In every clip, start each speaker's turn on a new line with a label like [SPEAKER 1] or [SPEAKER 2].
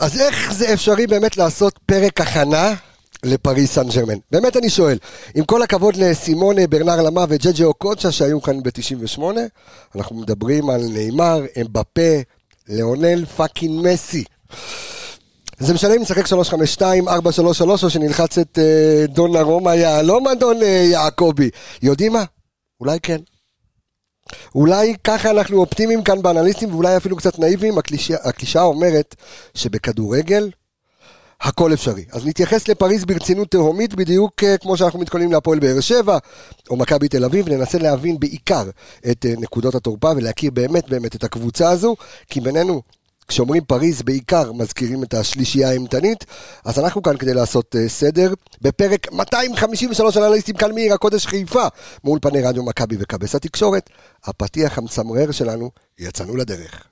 [SPEAKER 1] אז איך זה אפשרי באמת לעשות פרק הכנה לפריס סן ג'רמן? באמת אני שואל, עם כל הכבוד לסימונה, ברנר למה וג'ג'ה אוקוצ'ה שהיו כאן ב-98, אנחנו מדברים על נאמר, אמבפה, ליאונל פאקינג מסי. זה משנה אם נשחק 3-5-2, 4-3-3, או שנלחץ את אה, דון ארומה יהלום, אדון אה, יעקבי. יודעים מה? אולי כן. אולי ככה אנחנו אופטימיים כאן באנליסטים, ואולי אפילו קצת נאיביים, הקלישאה הקלישא אומרת שבכדורגל הכל אפשרי. אז נתייחס לפריז ברצינות תהומית, בדיוק אה, כמו שאנחנו מתכוננים להפועל באר שבע, או מכבי תל אביב, ננסה להבין בעיקר את אה, נקודות התורפה ולהכיר באמת באמת את הקבוצה הזו, כי בינינו, כשאומרים פריז בעיקר מזכירים את השלישייה האימתנית, אז אנחנו כאן כדי לעשות אה, סדר בפרק 253 של אנליסטים כאן מעיר הקודש חיפה, מול פני רדיו מכבי וכבש התקשורת, הפתיח המצמרר שלנו, יצאנו לדרך.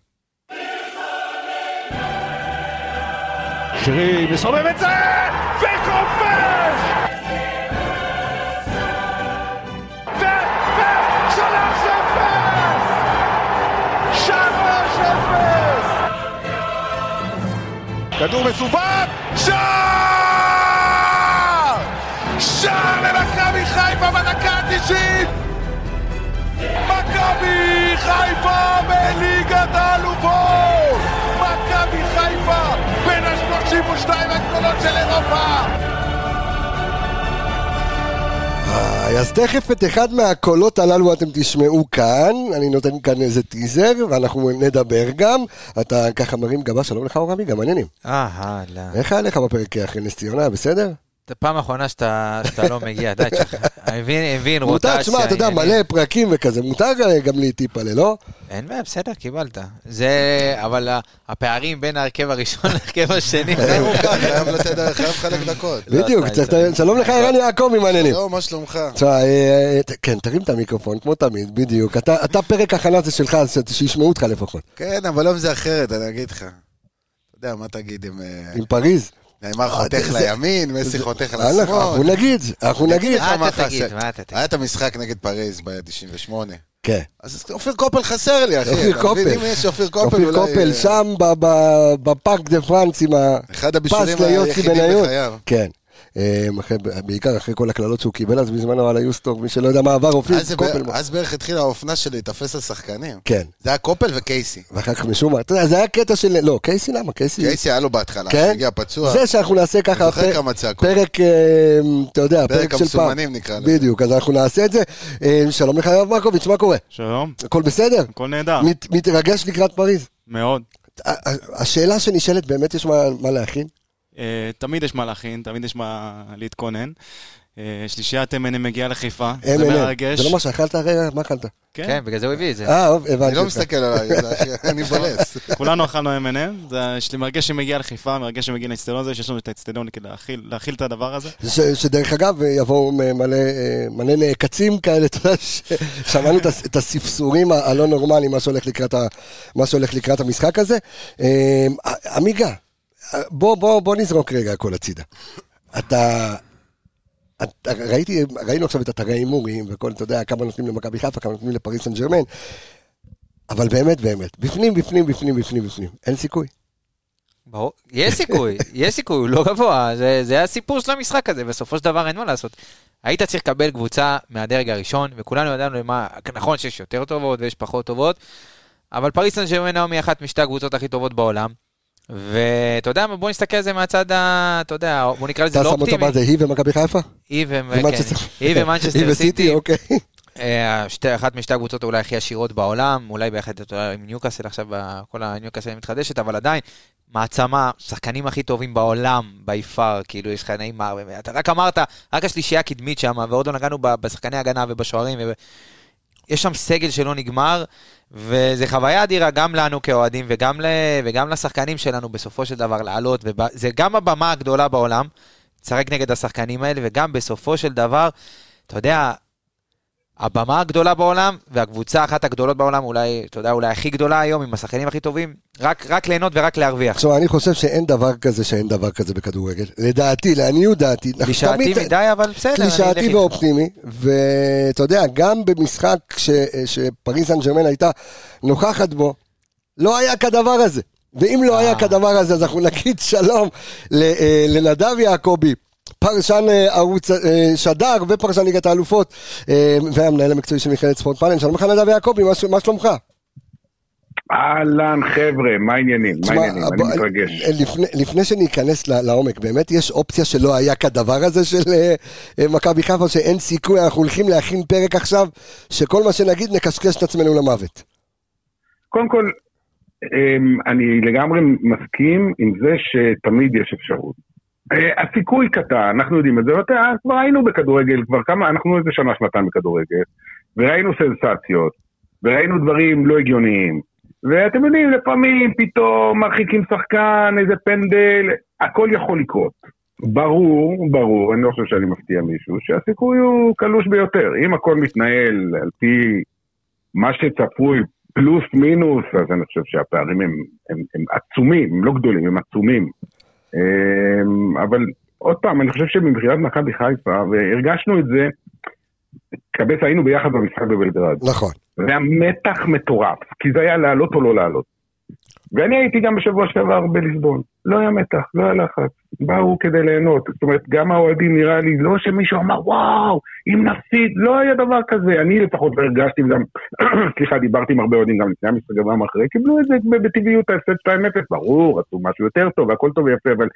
[SPEAKER 2] שירי מסובב את זה, וכובש! ו- ו- שלוש אפס! שלוש אפס! כדור מסובב, שער! שער למכבי חיפה בדקה התשעים! מכבי חיפה בליגת האלופות! מכבי חיפה בין ה-32 הגדולות של אירופה!
[SPEAKER 1] איי, אז תכף את אחד מהקולות הללו אתם תשמעו כאן, אני נותן כאן איזה טיזר, ואנחנו נדבר גם. אתה ככה מרים גבה, שלום לך אורמי, גם עניינים.
[SPEAKER 3] אה, הלאה.
[SPEAKER 1] איך היה לך בפרק אחרי נס ציונה, בסדר?
[SPEAKER 3] זו פעם אחרונה שאתה שאתה לא מגיע, די, תשכח. הבין, הבין, רוטציה.
[SPEAKER 1] מותר, תשמע, אתה יודע,
[SPEAKER 3] עניינים.
[SPEAKER 1] מלא פרקים וכזה, מותר אה, גם לי טיפלה, לא?
[SPEAKER 3] אין בעיה, בסדר, קיבלת. זה, אבל ה- הפערים בין ההרכב הראשון להרכב השני,
[SPEAKER 1] אה,
[SPEAKER 3] לא.
[SPEAKER 4] היה מורכב, כן, חייב לתת, חייב לחלק דקות.
[SPEAKER 1] בדיוק,
[SPEAKER 3] עשתה
[SPEAKER 1] צריך
[SPEAKER 3] את זה.
[SPEAKER 1] ל- שלום לך ערן יעקבי מעניינים.
[SPEAKER 4] לא, מה שלומך?
[SPEAKER 1] תשמע, אה, אה, ת- כן, תרים את המיקרופון, כמו תמיד, בדיוק. אתה אתה פרק הכנה זה שלך, אז ש- שישמעו אותך לפחות.
[SPEAKER 4] כן, אבל היום זה אחרת, אני אגיד לך. אתה יודע, מה תגיד אם... אה,
[SPEAKER 1] עם פריז.
[SPEAKER 4] נאמר
[SPEAKER 1] אה,
[SPEAKER 4] חותך
[SPEAKER 1] זה-
[SPEAKER 4] לימין, מסי חותך
[SPEAKER 1] אה, אנחנו- אנחנו
[SPEAKER 4] לשמאל.
[SPEAKER 1] נגיד, אנחנו נגיד.
[SPEAKER 4] לך
[SPEAKER 3] מה
[SPEAKER 4] מה
[SPEAKER 3] אתה תגיד,
[SPEAKER 4] חסר.
[SPEAKER 3] מה אתה תגיד.
[SPEAKER 4] היה את המשחק נגד פריז ב-98.
[SPEAKER 1] כן.
[SPEAKER 4] אז אופיר קופל חסר לי, אחי.
[SPEAKER 1] אופיר
[SPEAKER 4] אתה מבין?
[SPEAKER 1] קופל.
[SPEAKER 4] אם יש אופיר קופל,
[SPEAKER 1] אופיר
[SPEAKER 4] אולי,
[SPEAKER 1] קופל
[SPEAKER 4] אה,
[SPEAKER 1] שם ב- ב- בפארק דה פרנס עם ה...
[SPEAKER 4] אחד
[SPEAKER 1] פס
[SPEAKER 4] הבישולים
[SPEAKER 1] ליוסי
[SPEAKER 4] היחידים
[SPEAKER 1] בניון.
[SPEAKER 4] בחייו.
[SPEAKER 1] כן. אה, אחרי- בעיקר אחרי כל הקללות שהוא קיבל אז בזמנו על היוסטור, מי שלא יודע מה עבר, אופיר
[SPEAKER 4] אז אה, זה
[SPEAKER 1] קופל.
[SPEAKER 4] בערך- אז בערך התחילה האופנה של להיתפס על שחקנים.
[SPEAKER 1] כן.
[SPEAKER 4] זה היה קופל וקייסי.
[SPEAKER 1] ואחר כך משום מה, אתה יודע, זה היה קטע של... לא, קייסי למה? קייסי...
[SPEAKER 4] קייסי היה לו בהתחלה,
[SPEAKER 1] כן?
[SPEAKER 4] כשהגיע פצוע.
[SPEAKER 1] זה שאנחנו נעשה ככה,
[SPEAKER 4] אני זוכר
[SPEAKER 1] פרק-
[SPEAKER 4] כמה צעקות.
[SPEAKER 1] פרק, אה, אתה יודע, פרק של פעם.
[SPEAKER 4] פרק המסומנים נקרא לזה.
[SPEAKER 1] בדיוק, אז אנחנו נעשה את זה. אה, שלום לך, יואב מרקוביץ', מה קורה?
[SPEAKER 5] שלום,
[SPEAKER 1] הכל בסדר?
[SPEAKER 5] הכל נהדר,
[SPEAKER 4] אה.
[SPEAKER 1] מת- מתרגש לקראת פריז?
[SPEAKER 5] מאוד.
[SPEAKER 1] ה- ה- השאלה שנשאלת, באמת יש מה- מה להכין?
[SPEAKER 5] אה, תמיד יש מה להכין, תמיד יש מה להתכונן. אה, שלישיית M&M מגיעה לחיפה,
[SPEAKER 1] אין,
[SPEAKER 5] זה
[SPEAKER 1] אין, אין.
[SPEAKER 5] מרגש.
[SPEAKER 1] זה לא מה שאכלת הרגע? מה אכלת?
[SPEAKER 5] כן,
[SPEAKER 3] כן, בגלל זה הוא הביא את זה.
[SPEAKER 1] אה, אוב, הבנתי.
[SPEAKER 4] אני לא
[SPEAKER 1] אותך.
[SPEAKER 4] מסתכל עליי, זה הכי- אני מבלס.
[SPEAKER 5] כולנו אכלנו M&M, זה- יש לי מרגש שמגיע לחיפה, מרגש שמגיע לאצטדיון הזה, שיש לנו את האצטדיון כדי להכיל- להכיל את הדבר הזה.
[SPEAKER 1] ש- שדרך אגב, יבואו מ- מלא אה, מלא נעקצים כאלה, אתה יודע, ש- שמענו את הס- את הספסורים ה- הלא נורמליים, מה שהולך לקראת ה- מה שהולך לקראת המשחק הזה. אה, עמיגה, אה, בוא- בוא בוא נזרוק רגע הכל הצידה. אתה... את- ראיתי, ראינו עכשיו את אתרי ההימורים וכל, אתה יודע, כמה נותנים למכבי חיפה, כמה נותנים לפריס סן ג'רמן, אבל באמת, באמת, בפנים, בפנים, בפנים, בפנים, בפנים, אין סיכוי.
[SPEAKER 3] ברור. יש סיכוי, יש סיכוי, הוא לא גבוה, זה, זה הסיפור של המשחק הזה, בסופו של דבר אין מה לעשות. היית צריך לקבל קבוצה מהדרג הראשון, וכולנו ידענו למה, נכון שיש יותר טובות ויש פחות טובות, אבל פריס סן ג'רמן היום היא אחת משתי הקבוצות הכי טובות בעולם. ואתה יודע מה, בוא נסתכל על זה מהצד ה... אתה יודע, בוא נקרא לזה
[SPEAKER 1] אתה
[SPEAKER 3] לא
[SPEAKER 1] שם אותה
[SPEAKER 3] אופטימי.
[SPEAKER 1] מה זה, היא ומכבי חיפה?
[SPEAKER 3] היא ו-
[SPEAKER 1] ומנצ'סטר-
[SPEAKER 3] כן, היא
[SPEAKER 1] היא
[SPEAKER 3] ומנצ'סטר
[SPEAKER 1] וסיטי,
[SPEAKER 3] סיטי,
[SPEAKER 1] אוקיי.
[SPEAKER 3] אה, שתי, אחת משתי הקבוצות אולי הכי עשירות בעולם, אולי ביחד אתה יודע, עם ניוקאסל עכשיו, ב- כל הניוקאסל מתחדשת, אבל עדיין, מעצמה, שחקנים הכי טובים בעולם, בי פאר, כאילו יש לך נעימר, אתה רק אמרת, רק השלישייה הקדמית שם, ועוד לא נגענו ב- בשחקני הגנה ובשוערים, וב- יש שם סגל שלא נגמר, וזו חוויה אדירה גם לנו כאוהדים וגם, ל... וגם לשחקנים שלנו בסופו של דבר לעלות, וזה גם הבמה הגדולה בעולם, לשחק נגד השחקנים האלה, וגם בסופו של דבר, אתה יודע, הבמה הגדולה בעולם, והקבוצה אחת הגדולות בעולם, אולי, אתה יודע, אולי הכי גדולה היום, עם השחקנים הכי טובים, רק, רק ליהנות ורק להרוויח.
[SPEAKER 1] עכשיו, אני חושב שאין דבר כזה שאין דבר כזה בכדורגל. לדעתי, לעניות דעתי. אנחנו
[SPEAKER 3] קלישאתי
[SPEAKER 1] תמיד-
[SPEAKER 3] מדי, אבל בסדר, אני אלך
[SPEAKER 1] קלישאתי
[SPEAKER 3] איתך.
[SPEAKER 1] ואופטימי, ואתה יודע, גם במשחק ש- שפריס סן ג'רמן הייתה נוכחת בו, לא היה כדבר הזה. ואם לא
[SPEAKER 3] אה.
[SPEAKER 1] היה כדבר הזה, אז אנחנו נגיד שלום ל- אה, לנדב יעקבי. פרשן אה, ערוץ אה, שדר ופרשן ליגת האלופות אה, והמנהל המקצועי של מכללת ספורט פאנל. שלום לך נדב יעקבי, מה ש- מה שלומך?
[SPEAKER 6] אהלן חבר'ה, מה העניינים? מה
[SPEAKER 1] תשמע,
[SPEAKER 6] העניינים? אני
[SPEAKER 1] בוא-
[SPEAKER 6] מתרגש.
[SPEAKER 1] אה, לפני- לפני שניכנס ל- לעומק, באמת יש אופציה שלא היה כדבר הזה של אה, אה, מכבי חיפה, שאין סיכוי, אנחנו הולכים להכין פרק עכשיו, שכל מה שנגיד נקשקש את עצמנו למוות.
[SPEAKER 6] קודם כל, אמ, אני לגמרי מסכים עם זה שתמיד יש אפשרות. אה, הסיכוי קטן, אנחנו יודעים את זה, ואתה, אה, כבר היינו בכדורגל, כבר כמה, אנחנו איזה שנה, שנתיים בכדורגל, וראינו סנסציות, וראינו דברים לא הגיוניים. ואתם יודעים, לפעמים פתאום מרחיקים שחקן, איזה פנדל, הכל יכול לקרות. ברור, ברור, אני לא חושב שאני מפתיע מישהו, שהסיכוי הוא קלוש ביותר. אם הכל מתנהל על פי מה שצפוי, פלוס מינוס, אז אני חושב שהפערים הם, הם, הם עצומים, הם לא גדולים, הם עצומים. אמ, אבל עוד פעם, אני חושב שמבחינת מכבי חיפה, והרגשנו את זה, קבס היינו ביחד במשחק בבלגרד.
[SPEAKER 1] נכון.
[SPEAKER 6] זה היה מתח מטורף, כי זה היה לעלות או לא לעלות. ואני הייתי גם בשבוע שעבר בליסבון. לא היה מתח, לא היה לחץ. באו כדי ליהנות. זאת אומרת, גם האוהדים נראה לי, לא שמישהו אמר, וואו, אם נפסיד, לא היה דבר כזה. אני לפחות לא הרגשתי גם, סליחה, דיברתי עם הרבה אוהדים גם לפני המשחק וגם אחרי, קיבלו את זה בטבעיות, ההפסד 2-0, ברור, עשו משהו יותר טוב, והכל טוב ויפה, אבל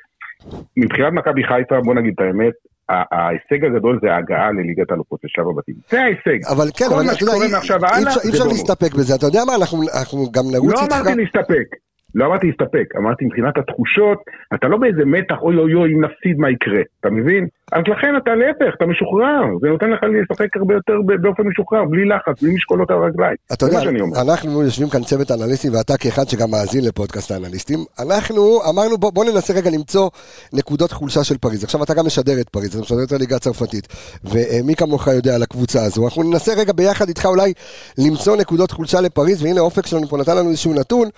[SPEAKER 6] מבחינת מכבי חיפה, בוא נגיד את האמת, ה- ההישג הגדול זה ההגעה לליגת האלופות לשלב הבתים. זה ההישג.
[SPEAKER 1] אבל כן,
[SPEAKER 6] כל
[SPEAKER 1] אבל
[SPEAKER 6] מה
[SPEAKER 1] אתה יודע,
[SPEAKER 6] שקורה
[SPEAKER 1] אי-
[SPEAKER 6] מעכשיו
[SPEAKER 1] אי
[SPEAKER 6] והלאה
[SPEAKER 1] אפשר- אי
[SPEAKER 6] זה
[SPEAKER 1] אפשר
[SPEAKER 6] בונוס.
[SPEAKER 1] להסתפק בזה, אתה יודע מה, אנחנו אנחנו גם נרוץ
[SPEAKER 6] לא
[SPEAKER 1] איתך.
[SPEAKER 6] אמרתי להסתפק. לא אמרתי להסתפק, אמרתי מבחינת התחושות, אתה לא באיזה מתח, אוי אוי אוי, אם נפסיד מה יקרה, אתה מבין? אז לכן אתה להפך, אתה משוחרר, זה נותן לך לשחק הרבה יותר ב- באופן משוחרר, בלי לחץ, בלי משקולות על הרגליים.
[SPEAKER 1] אתה
[SPEAKER 6] זה
[SPEAKER 1] יודע, אה,
[SPEAKER 6] מה שאני אומר.
[SPEAKER 1] אנחנו יושבים כאן צוות אנליסטים, ואתה כאחד שגם מאזין לפודקאסט האנליסטים, אנחנו אמרנו בוא, בוא ננסה רגע למצוא נקודות חולשה של פריז. עכשיו אתה גם משדר את פריז, אתה משדר את הליגה הצרפתית, ומי כמוך יודע על הקבוצה הזו. אנחנו ננסה רגע ביחד איתך אולי למצוא נקודות חולשה לפריז, והנה אופק שלנו פה נתן לנו איזשהו נתון,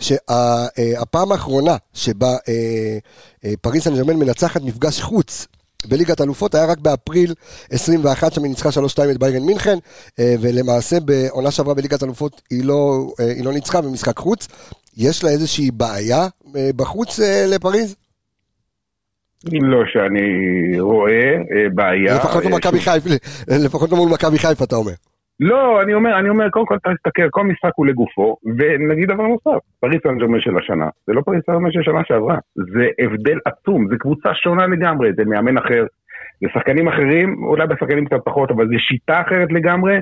[SPEAKER 1] שהפעם האחרונה שבה אה, אה, פריז סן ג'רמן מנצחת מפגש חוץ בליגת אלופות היה רק באפריל 21, שם היא ניצחה 3-2 את ביירן מינכן, אה, ולמעשה בעונה שעברה בליגת אלופות היא לא, אה, היא לא ניצחה במשחק חוץ. יש לה איזושהי בעיה אה, בחוץ אה, לפריז?
[SPEAKER 6] לא שאני רואה אה, בעיה.
[SPEAKER 1] לפחות לא
[SPEAKER 6] אה,
[SPEAKER 1] מכבי חיפה, לפחות לא מול מכבי חיפה אתה אומר.
[SPEAKER 6] לא, אני אומר, אני אומר, קודם כל אתה מסתכל, כל משחק הוא לגופו, ונגיד דבר נוסף, פריס סן ג'רמן של השנה, זה לא פריס סן ג'רמן של שנה שעברה, זה הבדל עצום, זה קבוצה שונה לגמרי, זה מאמן אחר, זה שחקנים אחרים, אולי בשחקנים קצת פחות, אבל זה שיטה אחרת לגמרי,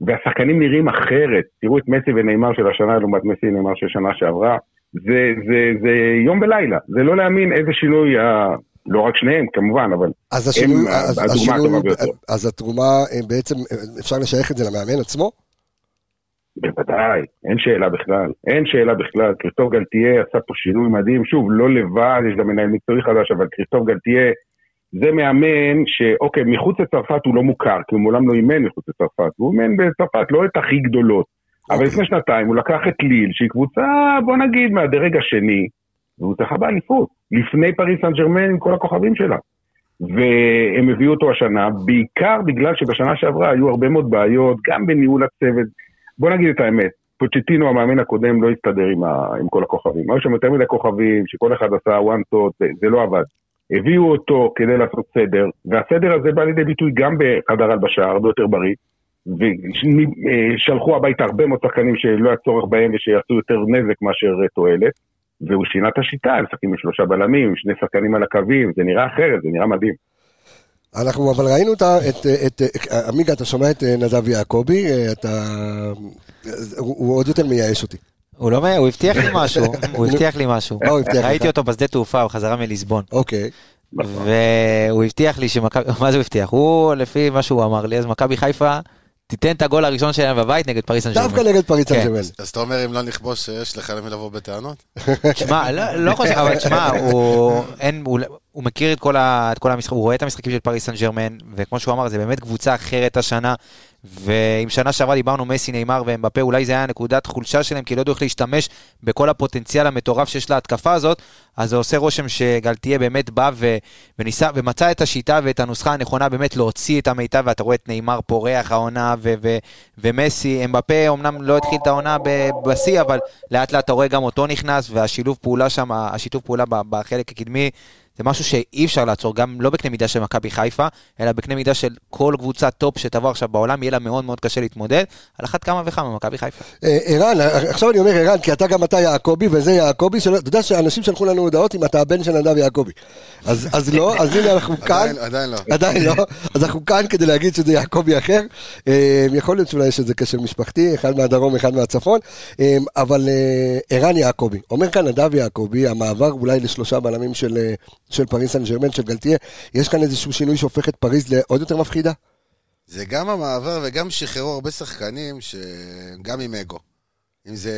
[SPEAKER 6] והשחקנים נראים אחרת, תראו את מסי ונאמר של השנה לעומת מסי ונאמר של שנה שעברה, זה, זה, זה יום ולילה, זה לא להאמין איזה שינוי, אה, לא רק שניהם כמובן, אבל
[SPEAKER 1] אז השינוי,
[SPEAKER 6] הם,
[SPEAKER 1] אז,
[SPEAKER 6] הדוגמה הטובה
[SPEAKER 1] השינוי,
[SPEAKER 6] ביותר.
[SPEAKER 1] אז התרומה אה, בעצם, אה, אפשר לשייך את זה למאמן עצמו?
[SPEAKER 6] בוודאי, אין שאלה בכלל, אין שאלה בכלל. כריסטוף גלטיה עשה פה שינוי מדהים, שוב, לא לבד, יש גם מנהל מקצועי חדש, אבל כריסטוף גלטיה זה מאמן שאוקיי, מחוץ לצרפת הוא לא מוכר, כי הוא מעולם לא אימן מחוץ לצרפת, הוא אימן בצרפת, לא את הכי גדולות. אבל
[SPEAKER 1] אוקיי.
[SPEAKER 6] לפני שנתיים הוא לקח את ליל, שהיא קבוצה, בוא נגיד, מהדרג השני, והוא זכה באליפות, לפני פריס סן ג'רמן עם כל הכוכבים שלה. והם הביאו אותו השנה, בעיקר בגלל שבשנה שעברה היו הרבה מאוד בעיות, גם בניהול הצוות. בוא נגיד את האמת, פוצ'טינו המאמן הקודם לא הסתדר עם, ה... עם כל הכוכבים. היו שם יותר מדי כוכבים, שכל אחד עשה one shot, זה, זה לא עבד. הביאו אותו כדי לעשות סדר, והסדר הזה בא לידי ביטוי גם בחדר הלבשה, הרבה יותר בריא. ושלחו הביתה הרבה מאוד שחקנים שלא היה צורך בהם ושיעשו יותר נזק מאשר אה, תועלת. והוא שינה את השיטה, הם משחקים עם שלושה בלמים, עם שני שחקנים על הקווים, זה נראה אחרת, זה נראה מדהים.
[SPEAKER 1] אנחנו אבל ראינו את, ה- את, אה, את, את עמיגה, אתה שומע את אה, נדב יעקבי, אה, אתה... אה, הוא, הוא עוד יותר מייאש אותי.
[SPEAKER 3] הוא לא, מ- הוא הבטיח לי משהו, הוא הבטיח לי משהו.
[SPEAKER 1] מה לא. הוא הבטיח לך?
[SPEAKER 3] ראיתי אותו בשדה תעופה, הוא חזרה מליסבון.
[SPEAKER 1] אוקיי.
[SPEAKER 3] והוא הבטיח לי שמכבי, מה זה הוא הבטיח? הוא, לפי מה שהוא אמר לי, אז מכבי חיפה תיתן את הגול הראשון שלהם בבית נגד פריס סן
[SPEAKER 1] דווקא
[SPEAKER 3] ג'רמן.
[SPEAKER 1] נגד פריס סן
[SPEAKER 3] כן.
[SPEAKER 1] ג'רמן.
[SPEAKER 4] אז אתה אומר, אם לא נכבוש, יש לך למי לבוא בטענות?
[SPEAKER 3] תשמע, לא- לא חושב, אבל תשמע, הוא, אין, הוא- הוא מכיר את כל, ה, את כל המשחק, הוא רואה את המשחקים של פריס סן ג'רמן, וכמו שהוא אמר, זה באמת קבוצה אחרת השנה, ואם שנה שעברה דיברנו מסי, נאמר ואמבפה, אולי זה היה נקודת חולשה שלהם, כי לא ידעו איך להשתמש בכל הפוטנציאל המטורף שיש להתקפה הזאת, אז זה עושה רושם שגלתיה באמת בא ו, וניסה, ומצא את השיטה ואת הנוסחה הנכונה באמת להוציא את המיטב, ואתה רואה את נאמר פורח העונה ו, ו, ומסי, אמבפה אמנם לא התחיל את העונה ב- בשיא, אבל לאט לאט אתה רואה גם אותו נכנס, והשילוב פעולה שם, השיתוף פעולה ב- בחלק הקדמי, זה משהו שאי אפשר לעצור, גם לא בקנה מידה של מכבי חיפה, אלא בקנה מידה של כל קבוצה טופ שתבוא עכשיו בעולם, יהיה לה מאוד מאוד קשה להתמודד, על אחת כמה וכמה מכבי חיפה.
[SPEAKER 1] אה, ערן, אה, עכשיו אני אומר ערן, כי אתה גם אתה יעקבי, וזה יעקבי, שלא- אתה יודע שאנשים שלחו לנו הודעות אם אתה הבן של נדב יעקבי. אז אז לא, אז הנה אנחנו כאן.
[SPEAKER 4] עדיין- עדיין לא.
[SPEAKER 1] עדיין לא. אז אנחנו כאן כדי להגיד שזה יעקבי אחר. אה, יכול להיות שאולי יש איזה קשר משפחתי, אחד מהדרום, אחד מהצפון. אה, אבל אה, ערן יעקבי, אומר כאן נדב יעקבי, המעבר אולי לשלושה בלמים של, אה, של פריס סן ג'רמן, של גלתיה, יש כאן איזשהו שינוי שהופך את פריז לעוד יותר מפחידה?
[SPEAKER 4] זה גם המעבר וגם שחררו הרבה שחקנים שגם עם אגו. אם זה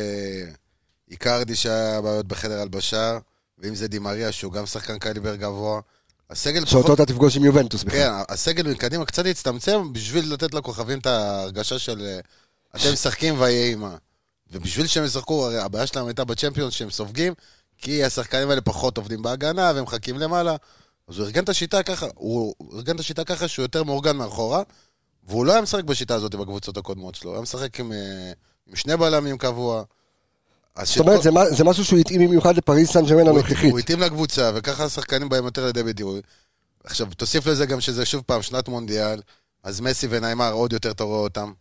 [SPEAKER 4] איקרדי שהיה בעיות בחדר הלבשה, ואם זה דימריה שהוא גם שחקן קליבר גבוה. הסגל
[SPEAKER 1] שאותו אתה תפגוש עם יובנטוס
[SPEAKER 4] כן,
[SPEAKER 1] בכלל.
[SPEAKER 4] הסגל מקדימה קצת הצטמצם בשביל לתת לכוכבים את ההרגשה של אה, אתם משחקים ויהיה אימה. ובשביל שהם ישחקו, הרי הבעיה שלהם הייתה בצ'מפיונס שהם סופגים, כי השחקנים האלה פחות עובדים בהגנה והם מחכים למעלה. אז הוא ארגן את השיטה ככה, הוא ארגן את השיטה ככה שהוא יותר מאורגן מאחורה, והוא לא היה משחק בשיטה הזאת בקבוצות הקודמות שלו, הוא היה משחק עם, אה, עם שני בלמים קבוע. אז
[SPEAKER 1] זאת אומרת,
[SPEAKER 4] שכל-
[SPEAKER 1] זה מה- זה משהו שהוא התאים במיוחד לפריס סן ג'רמן
[SPEAKER 4] הוא-
[SPEAKER 1] הנוכחית.
[SPEAKER 4] הוא התאים לקבוצה, וככה השחקנים באים יותר לידי ביטוי. עכשיו, תוסיף לזה גם שזה שוב פעם שנת מונדיאל, אז מסי וניימר עוד יותר אתה רואה אותם.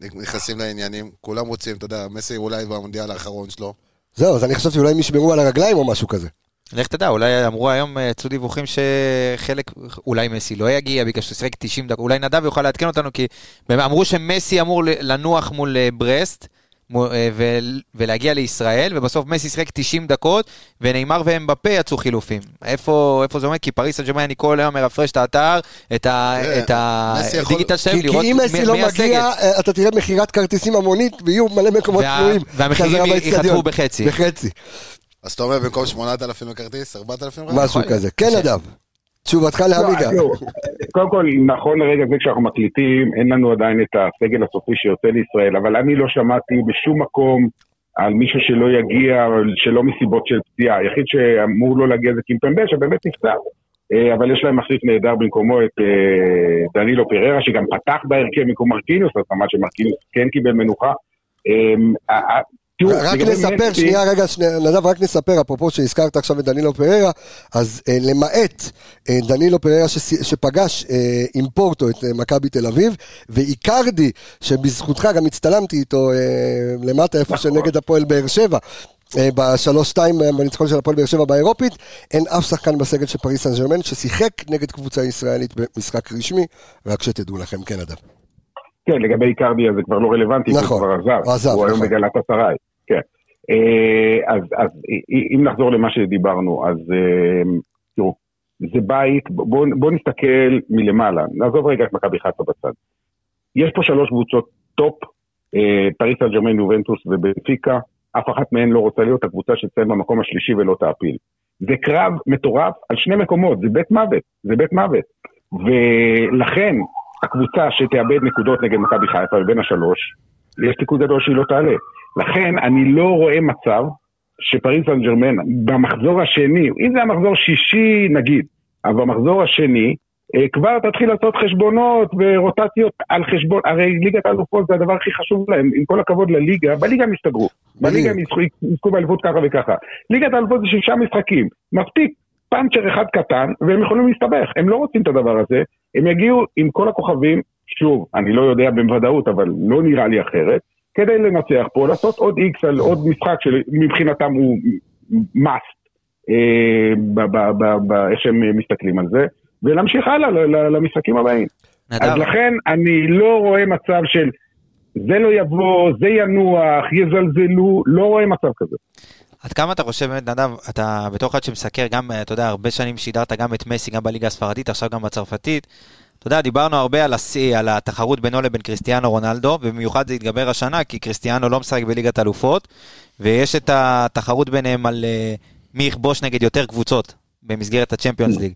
[SPEAKER 4] נכנסים לעניינים, כולם רוצים, אתה יודע, מסי אולי במונדיאל האחרון שלו.
[SPEAKER 1] זהו, אז אני חשבתי אולי הם ישמרו על הרגליים או משהו כזה.
[SPEAKER 3] לך תדע, אולי אמרו היום, אה, יצאו דיווחים שחלק, אולי מסי לא יגיע בגלל שהוא שיחק 90 דקות, אולי נדב יוכל לעדכן אותנו, כי הם אמרו שמסי אמור ל- לנוח מול אה, ברסט. מו- אה, ו- ולהגיע לישראל, ובסוף מסי שיחק 90 דקות, ונאמר ואמבפה יצאו חילופים. איפה, איפה זה עומד? כי פריס סן ג'רמן, אני כל היום מרפרש את האתר, את ה-
[SPEAKER 4] תראה,
[SPEAKER 3] את ה-
[SPEAKER 4] מסי יכול-
[SPEAKER 3] הדיגיטל שלהם,
[SPEAKER 1] כי כי
[SPEAKER 3] לראות
[SPEAKER 1] אם מסי
[SPEAKER 3] מי-
[SPEAKER 1] לא
[SPEAKER 3] מי הסגל.
[SPEAKER 1] מגיע, אה, אתה תראה מכירת כרטיסים המונית, ויהיו מלא מקומות
[SPEAKER 3] וה-
[SPEAKER 1] פנויים.
[SPEAKER 3] והמחירים
[SPEAKER 1] חזרה
[SPEAKER 3] י-
[SPEAKER 1] באצטדיון.
[SPEAKER 3] ייחתכו בחצי.
[SPEAKER 1] בחצי,
[SPEAKER 4] אז אתה אומר, במקום 8,000 לכרטיס, 4,000 רק?
[SPEAKER 1] משהו
[SPEAKER 3] יכול
[SPEAKER 1] כזה. כן,
[SPEAKER 3] ש-
[SPEAKER 1] נדב, תשובתך לעמיגה.
[SPEAKER 6] נכון. לא, אז לא. קודם כל, נכון לרגע זה כשאנחנו מקליטים, אין לנו עדיין את הסגל הסופי שיוצא לישראל, אבל אני לא שמעתי בשום מקום על מישהו שלא יגיע, שלא מסיבות של פציעה. היחיד שאמור לא להגיע זה קימפמבה, שבאמת נפצע. אה, אבל יש להם מחליף נהדר במקומו את אה, דנילו פררה, שגם פתח בהרכב במקום מרקיניוס, אז ממש שמרקיניוס כן קיבל מנוחה. אה, אה, תראו,
[SPEAKER 1] רק
[SPEAKER 6] לגבי
[SPEAKER 1] נספר,
[SPEAKER 6] מסי-
[SPEAKER 1] שנייה רגע, שנייה, נדב, רק נספר, אפרופו שהזכרת עכשיו את דנילו פררה, אז אה, למעט אה, דנילו פררה שס- שפגש אה, עם פורטו את אה, מכבי תל אביב, ואיקרדי, שבזכותך גם הצטלמתי איתו אה, למטה, איפה
[SPEAKER 6] נכון.
[SPEAKER 1] שנגד הפועל באר שבע. אה, בשלוש שתיים אה, בניצחון של הפועל באר שבע באירופית, אין אף שחקן בסגל של פריס סן ג'רמן ששיחק נגד קבוצה ישראלית במשחק רשמי, רק שתדעו לכם, כן אדם.
[SPEAKER 6] כן, לגבי איקרדיה זה כבר לא רלוונטי, כי
[SPEAKER 1] נכון,
[SPEAKER 6] הוא כבר עזב,
[SPEAKER 1] הוא עזב,
[SPEAKER 6] הוא היום
[SPEAKER 1] נכון.
[SPEAKER 6] בגלת אסריי, כן. אה, אז, אז אה, אם נחזור למה שדיברנו, אז אה, תראו, זה בית, בואו בוא נסתכל מלמעלה, נעזוב רגע את מכבי חיפה בצד. יש פה שלוש קבוצות טופ, אה, פריס סן ג'רמן, יובנטוס ובנפיקה, אף אחת מהן לא רוצה להיות הקבוצה שתסיים במקום השלישי ולא תעפיל. זה קרב מטורף על שני מקומות, זה בית מוות, זה בית מוות. ולכן, הקבוצה שתאבד נקודות נגד מכבי חיפה מבין השלוש, יש סיכוי גדול שהיא לא תעלה. לכן אני לא רואה מצב שפריס סן ג'רמן במחזור השני, אם זה המחזור שישי נגיד, אבל במחזור השני, אה, כבר תתחיל לעשות חשבונות ורוטציות על חשבון, הרי ליגת האלופות זה הדבר הכי חשוב להם, עם כל הכבוד לליגה, בליגה הם יסתגרו, בליגה הם יזכו- יזכו באליפות ככה וככה. ליגת האלופות זה שישה משחקים, מספיק פאנצ'ר אחד קטן, והם יכולים להסתבך, הם לא רוצים את הדבר הזה, הם יגיעו עם כל הכוכבים, שוב, אני לא יודע בוודאות, אבל לא נראה לי אחרת, כדי לנצח פה, לעשות עוד איקס על עוד משחק שמבחינתם הוא must, אה, ב- ב- ב- ב- איך שהם מסתכלים על זה, ולהמשיך הלאה ל- ל- למשחקים הבאים.
[SPEAKER 3] נדב,
[SPEAKER 6] אז לכן אני לא רואה מצב של זה לא יבוא, זה ינוח, יזלזלו, לא רואה מצב כזה.
[SPEAKER 3] עד כמה אתה חושב, באמת, נדב, אתה בתור אחד שמסקר גם, אתה יודע, הרבה שנים שידרת גם את מסי, גם בליגה הספרדית, עכשיו גם בצרפתית. אתה יודע, דיברנו הרבה על השיא, על התחרות בינו לבין קריסטיאנו רונלדו, ובמיוחד זה התגבר השנה, כי קריסטיאנו לא משחק בליגת אלופות, ויש את התחרות ביניהם על אה, מי יכבוש נגד יותר קבוצות במסגרת הצ'מפיונס ליג.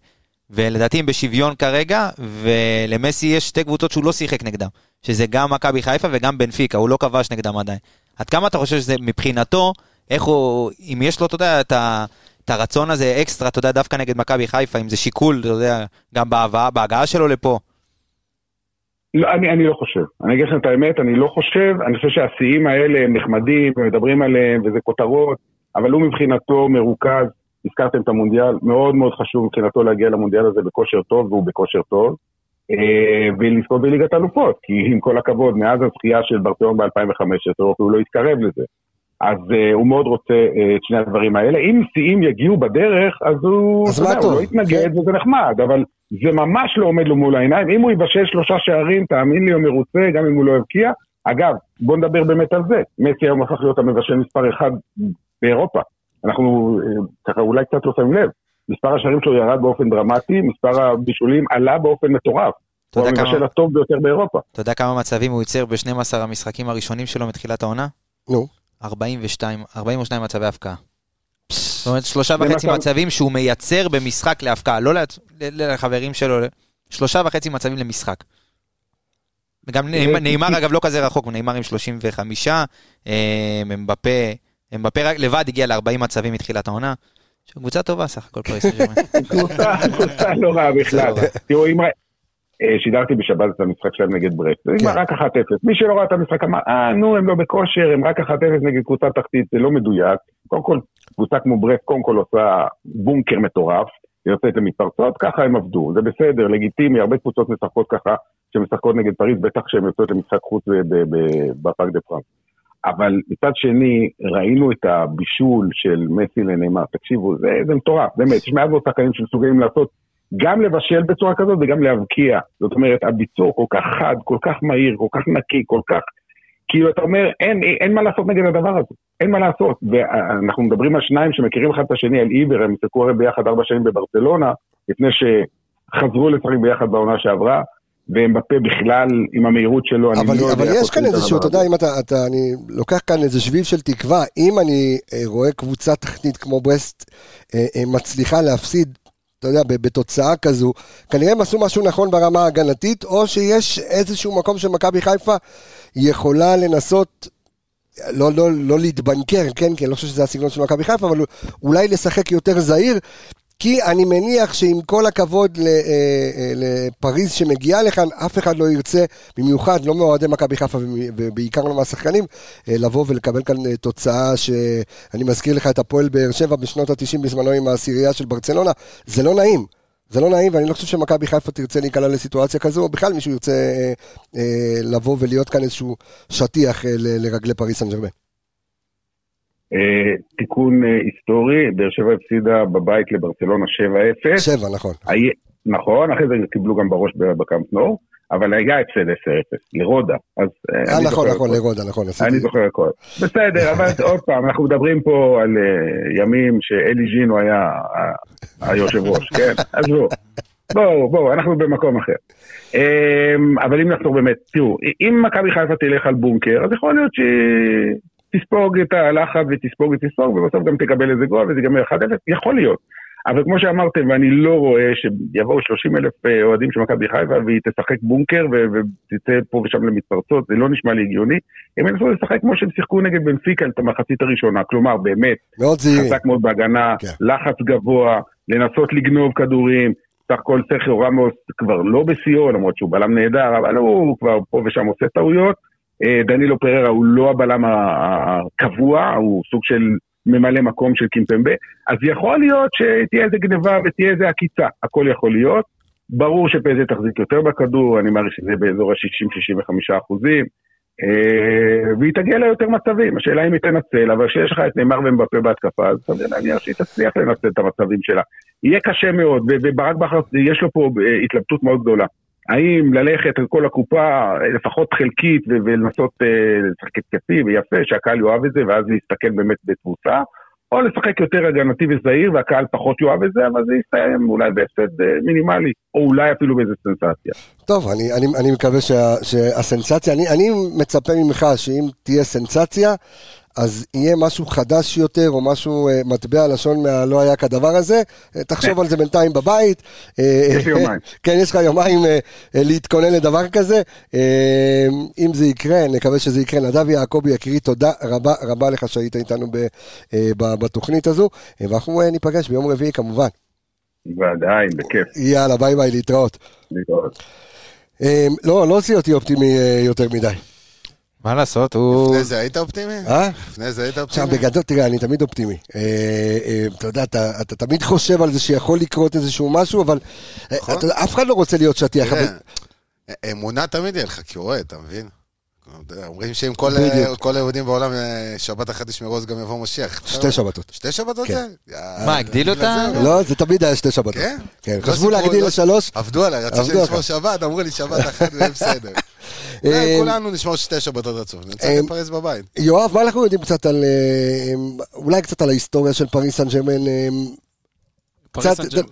[SPEAKER 3] ולדעתי הם בשוויון כרגע, ולמסי יש שתי קבוצות שהוא לא שיחק נגדם, שזה גם מכבי חיפה וגם בנפיקה, הוא לא כבש נגדם עדיין. עד כמה אתה חושב שזה מבחינתו, איך הוא, אם יש לו, אתה יודע, את ה... את הרצון הזה אקסטרה, אתה יודע, דווקא נגד מכבי חיפה, אם זה שיקול, אתה יודע, גם בהבאה, בהגעה שלו לפה.
[SPEAKER 6] לא, אני, אני לא חושב. אני אגיד לכם את האמת, אני לא חושב. אני חושב שהשיאים האלה הם נחמדים, ומדברים עליהם, וזה כותרות, אבל הוא מבחינתו מרוכז. הזכרתם את המונדיאל, מאוד מאוד חשוב מבחינתו להגיע למונדיאל הזה בכושר טוב, והוא בכושר טוב. אה, ולזכות בליגת אלופות, כי עם כל הכבוד, מאז הזכייה של ברטיון ב-2015, הוא לא התקרב לזה. אז אה, הוא מאוד רוצה אה, את שני הדברים האלה. אם שיאים יגיעו בדרך, אז הוא,
[SPEAKER 1] אז
[SPEAKER 6] אתה
[SPEAKER 1] מה
[SPEAKER 6] יודע, הוא
[SPEAKER 1] טוב. כן.
[SPEAKER 6] לא יתנגד וזה נחמד, אבל זה ממש לא עומד לו מול העיניים. אם הוא יבשל שלושה שערים, תאמין לי, הוא מרוצה, גם אם הוא לא יבקיע. אגב, בוא נדבר באמת על זה. מסי היום הפך להיות המבשל מספר אחד באירופה. אנחנו אה, ככה אולי קצת לא שמים לב. מספר השערים שלו ירד באופן דרמטי, מספר הבישולים עלה באופן מטורף.
[SPEAKER 3] אתה
[SPEAKER 6] הוא
[SPEAKER 3] יודע,
[SPEAKER 6] המבשל
[SPEAKER 3] כמה,
[SPEAKER 6] הטוב ביותר באירופה.
[SPEAKER 3] אתה יודע כמה מצבים הוא ייצר ב-12 המשחקים הראשונים שלו מתחילת העונה?
[SPEAKER 1] נו.
[SPEAKER 3] 42, 42 מצבי הפקעה. זאת אומרת, שלושה וחצי
[SPEAKER 6] למצב-
[SPEAKER 3] מצבים שהוא מייצר במשחק להפקעה, לא לעצ- ל- ל- לחברים שלו, ל- שלושה וחצי מצבים למשחק. גם נעימ- נעימר, אגב, לא כזה רחוק, נעימר עם 35, אה, מבפה, מבפה רק לבד הגיע ל-40 מצבים מתחילת העונה. קבוצה טובה סך הכל פריס. סן ז'רמן.
[SPEAKER 6] קבוצה, קבוצה לא רעה בכלל.
[SPEAKER 3] זה לא רע.
[SPEAKER 6] תראו, אם... ר- אה, שידרתי בשבת את המשחק שלהם נגד ברסט, זה
[SPEAKER 3] כן.
[SPEAKER 6] נגמר רק 1-0. מי שלא ראה את המשחק אמר, אה, נו, הם לא בכושר, הם רק 1-0 נגד קבוצה תחתית, זה לא מדויק. קודם כל, קבוצה כמו ברסט, קודם כל עושה בונקר מטורף, היא יוצאת למתפרצות, ככה הם עבדו, זה בסדר, לגיטימי, הרבה קבוצות משחקות ככה, שמשחקות נגד פריז, בטח שהן יוצאות למשחק חוץ ב- ב- ב- בפארק דה פרנס. אבל מצד שני, ראינו את הבישול של מסי לנאמר. תקשיבו, זה, זה מטורף, באמת. יש מעט מאוד שחקנים שמסוגלים לעשות, גם לבשל בצורה כזאת וגם להבקיע. זאת אומרת, הביצור כל כך חד, כל כך מהיר, כל כך נקי, כל כך... כאילו, אתה אומר, אין, אין מה לעשות נגד הדבר הזה. אין מה לעשות. ואנחנו מדברים על שניים שמכירים אחד את השני, על עיבר, הם שיחקו הרי ביחד ארבע שנים בברצלונה, לפני שחזרו לשחק ביחד בעונה שעברה. והם בפה בכלל, עם המהירות שלו, אני
[SPEAKER 1] אבל,
[SPEAKER 6] לא יודע
[SPEAKER 1] אבל
[SPEAKER 6] איך
[SPEAKER 1] יש
[SPEAKER 6] עושים
[SPEAKER 1] כאן
[SPEAKER 6] את הדבר
[SPEAKER 1] איזשהו, אתה
[SPEAKER 6] הזה.
[SPEAKER 1] יודע, אם אתה, אתה, אני לוקח כאן איזה שביב של תקווה, אם אני אה, רואה קבוצה תחתית כמו ברסט אה, אה, מצליחה להפסיד, אתה יודע, ב- בתוצאה כזו, כנראה הם עשו משהו נכון ברמה ההגנתית, או שיש איזשהו מקום שמכבי חיפה יכולה לנסות, לא, לא, לא להתבנקר, כן, כי אני לא חושב שזה הסגנון של מכבי חיפה, אבל אולי לשחק יותר זהיר. כי אני מניח שעם כל הכבוד ל- אה, אה, לפריז שמגיעה לכאן, אף אחד לא ירצה, במיוחד לא מאוהדי מכבי חיפה ומ- ובעיקר לא מהשחקנים, אה, לבוא ולקבל כאן אה, תוצאה שאני מזכיר לך את הפועל באר שבע בשנות ה-90 בזמנו עם העשירייה של ברצלונה, זה לא נעים. זה לא נעים, ואני לא חושב שמכבי חיפה תרצה להיקלע לסיטואציה כזו, או בכלל מישהו ירצה אה, אה, לבוא ולהיות כאן איזשהו שטיח אה, ל- לרגלי פריס סן ג'רמן.
[SPEAKER 6] אה, תיקון אה, היסטורי, באר שבע הפסידה בבית לברצלונה 7-0.
[SPEAKER 1] שבע, נכון.
[SPEAKER 6] היה- נכון, אחרי זה קיבלו גם בראש ב- בקאמפ נור, אבל היה הפסד 10-0, לרודה. אז אה,
[SPEAKER 1] אה,
[SPEAKER 6] אני
[SPEAKER 1] נכון,
[SPEAKER 6] זוכר
[SPEAKER 1] נכון,
[SPEAKER 6] הכל.
[SPEAKER 1] לרודה, נכון,
[SPEAKER 6] אני
[SPEAKER 1] עשיתי-
[SPEAKER 6] זוכר הכל. בסדר, אבל עוד פעם, אנחנו מדברים פה על אה, ימים שאלי ז'ינו היה ה- היושב ראש, כן? עזבו. בואו, בואו, אנחנו במקום אחר. אמ, אבל אם נחזור באמת, תראו, אם מכבי חיפה תלך על בונקר, אז יכול להיות שהיא תספוג את הלחץ ותספוג ותספוג, ובסוף גם תקבל איזה גול וזה ייגמר 1-0, יכול להיות. אבל כמו שאמרתם, ואני לא רואה שיבואו 30 אלף אה, אוהדים של מכבי חיפה והיא תשחק בונקר ו- ותצא פה ושם למתפרצות, זה לא נשמע לי הגיוני. הם ינסו לשחק כמו שהם שיחקו נגד בנפיקה את המחצית הראשונה, כלומר באמת,
[SPEAKER 1] מאוד זהירים.
[SPEAKER 6] חזק מאוד בהגנה,
[SPEAKER 1] כן.
[SPEAKER 6] לחץ גבוה, לנסות לגנוב כדורים, סך הכל סכר רמוס כבר לא בשיאו, למרות שהוא בלם נהדר, אבל הוא כבר פה ושם עושה טעויות. אה, דנילו פררה הוא לא הבלם ה- ה- הקבוע, הוא סוג של ממלא מקום של קימפמבה, אז יכול להיות שתהיה איזה גניבה ותהיה איזה עקיצה, הכל יכול להיות. ברור שפזי תחזיק יותר בכדור, אני מעריך שזה באזור ה-60-65 אחוזים. אה, והיא תגיע ליותר מצבים, השאלה אם היא תנצל, אבל כשיש לך את נאמר ומבפה בהתקפה, אז סביר להניח שהיא תצליח לנצל את המצבים שלה. יהיה קשה מאוד, ו- וברק בכר, יש לו פה אה, התלבטות מאוד גדולה. האם ללכת על כל הקופה, אה, לפחות חלקית, ו- ולנסות אה, לשחק התקפי ויפה, שהקהל יאהב את זה, ואז להסתכל באמת בתבוסה, או לשחק יותר הגנתי וזהיר, והקהל פחות יאהב את זה, אבל זה יסתיים אולי בהפסד אה, מינימלי, או אולי אפילו באיזה סנסציה.
[SPEAKER 1] טוב, אני, אני, אני מקווה שה, שהסנסציה, אני, אני מצפה ממך שאם תהיה סנסציה, אז יהיה משהו חדש יותר, או משהו, אה, מטבע לשון מהלא היה כדבר הזה. אה, תחשוב על זה בינתיים בבית. אה,
[SPEAKER 6] כן. יש לי יומיים.
[SPEAKER 1] כן, יש לך יומיים אה, אה, להתכונן לדבר כזה. אה, אם זה יקרה, נקווה שזה יקרה. נדב יעקבי, יקירי, תודה רבה רבה לך שהיית איתנו ב, אה, ב- בתוכנית הזו, אה, ואנחנו אה, ניפגש ביום רביעי כמובן.
[SPEAKER 6] ועדיין, בכיף.
[SPEAKER 1] יאללה, ביי ביי, להתראות.
[SPEAKER 6] להתראות.
[SPEAKER 1] אה, לא, לא עושה אותי אופטימי אה, יותר מדי.
[SPEAKER 3] מה לעשות, הוא...
[SPEAKER 4] לפני זה היית אופטימי?
[SPEAKER 1] אה?
[SPEAKER 4] לפני זה היית
[SPEAKER 1] עכשיו,
[SPEAKER 4] אופטימי?
[SPEAKER 1] בגדול, תראה, אני תמיד אופטימי. אה, אה, אתה יודע, אתה, אתה תמיד חושב על זה שיכול לקרות איזשהו משהו, אבל אה,
[SPEAKER 4] נכון. כן.
[SPEAKER 1] אתה, יודע, אף אחד לא רוצה להיות שטיח. אבל-
[SPEAKER 4] תראה, אמונה תמיד יהיה לך כאוהד, אתה מבין? אתה יודע, אומרים שאם כל-
[SPEAKER 1] בדיוק.
[SPEAKER 4] כל היהודים בעולם אה, שבת אחת ישמרו אז גם יבוא משיח.
[SPEAKER 1] שתי שבתות.
[SPEAKER 4] שתי שבתות
[SPEAKER 1] כן.
[SPEAKER 4] זה? יאללה,
[SPEAKER 3] מה, הגדילו
[SPEAKER 4] בגלל
[SPEAKER 3] אותה?
[SPEAKER 4] זה?
[SPEAKER 1] לא, זה תמיד היה שתי שבתות.
[SPEAKER 4] כן?
[SPEAKER 1] כן,
[SPEAKER 4] לא
[SPEAKER 1] חשבו
[SPEAKER 4] סיפרו-
[SPEAKER 1] להגדיל
[SPEAKER 4] לא-
[SPEAKER 1] לשלוש.
[SPEAKER 4] עבדו עליי, רצו
[SPEAKER 1] עבדו
[SPEAKER 4] שנשמור
[SPEAKER 1] עליך.
[SPEAKER 4] שבת, אמרו לי שבת אחת ויהיה בסדר.
[SPEAKER 1] אה,
[SPEAKER 4] כולנו נשמור שתי שבתות רצוף, נצא
[SPEAKER 1] אה,
[SPEAKER 4] לפרס בבית.
[SPEAKER 1] יואב, מה אנחנו יודעים קצת על... אה, אולי קצת על ההיסטוריה של פריס סן ג'רמן? אה,
[SPEAKER 5] פריס
[SPEAKER 1] קצת-
[SPEAKER 5] סן ג'ר-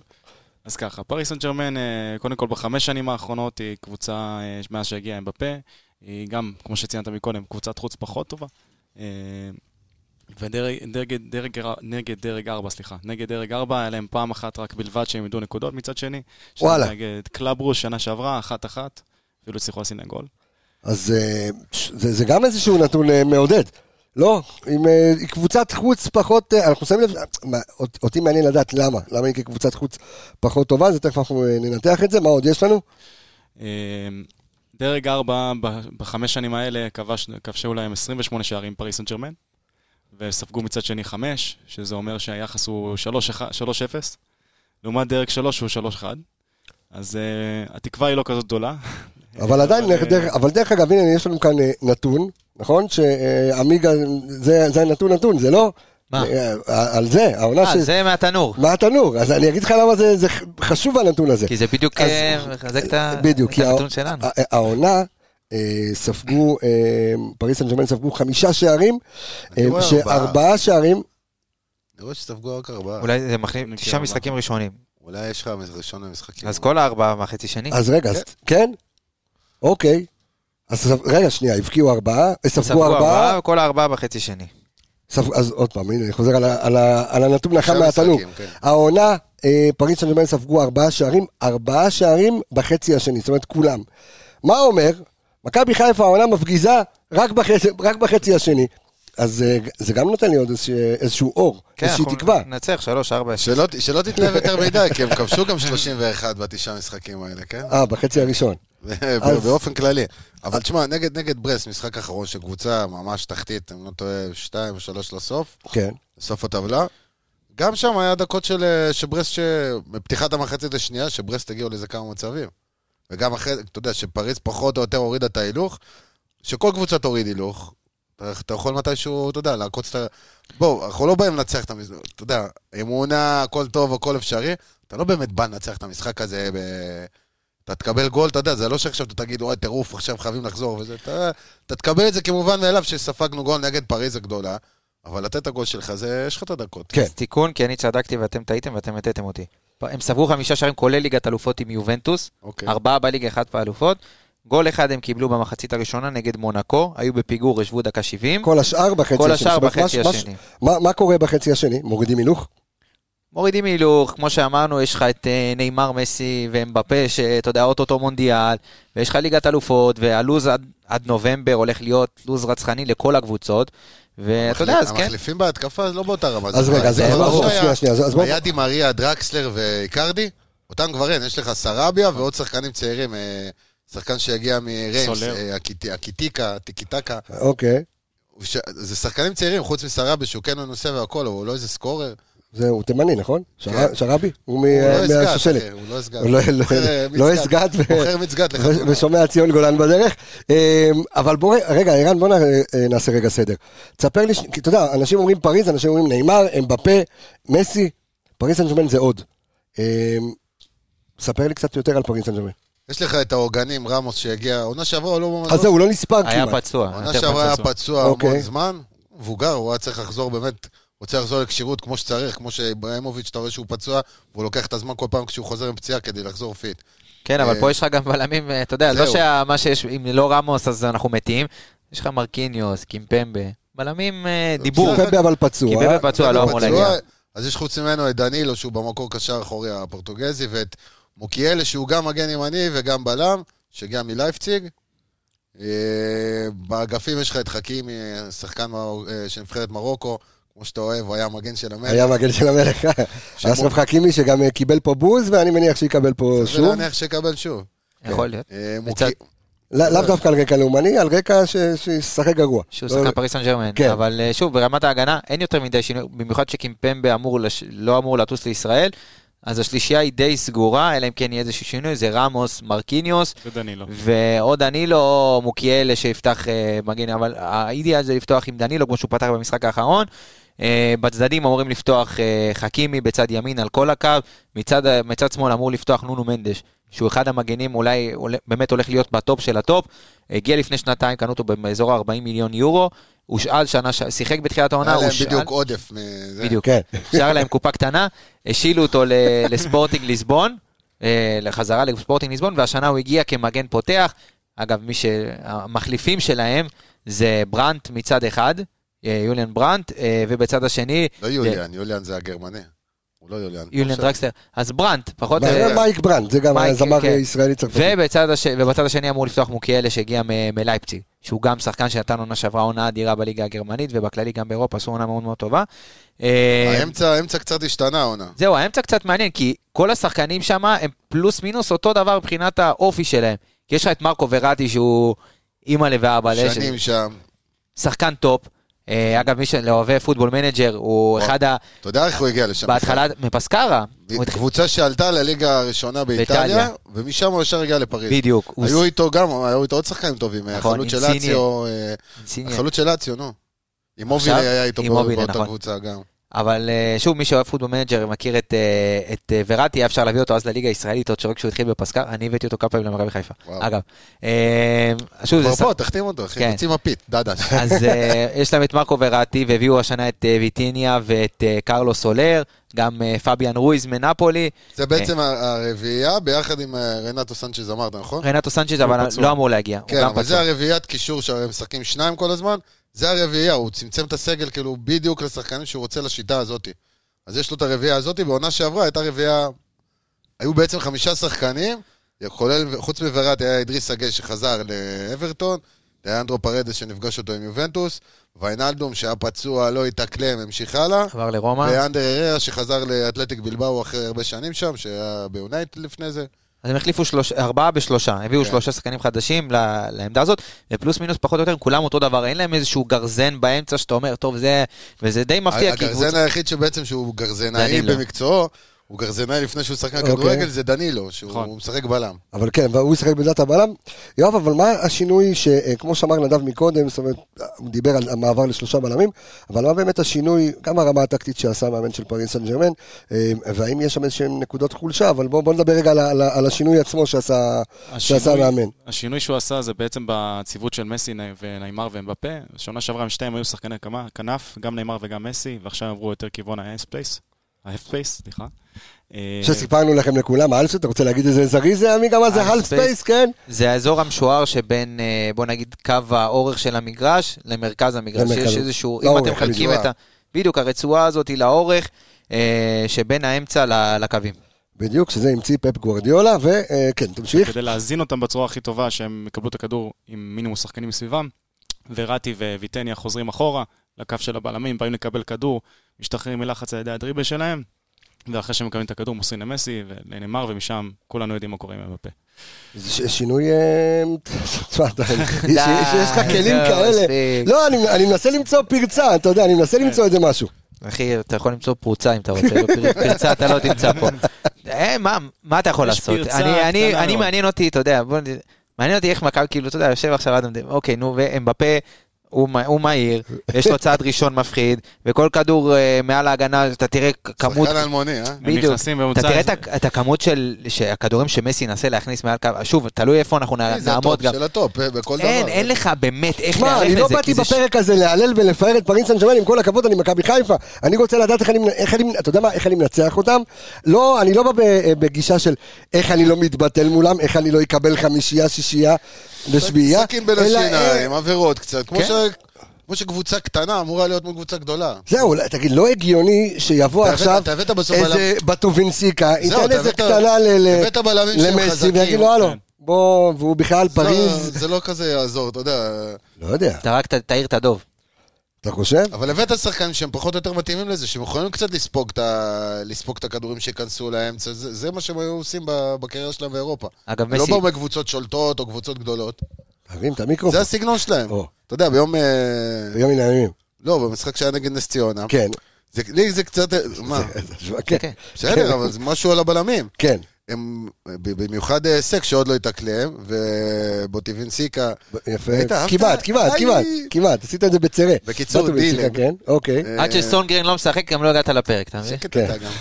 [SPEAKER 5] אז ככה, פריס סן ג'רמן, אה, קודם כל בחמש שנים האחרונות היא קבוצה, אה, מאז שהגיעה עם בפה, היא גם, כמו שציינת מקודם, קבוצת חוץ פחות טובה. אה, ודרג דרג, דרג, נגד דרג 4, סליחה, נגד דרג 4, היה להם פעם אחת רק בלבד שהם ידעו נקודות מצד שני. שזה
[SPEAKER 1] וואלה.
[SPEAKER 5] נגד קלאברוש שנה שעברה, אחת-אחת, אפילו הצליחו לשים להם גול.
[SPEAKER 1] אז אה, זה זה גם איזשהו נתון אה, מעודד. לא, עם אה, היא קבוצת חוץ פחות, אה, אנחנו שמים לב, מה, אות- אותי מעניין לדעת למה, למה היא כקבוצת חוץ פחות טובה, זה תכף אנחנו אה, ננתח את זה, מה עוד יש לנו?
[SPEAKER 5] אה, דרג 4 בחמש שנים האלה כבש, כבשו להם 28 שערים פריס סן ג'רמן, וספגו מצד שני 5, שזה אומר שהיחס הוא 3 אחד- 3-0, לעומת דרג 3 הוא 3-1. אז uh, התקווה היא לא כזאת גדולה.
[SPEAKER 1] אבל עדיין,
[SPEAKER 5] אבל, אה,
[SPEAKER 1] דרך- אבל דרך אגב, הנה, יש לנו כאן אה, נתון, נכון? שעמיגה, זה זה נתון נתון, זה לא?
[SPEAKER 3] מה?
[SPEAKER 1] אה, על זה, העונה
[SPEAKER 3] אה,
[SPEAKER 1] של...
[SPEAKER 3] זה מהתנור.
[SPEAKER 1] מהתנור, אז אני אגיד לך למה זה זה חשוב הנתון הזה.
[SPEAKER 3] כי זה בדיוק
[SPEAKER 1] אז-
[SPEAKER 3] אה, מחזק את ה-
[SPEAKER 1] בדיוק,
[SPEAKER 3] את
[SPEAKER 1] כי
[SPEAKER 3] הנתון
[SPEAKER 1] הא-
[SPEAKER 3] שלנו.
[SPEAKER 1] הא- העונה, אה, ספגו, אה, פריס סן ג'רמן ספגו חמישה שערים,
[SPEAKER 4] אני
[SPEAKER 1] אה,
[SPEAKER 4] רואה ארבעה.
[SPEAKER 1] שארבעה שערים,
[SPEAKER 4] אני רואה שספגו רק ארבעה.
[SPEAKER 3] אולי זה מחליף
[SPEAKER 5] מכיר
[SPEAKER 3] תשעה
[SPEAKER 5] ארבעה.
[SPEAKER 3] משחקים ראשונים.
[SPEAKER 4] אולי יש לך ראשון המשחקים.
[SPEAKER 3] אז כל הארבעה מהחצי שני.
[SPEAKER 1] אז רגע, אז- כן? אוקיי. אז ספ- רגע, שנייה, הבקיעו ארבעה, אה, ספגו ארבעה,
[SPEAKER 3] כל הארבעה בחצי שני.
[SPEAKER 1] ספגו- אז עוד פעם, הנה, אני חוזר על ה- על ה- על הנתון החם
[SPEAKER 4] שלושה
[SPEAKER 1] מהתנור.
[SPEAKER 4] משחקים, כן.
[SPEAKER 1] העונה, אה, פריס סן ג'רמן ספגו ארבעה שערים, ארבעה שערים בחצי השני, זאת אומרת כולם. מה אומר? מכבי חיפה העונה מפגיזה רק בחצי, רק בחצי השני. אז אה, זה גם נותן לי עוד איזשה, איזשהו אור,
[SPEAKER 3] כן,
[SPEAKER 1] איזושהי
[SPEAKER 3] אנחנו
[SPEAKER 1] תקווה.
[SPEAKER 3] ננצח שלוש, ארבע, שש.
[SPEAKER 4] שלא ת- שלא תתלהב יותר מדי, כי הם כבשו גם 31 בתשעה משחקים האלה, כן?
[SPEAKER 1] אה, בחצי הראשון. אה, אז-
[SPEAKER 4] באופן כללי. אבל תשמע, נגד נגד ברסט, משחק אחרון של קבוצה ממש תחתית, אם לא טועה, 2 או 3 לסוף,
[SPEAKER 1] כן.
[SPEAKER 4] לסוף הטבלה. גם שם היה דקות של אה, שברסט, ש... בפתיחת המחצית השנייה, שברסט הגיעו לאיזה כמה מצבים. וגם אחרי, אתה יודע, שפריז פחות או יותר הורידה את ההילוך, שכל קבוצה תוריד הילוך. אתה אתה יכול מתישהו, אתה יודע, לעקוץ את ה... בוא, אנחנו לא באים לנצח את המשחק, אתה יודע, אמונה, הכל טוב, הכל אפשרי, אתה לא באמת בא לנצח את המשחק הזה ב... אתה תקבל גול, אתה יודע, זה לא שעכשיו אתה תגיד, אוי, טירוף, עכשיו חייבים לחזור וזה, אתה, אתה תקבל את זה כמובן מאליו שספגנו גול נגד פריז הגדולה, אבל לתת את הגול שלך, זה, יש לך את הדקות.
[SPEAKER 1] כן.
[SPEAKER 3] אז תיקון, כי אני צדקתי ואתם טעיתם ואתם הטעתם אותי. פ- הם ספגו חמישה שערים, כולל ליגת אלופות עם יובנטוס,
[SPEAKER 4] אוקיי.
[SPEAKER 1] כן.
[SPEAKER 3] ארבעה בליגה, אחת באלופות. גול אחד הם קיבלו במחצית הראשונה נגד מונקו, היו בפיגור, ישבו דקה 70.
[SPEAKER 1] כל השאר בחצי
[SPEAKER 3] כל
[SPEAKER 1] השני.
[SPEAKER 3] השאר
[SPEAKER 1] זאת אומרת,
[SPEAKER 3] בחצי
[SPEAKER 1] מה- מה-
[SPEAKER 3] השני.
[SPEAKER 1] מה, מה קורה בחצי השני? מורידים הילוך?
[SPEAKER 3] מורידים הילוך, כמו שאמרנו, יש לך את אה, נאמר מסי ואמבפה, שאתה יודע, אוטוטו מונדיאל, ויש לך ליגת אלופות, והלו"ז עד, עד נובמבר הולך להיות לו"ז רצחני לכל הקבוצות, ואתה יודע, אז כן,
[SPEAKER 4] המחליפים בהתקפה זה לא באותה רמה.
[SPEAKER 1] אז
[SPEAKER 4] זה
[SPEAKER 1] רגע, אז
[SPEAKER 4] זה
[SPEAKER 1] אז
[SPEAKER 4] ברור
[SPEAKER 1] ברור,
[SPEAKER 4] שהיה-
[SPEAKER 1] שנייה, שנייה, אז- אז בוא-
[SPEAKER 4] היה דימריה, דרקסלר ואיקרדי, אותם כבר אין, יש לך סרביה ועוד שחקנים צעירים, אה, שחקן שהגיע מריימס,
[SPEAKER 5] סולר.
[SPEAKER 4] אה, הקיטי- הקיטיקה, טיקטקה,
[SPEAKER 1] אוקיי.
[SPEAKER 4] ש- זה שחקנים צעירים, חוץ מסרביה, שהוא כן מנוסה והכל, אבל הוא לא איזה סקורר.
[SPEAKER 1] זהו, תימני, נכון? שר-
[SPEAKER 4] כן.
[SPEAKER 1] שרבי? הוא
[SPEAKER 4] הוא לא
[SPEAKER 1] אה, מה-
[SPEAKER 4] הסגת,
[SPEAKER 1] מהשושלת.
[SPEAKER 4] אחי, הוא לא הסגת.
[SPEAKER 1] הוא לא- לא-
[SPEAKER 4] מוכר, אה,
[SPEAKER 1] לא
[SPEAKER 4] מצגת.
[SPEAKER 1] הסגת ו-
[SPEAKER 4] מוכר מצגת לך.
[SPEAKER 1] ו- ושומע ציון גולן בדרך. אמ, אבל בוא, ר- רגע, ערן, בוא נ- אה, נעשה רגע סדר. תספר לי, ש- כי אתה יודע, אנשים אומרים פריז, אנשים אומרים נאמר, אמבפה, מסי, פריז סן ג'רמן זה עוד. אמ, ספר לי קצת יותר על פריז סן ג'רמן.
[SPEAKER 4] יש לך את העוגנים, רמוס שהגיע, עונה שעברה הוא לא במזון.
[SPEAKER 1] אז זהו, הוא לא נספר
[SPEAKER 3] היה
[SPEAKER 1] כמעט.
[SPEAKER 3] פצוע.
[SPEAKER 4] העונה
[SPEAKER 3] יותר
[SPEAKER 4] שעברה היה
[SPEAKER 3] פצוע.
[SPEAKER 4] פצוע המון
[SPEAKER 1] אוקיי.
[SPEAKER 4] זמן, מבוגר, הוא היה צריך לחזור באמת, הוא צריך לחזור לכשירות כמו שצריך, כמו שאיברהימוביץ', אתה רואה שהוא פצוע, והוא לוקח את הזמן כל פעם כשהוא חוזר עם פציעה כדי לחזור פיט.
[SPEAKER 3] כן, אבל
[SPEAKER 4] אה,
[SPEAKER 3] פה יש לך גם בלמים, אה, אתה יודע, לא
[SPEAKER 4] זהו.
[SPEAKER 3] שמה שיש, אם לא רמוס אז אנחנו מתים, יש לך מרקיניוס, קימפמבה, בלמים אה, דיבור.
[SPEAKER 1] כי פפה אבל פצוע.
[SPEAKER 3] כי בבא פצוע לא אמור
[SPEAKER 4] פצוע,
[SPEAKER 3] להגיע.
[SPEAKER 4] אז יש חוץ ממנו את דנילו, שהוא במקור קשר אחורי הפורטוגזי, ואת מוקיאלה, שהוא גם מגן ימני וגם בלם, שהגיע מלייפציג. אה, באגפים יש לך את חכימי, אה, שחקן מר- אה, של נבחרת מרוקו, כמו שאתה אוהב, הוא היה המגן של המלך.
[SPEAKER 1] היה מגן של המלך. אסרף חכימי שגם אה, קיבל פה בוז, ואני מניח שיקבל פה שוב.
[SPEAKER 4] ולהניח שיקבל שוב.
[SPEAKER 3] יכול להיות.
[SPEAKER 4] אה,
[SPEAKER 3] בצד-
[SPEAKER 4] מוקי-
[SPEAKER 1] לא- לאו דווקא על רקע לאומני, על רקע ש- שישחק גרוע.
[SPEAKER 3] שהוא
[SPEAKER 1] לא-
[SPEAKER 3] שחקן פריס סן ג'רמן,
[SPEAKER 1] כן.
[SPEAKER 3] אבל אה, שוב, ברמת ההגנה אין יותר מדי שינוי, במיוחד שקימפמבה אמור לש- לא אמור לטוס לישראל, אז השלישייה היא די סגורה, אלא אם כן יהיה איזשהו שינוי, זה רמוס, מרקיניוס,
[SPEAKER 5] ודנילו.
[SPEAKER 3] ועוד דנילו או מוקיאלה שיפתח אה, מגן, אבל האידיאל זה לפתוח עם דנילו, כמו שהוא פתח במשחק האחרון. אה, בצדדים אמורים לפתוח אה, חכימי בצד ימין על כל הקו, מצד, מצד שמאל אמור לפתוח נונו מנדש, שהוא אחד המגנים אולי אולי- באמת הולך להיות בטופ של הטופ. הגיע לפני שנתיים, קנו אותו באזור ה-40 מיליון יורו, הושאל שנה, ש- שיחק בתחילת העונה,
[SPEAKER 4] היה להם
[SPEAKER 3] הושאל-
[SPEAKER 4] בדיוק עודף. מזה.
[SPEAKER 3] בדיוק.
[SPEAKER 1] כן.
[SPEAKER 3] השאר להם קופה קטנה, השילו אותו ל- לספורטינג ליסבון, אה, לחזרה לספורטינג ליסבון, והשנה הוא הגיע כמגן פותח. אגב, מי ש... המחליפים שלהם זה ברנט מצד אחד, אה, יוליאן ברנט, אה, ובצד השני
[SPEAKER 4] לא יוליאן, יוליאן זה הגרמני. הוא לא יוליאן.
[SPEAKER 3] כן. יוליאן
[SPEAKER 4] עכשיו,
[SPEAKER 3] דרקסטר. אז ברנט, פחות...
[SPEAKER 1] מה-
[SPEAKER 3] אה,
[SPEAKER 1] מייק ברנד, זה גם
[SPEAKER 3] מייק,
[SPEAKER 1] זמר
[SPEAKER 3] כן.
[SPEAKER 1] ישראלי צרפתי.
[SPEAKER 3] ובצד, הש... ובצד השני אמור לפתוח מוקיאלה שהגיע מ- מלייפציג, שהוא גם שחקן שנתן עונה שעברה עונה אדירה בליגה הגרמנית, ובכללי גם באירופה עשו עונה מאוד מאוד טובה. אה,
[SPEAKER 4] האמצע האמצע קצת השתנה העונה.
[SPEAKER 3] זהו, האמצע קצת מעניין, כי כל השחקנים שם הם פלוס מינוס אותו דבר מבחינת האופי שלהם. כי יש לך את מרקו וראטי שהוא אימא'לה ואבאלה,
[SPEAKER 4] שנים שם.
[SPEAKER 3] שחקן טופ. אה, אגב, מי שלאוהבי פוטבול מנג'ר הוא
[SPEAKER 4] וואו.
[SPEAKER 3] אחד ה...
[SPEAKER 4] אתה יודע איך הוא הגיע לשם?
[SPEAKER 3] בהתחלה מפסקרה. הוא התח-
[SPEAKER 4] קבוצה שעלתה לליגה הראשונה באיטליה,
[SPEAKER 3] באיטליה.
[SPEAKER 4] ומשם הוא ישר הגיע לפריז.
[SPEAKER 3] בדיוק. הוא
[SPEAKER 4] היו איתו גם, היו איתו עוד שחקנים טובים, אה,
[SPEAKER 3] נכון,
[SPEAKER 4] החלוץ של
[SPEAKER 3] אינסיני.
[SPEAKER 4] לאציו, אה,
[SPEAKER 3] סיניה.
[SPEAKER 4] החלוץ של לאציו, נו. עם מובילי
[SPEAKER 3] עכשיו?
[SPEAKER 4] היה איתו
[SPEAKER 3] עם מובילי,
[SPEAKER 4] באותה
[SPEAKER 3] נכון.
[SPEAKER 4] קבוצה גם.
[SPEAKER 3] אבל אה, שוב, מי שאוהב פוטבול מנג'ר מכיר את, אה, את אה, וראטי, היה אפשר להביא אותו אז לליגה הישראלית, עוד שרק כשהוא התחיל בפסקר, אני הבאתי אותו כמה פעמים למכבי חיפה.
[SPEAKER 4] וואו.
[SPEAKER 3] אגב, אה, שוב, זה
[SPEAKER 4] כבר
[SPEAKER 3] ס-
[SPEAKER 4] פה, תחתים אותו, אחי,
[SPEAKER 3] כן.
[SPEAKER 4] תוציא מפית, דדש.
[SPEAKER 3] אז אה, יש להם את מרקו וראטי, והביאו השנה את אה, ויטיניה ואת אה, קרלו סולר, גם אה, פביאן רויז מנפולי,
[SPEAKER 4] זה בעצם ה- הרביעייה ביחד עם אה, רנטו סנצ'ז אמרת, נכון?
[SPEAKER 3] רנטו סנצ'ז, אבל
[SPEAKER 5] פצוע.
[SPEAKER 3] לא אמור להגיע, הוא
[SPEAKER 4] כן,
[SPEAKER 3] גם
[SPEAKER 4] אבל זה
[SPEAKER 3] פצוע.
[SPEAKER 4] הרביעיית קישור שהם משחקים שניים כל הזמן, זה הרביעייה, הוא צמצם את הסגל כאילו בדיוק לשחקנים שהוא רוצה לשיטה הזאת. אז יש לו את הרביעייה הזאת, בעונה שעברה הייתה רביעייה... היו בעצם חמישה שחקנים, כולל, חוץ מווראט היה אדריס אגה שחזר לאברטון, היה אנדרו פרדס שנפגש אותו עם יובנטוס, ויינלדום שהיה פצוע, לא התאקלם, המשיך הלאה.
[SPEAKER 3] עבר לרומא.
[SPEAKER 4] ואנדר הררה שחזר לאתלטיק בלבאו אחרי הרבה שנים שם, שהיה ביונייט לפני זה.
[SPEAKER 3] אז הם החליפו שלוש- ארבעה בשלושה, הביאו
[SPEAKER 4] כן.
[SPEAKER 3] שלושה שחקנים חדשים ל- לעמדה הזאת, ופלוס מינוס פחות או יותר, הם כולם אותו דבר, אין להם איזשהו גרזן באמצע שאתה אומר, טוב, זה... וזה די מפתיע, כי
[SPEAKER 4] הגרזן
[SPEAKER 3] קבוצה...
[SPEAKER 4] היחיד שבעצם שהוא גרזנאי
[SPEAKER 3] דנילו.
[SPEAKER 4] במקצועו, הוא גרזנאי לפני שהוא שחקן
[SPEAKER 1] אוקיי.
[SPEAKER 4] כדורגל, זה דנילו,
[SPEAKER 5] נכון.
[SPEAKER 4] שהוא משחק בלם.
[SPEAKER 1] אבל כן, והוא ישחק בעמדת הבלם. יואב, אבל מה השינוי, שכמו שאמר נדב מקודם, זאת אומרת, הוא דיבר על המעבר לשלושה בלמים, אבל מה באמת השינוי, גם הרמה הטקטית שעשה המאמן של פריס סן ג'רמן, אה, והאם יש שם איזשהן נקודות חולשה, אבל בואו נדבר רגע על, ה- על, ה- על השינוי עצמו שעשה, שעשה
[SPEAKER 5] השינוי-
[SPEAKER 1] המאמן.
[SPEAKER 5] השינוי שהוא עשה זה בעצם בציוות של מסי נ- ונאמר ואמבפה. שנה שעברה הם שתיהם היו שחקני כמה- כנף, גם נאמר וגם מסי, ועכשיו הם עברו יותר כיוון האס פלייס. האף פלייס, סליחה. אה,
[SPEAKER 3] כן.
[SPEAKER 1] שסיפרנו לכם לכולם, האלף אתה רוצה להגיד איזה זריז זה, עמי, גם אז זה
[SPEAKER 3] האלף
[SPEAKER 1] האלף ספייס, כן?
[SPEAKER 3] זה האזור המשוער שבין, אה, בוא נגיד, קו האורך של המגרש למרכז המגרש.
[SPEAKER 1] למרכז.
[SPEAKER 3] יש איזשהו... אם
[SPEAKER 1] לאורך,
[SPEAKER 3] אתם מחלקים
[SPEAKER 4] הרצועה.
[SPEAKER 3] את ה... בדיוק, הרצועה הזאת היא לאורך, אה, שבין האמצע ל- לקווים.
[SPEAKER 1] בדיוק, שזה המציא פפ גוורדיולה, וכן, תמשיך.
[SPEAKER 5] כדי להזין אותם בצורה הכי טובה, שהם יקבלו את הכדור עם מינימום שחקנים מסביבם. וראטי וויטניה חוזרים אחורה, לקו של הבלמים, באים לקבל כדור, משתחררים מלחץ על ידי הדריבל שלהם, ואחרי שהם מקבלים את הכדור מוסרים למסי ולנאמר, ומשם כולנו יודעים מה קורה עם אמבפה.
[SPEAKER 1] זה ש- שינוי... אה, תשמע, אתה- יש- יש לך
[SPEAKER 3] די,
[SPEAKER 1] כלים
[SPEAKER 3] זהו,
[SPEAKER 1] כאלה.
[SPEAKER 3] מספיק.
[SPEAKER 1] לא, אני- אני מנסה למצוא פרצה, אתה יודע, אני מנסה למצוא איזה משהו.
[SPEAKER 3] כן. אחי, אתה יכול למצוא פרוצה אם אתה רוצה, פר- פרצה אתה לא תמצא פה. אה, מה- מה אתה יכול
[SPEAKER 5] יש
[SPEAKER 3] לעשות?
[SPEAKER 5] פרצה
[SPEAKER 3] אני- אני-
[SPEAKER 5] קטנה
[SPEAKER 3] אני
[SPEAKER 5] מאוד.
[SPEAKER 3] מעניין אותי, אתה יודע, בוא נ- מעניין אותי איך מכבי, כאילו, אתה יודע, יושב עכשיו אדם, אוקיי, נו, ואמבפה, הוא מה- הוא מהיר, יש לו צעד ראשון מפחיד, וכל כדור אה, מעל ההגנה, אתה תראה כ- כמות...
[SPEAKER 4] שחקן אלמוני, אה?
[SPEAKER 5] הם
[SPEAKER 3] בדיוק.
[SPEAKER 5] נכנסים
[SPEAKER 3] אתה
[SPEAKER 5] בממוצע...
[SPEAKER 3] תראה את ה- את הכמות של של הכדורים שמסי ינסה להכניס מעל קו, שוב, תלוי איפה אנחנו נע-
[SPEAKER 4] אה, זה הטופ
[SPEAKER 3] אה, נעמוד גם.
[SPEAKER 4] של הטופ, אה, בכל דבר.
[SPEAKER 3] אין, אין לך באמת איך
[SPEAKER 1] שמע,
[SPEAKER 3] להיערך
[SPEAKER 1] אני
[SPEAKER 3] לזה.
[SPEAKER 1] לא
[SPEAKER 3] כי
[SPEAKER 1] באתי
[SPEAKER 3] כן, זה ש-
[SPEAKER 1] בפרק הזה להלל ולפאר את פריס סן ג'רמן, עם כל הכבוד, אני מכבי חיפה. אני רוצה לדעת איך אני, מנ- איך אני, אתה יודע מה, איך אני מנצח אותם. לא, אני לא בא ב- בגישה של איך אני לא מתבטל מולם, איך אני לא אקבל חמישייה, שישייה ושביעייה.
[SPEAKER 4] שקים בין
[SPEAKER 1] אלא, אה,
[SPEAKER 4] השיניים, עבירות קצת, כמו
[SPEAKER 3] כן.
[SPEAKER 4] ש... כמו שקבוצה קטנה אמורה להיות מול קבוצה גדולה.
[SPEAKER 1] זהו, אולי- תגיד, לא הגיוני שיבוא
[SPEAKER 4] אתה הבאת-
[SPEAKER 1] עכשיו
[SPEAKER 4] אתה הבאת בסוף
[SPEAKER 1] איזה בטובינסיקה,
[SPEAKER 4] זהו,
[SPEAKER 1] ייתן
[SPEAKER 4] אתה
[SPEAKER 1] איזה
[SPEAKER 4] הבאת-
[SPEAKER 1] קטנה ל- ל-
[SPEAKER 4] הבאת בלמים שהם
[SPEAKER 1] למסי
[SPEAKER 4] חזקים.
[SPEAKER 3] "לא,
[SPEAKER 1] ויגיד לו, הלו,
[SPEAKER 5] כן.
[SPEAKER 1] בוא, והוא בכלל
[SPEAKER 4] זה לא-
[SPEAKER 1] פריז,
[SPEAKER 4] זה לא כזה יעזור, אתה יודע.
[SPEAKER 1] לא יודע,
[SPEAKER 3] אתה רק ת- תעיר את הדוב.
[SPEAKER 1] אתה חושב?
[SPEAKER 4] אבל הבאת שחקנים שהם פחות או יותר מתאימים לזה, שהם יכולים קצת לספוג את, ה... לספוג את הכדורים שייכנסו לאמצע, זה, זה מה שהם היו עולים ב- בקריירה שלהם באירופה.
[SPEAKER 3] אגב,
[SPEAKER 4] לא
[SPEAKER 3] מסי,
[SPEAKER 4] באו מקבוצות שולטות או קבוצות גדולות,
[SPEAKER 1] תרים את המיקרופון.
[SPEAKER 4] זה הסגנון שלהם.
[SPEAKER 1] או.
[SPEAKER 4] אתה יודע, ביום... אה,
[SPEAKER 1] יום מן הימים.
[SPEAKER 4] לא, במשחק שהיה נגד נס ציונה.
[SPEAKER 1] כן.
[SPEAKER 4] זה, לי זה קצת... אה, מה?
[SPEAKER 1] כן,
[SPEAKER 3] כן.
[SPEAKER 4] בסדר, אבל זה משהו על הבלמים.
[SPEAKER 1] כן.
[SPEAKER 4] הם, ב- במיוחד אה, סק שעוד לא התאקלם, ובוטיבינסיקה,
[SPEAKER 1] יפה.
[SPEAKER 4] ראית, אהבת?
[SPEAKER 1] כמעט, כמעט,
[SPEAKER 4] איי.
[SPEAKER 1] כמעט, כמעט, עשית את זה בצרה.
[SPEAKER 4] בקיצור,
[SPEAKER 1] בטובינסיקה,
[SPEAKER 4] דילם.
[SPEAKER 1] כן, אוקיי.
[SPEAKER 4] אה,
[SPEAKER 3] עד שסונגרן לא משחק, גם לא הגעת לפרק, אתה מבין?
[SPEAKER 4] שקט
[SPEAKER 1] כן.
[SPEAKER 4] אתה גם.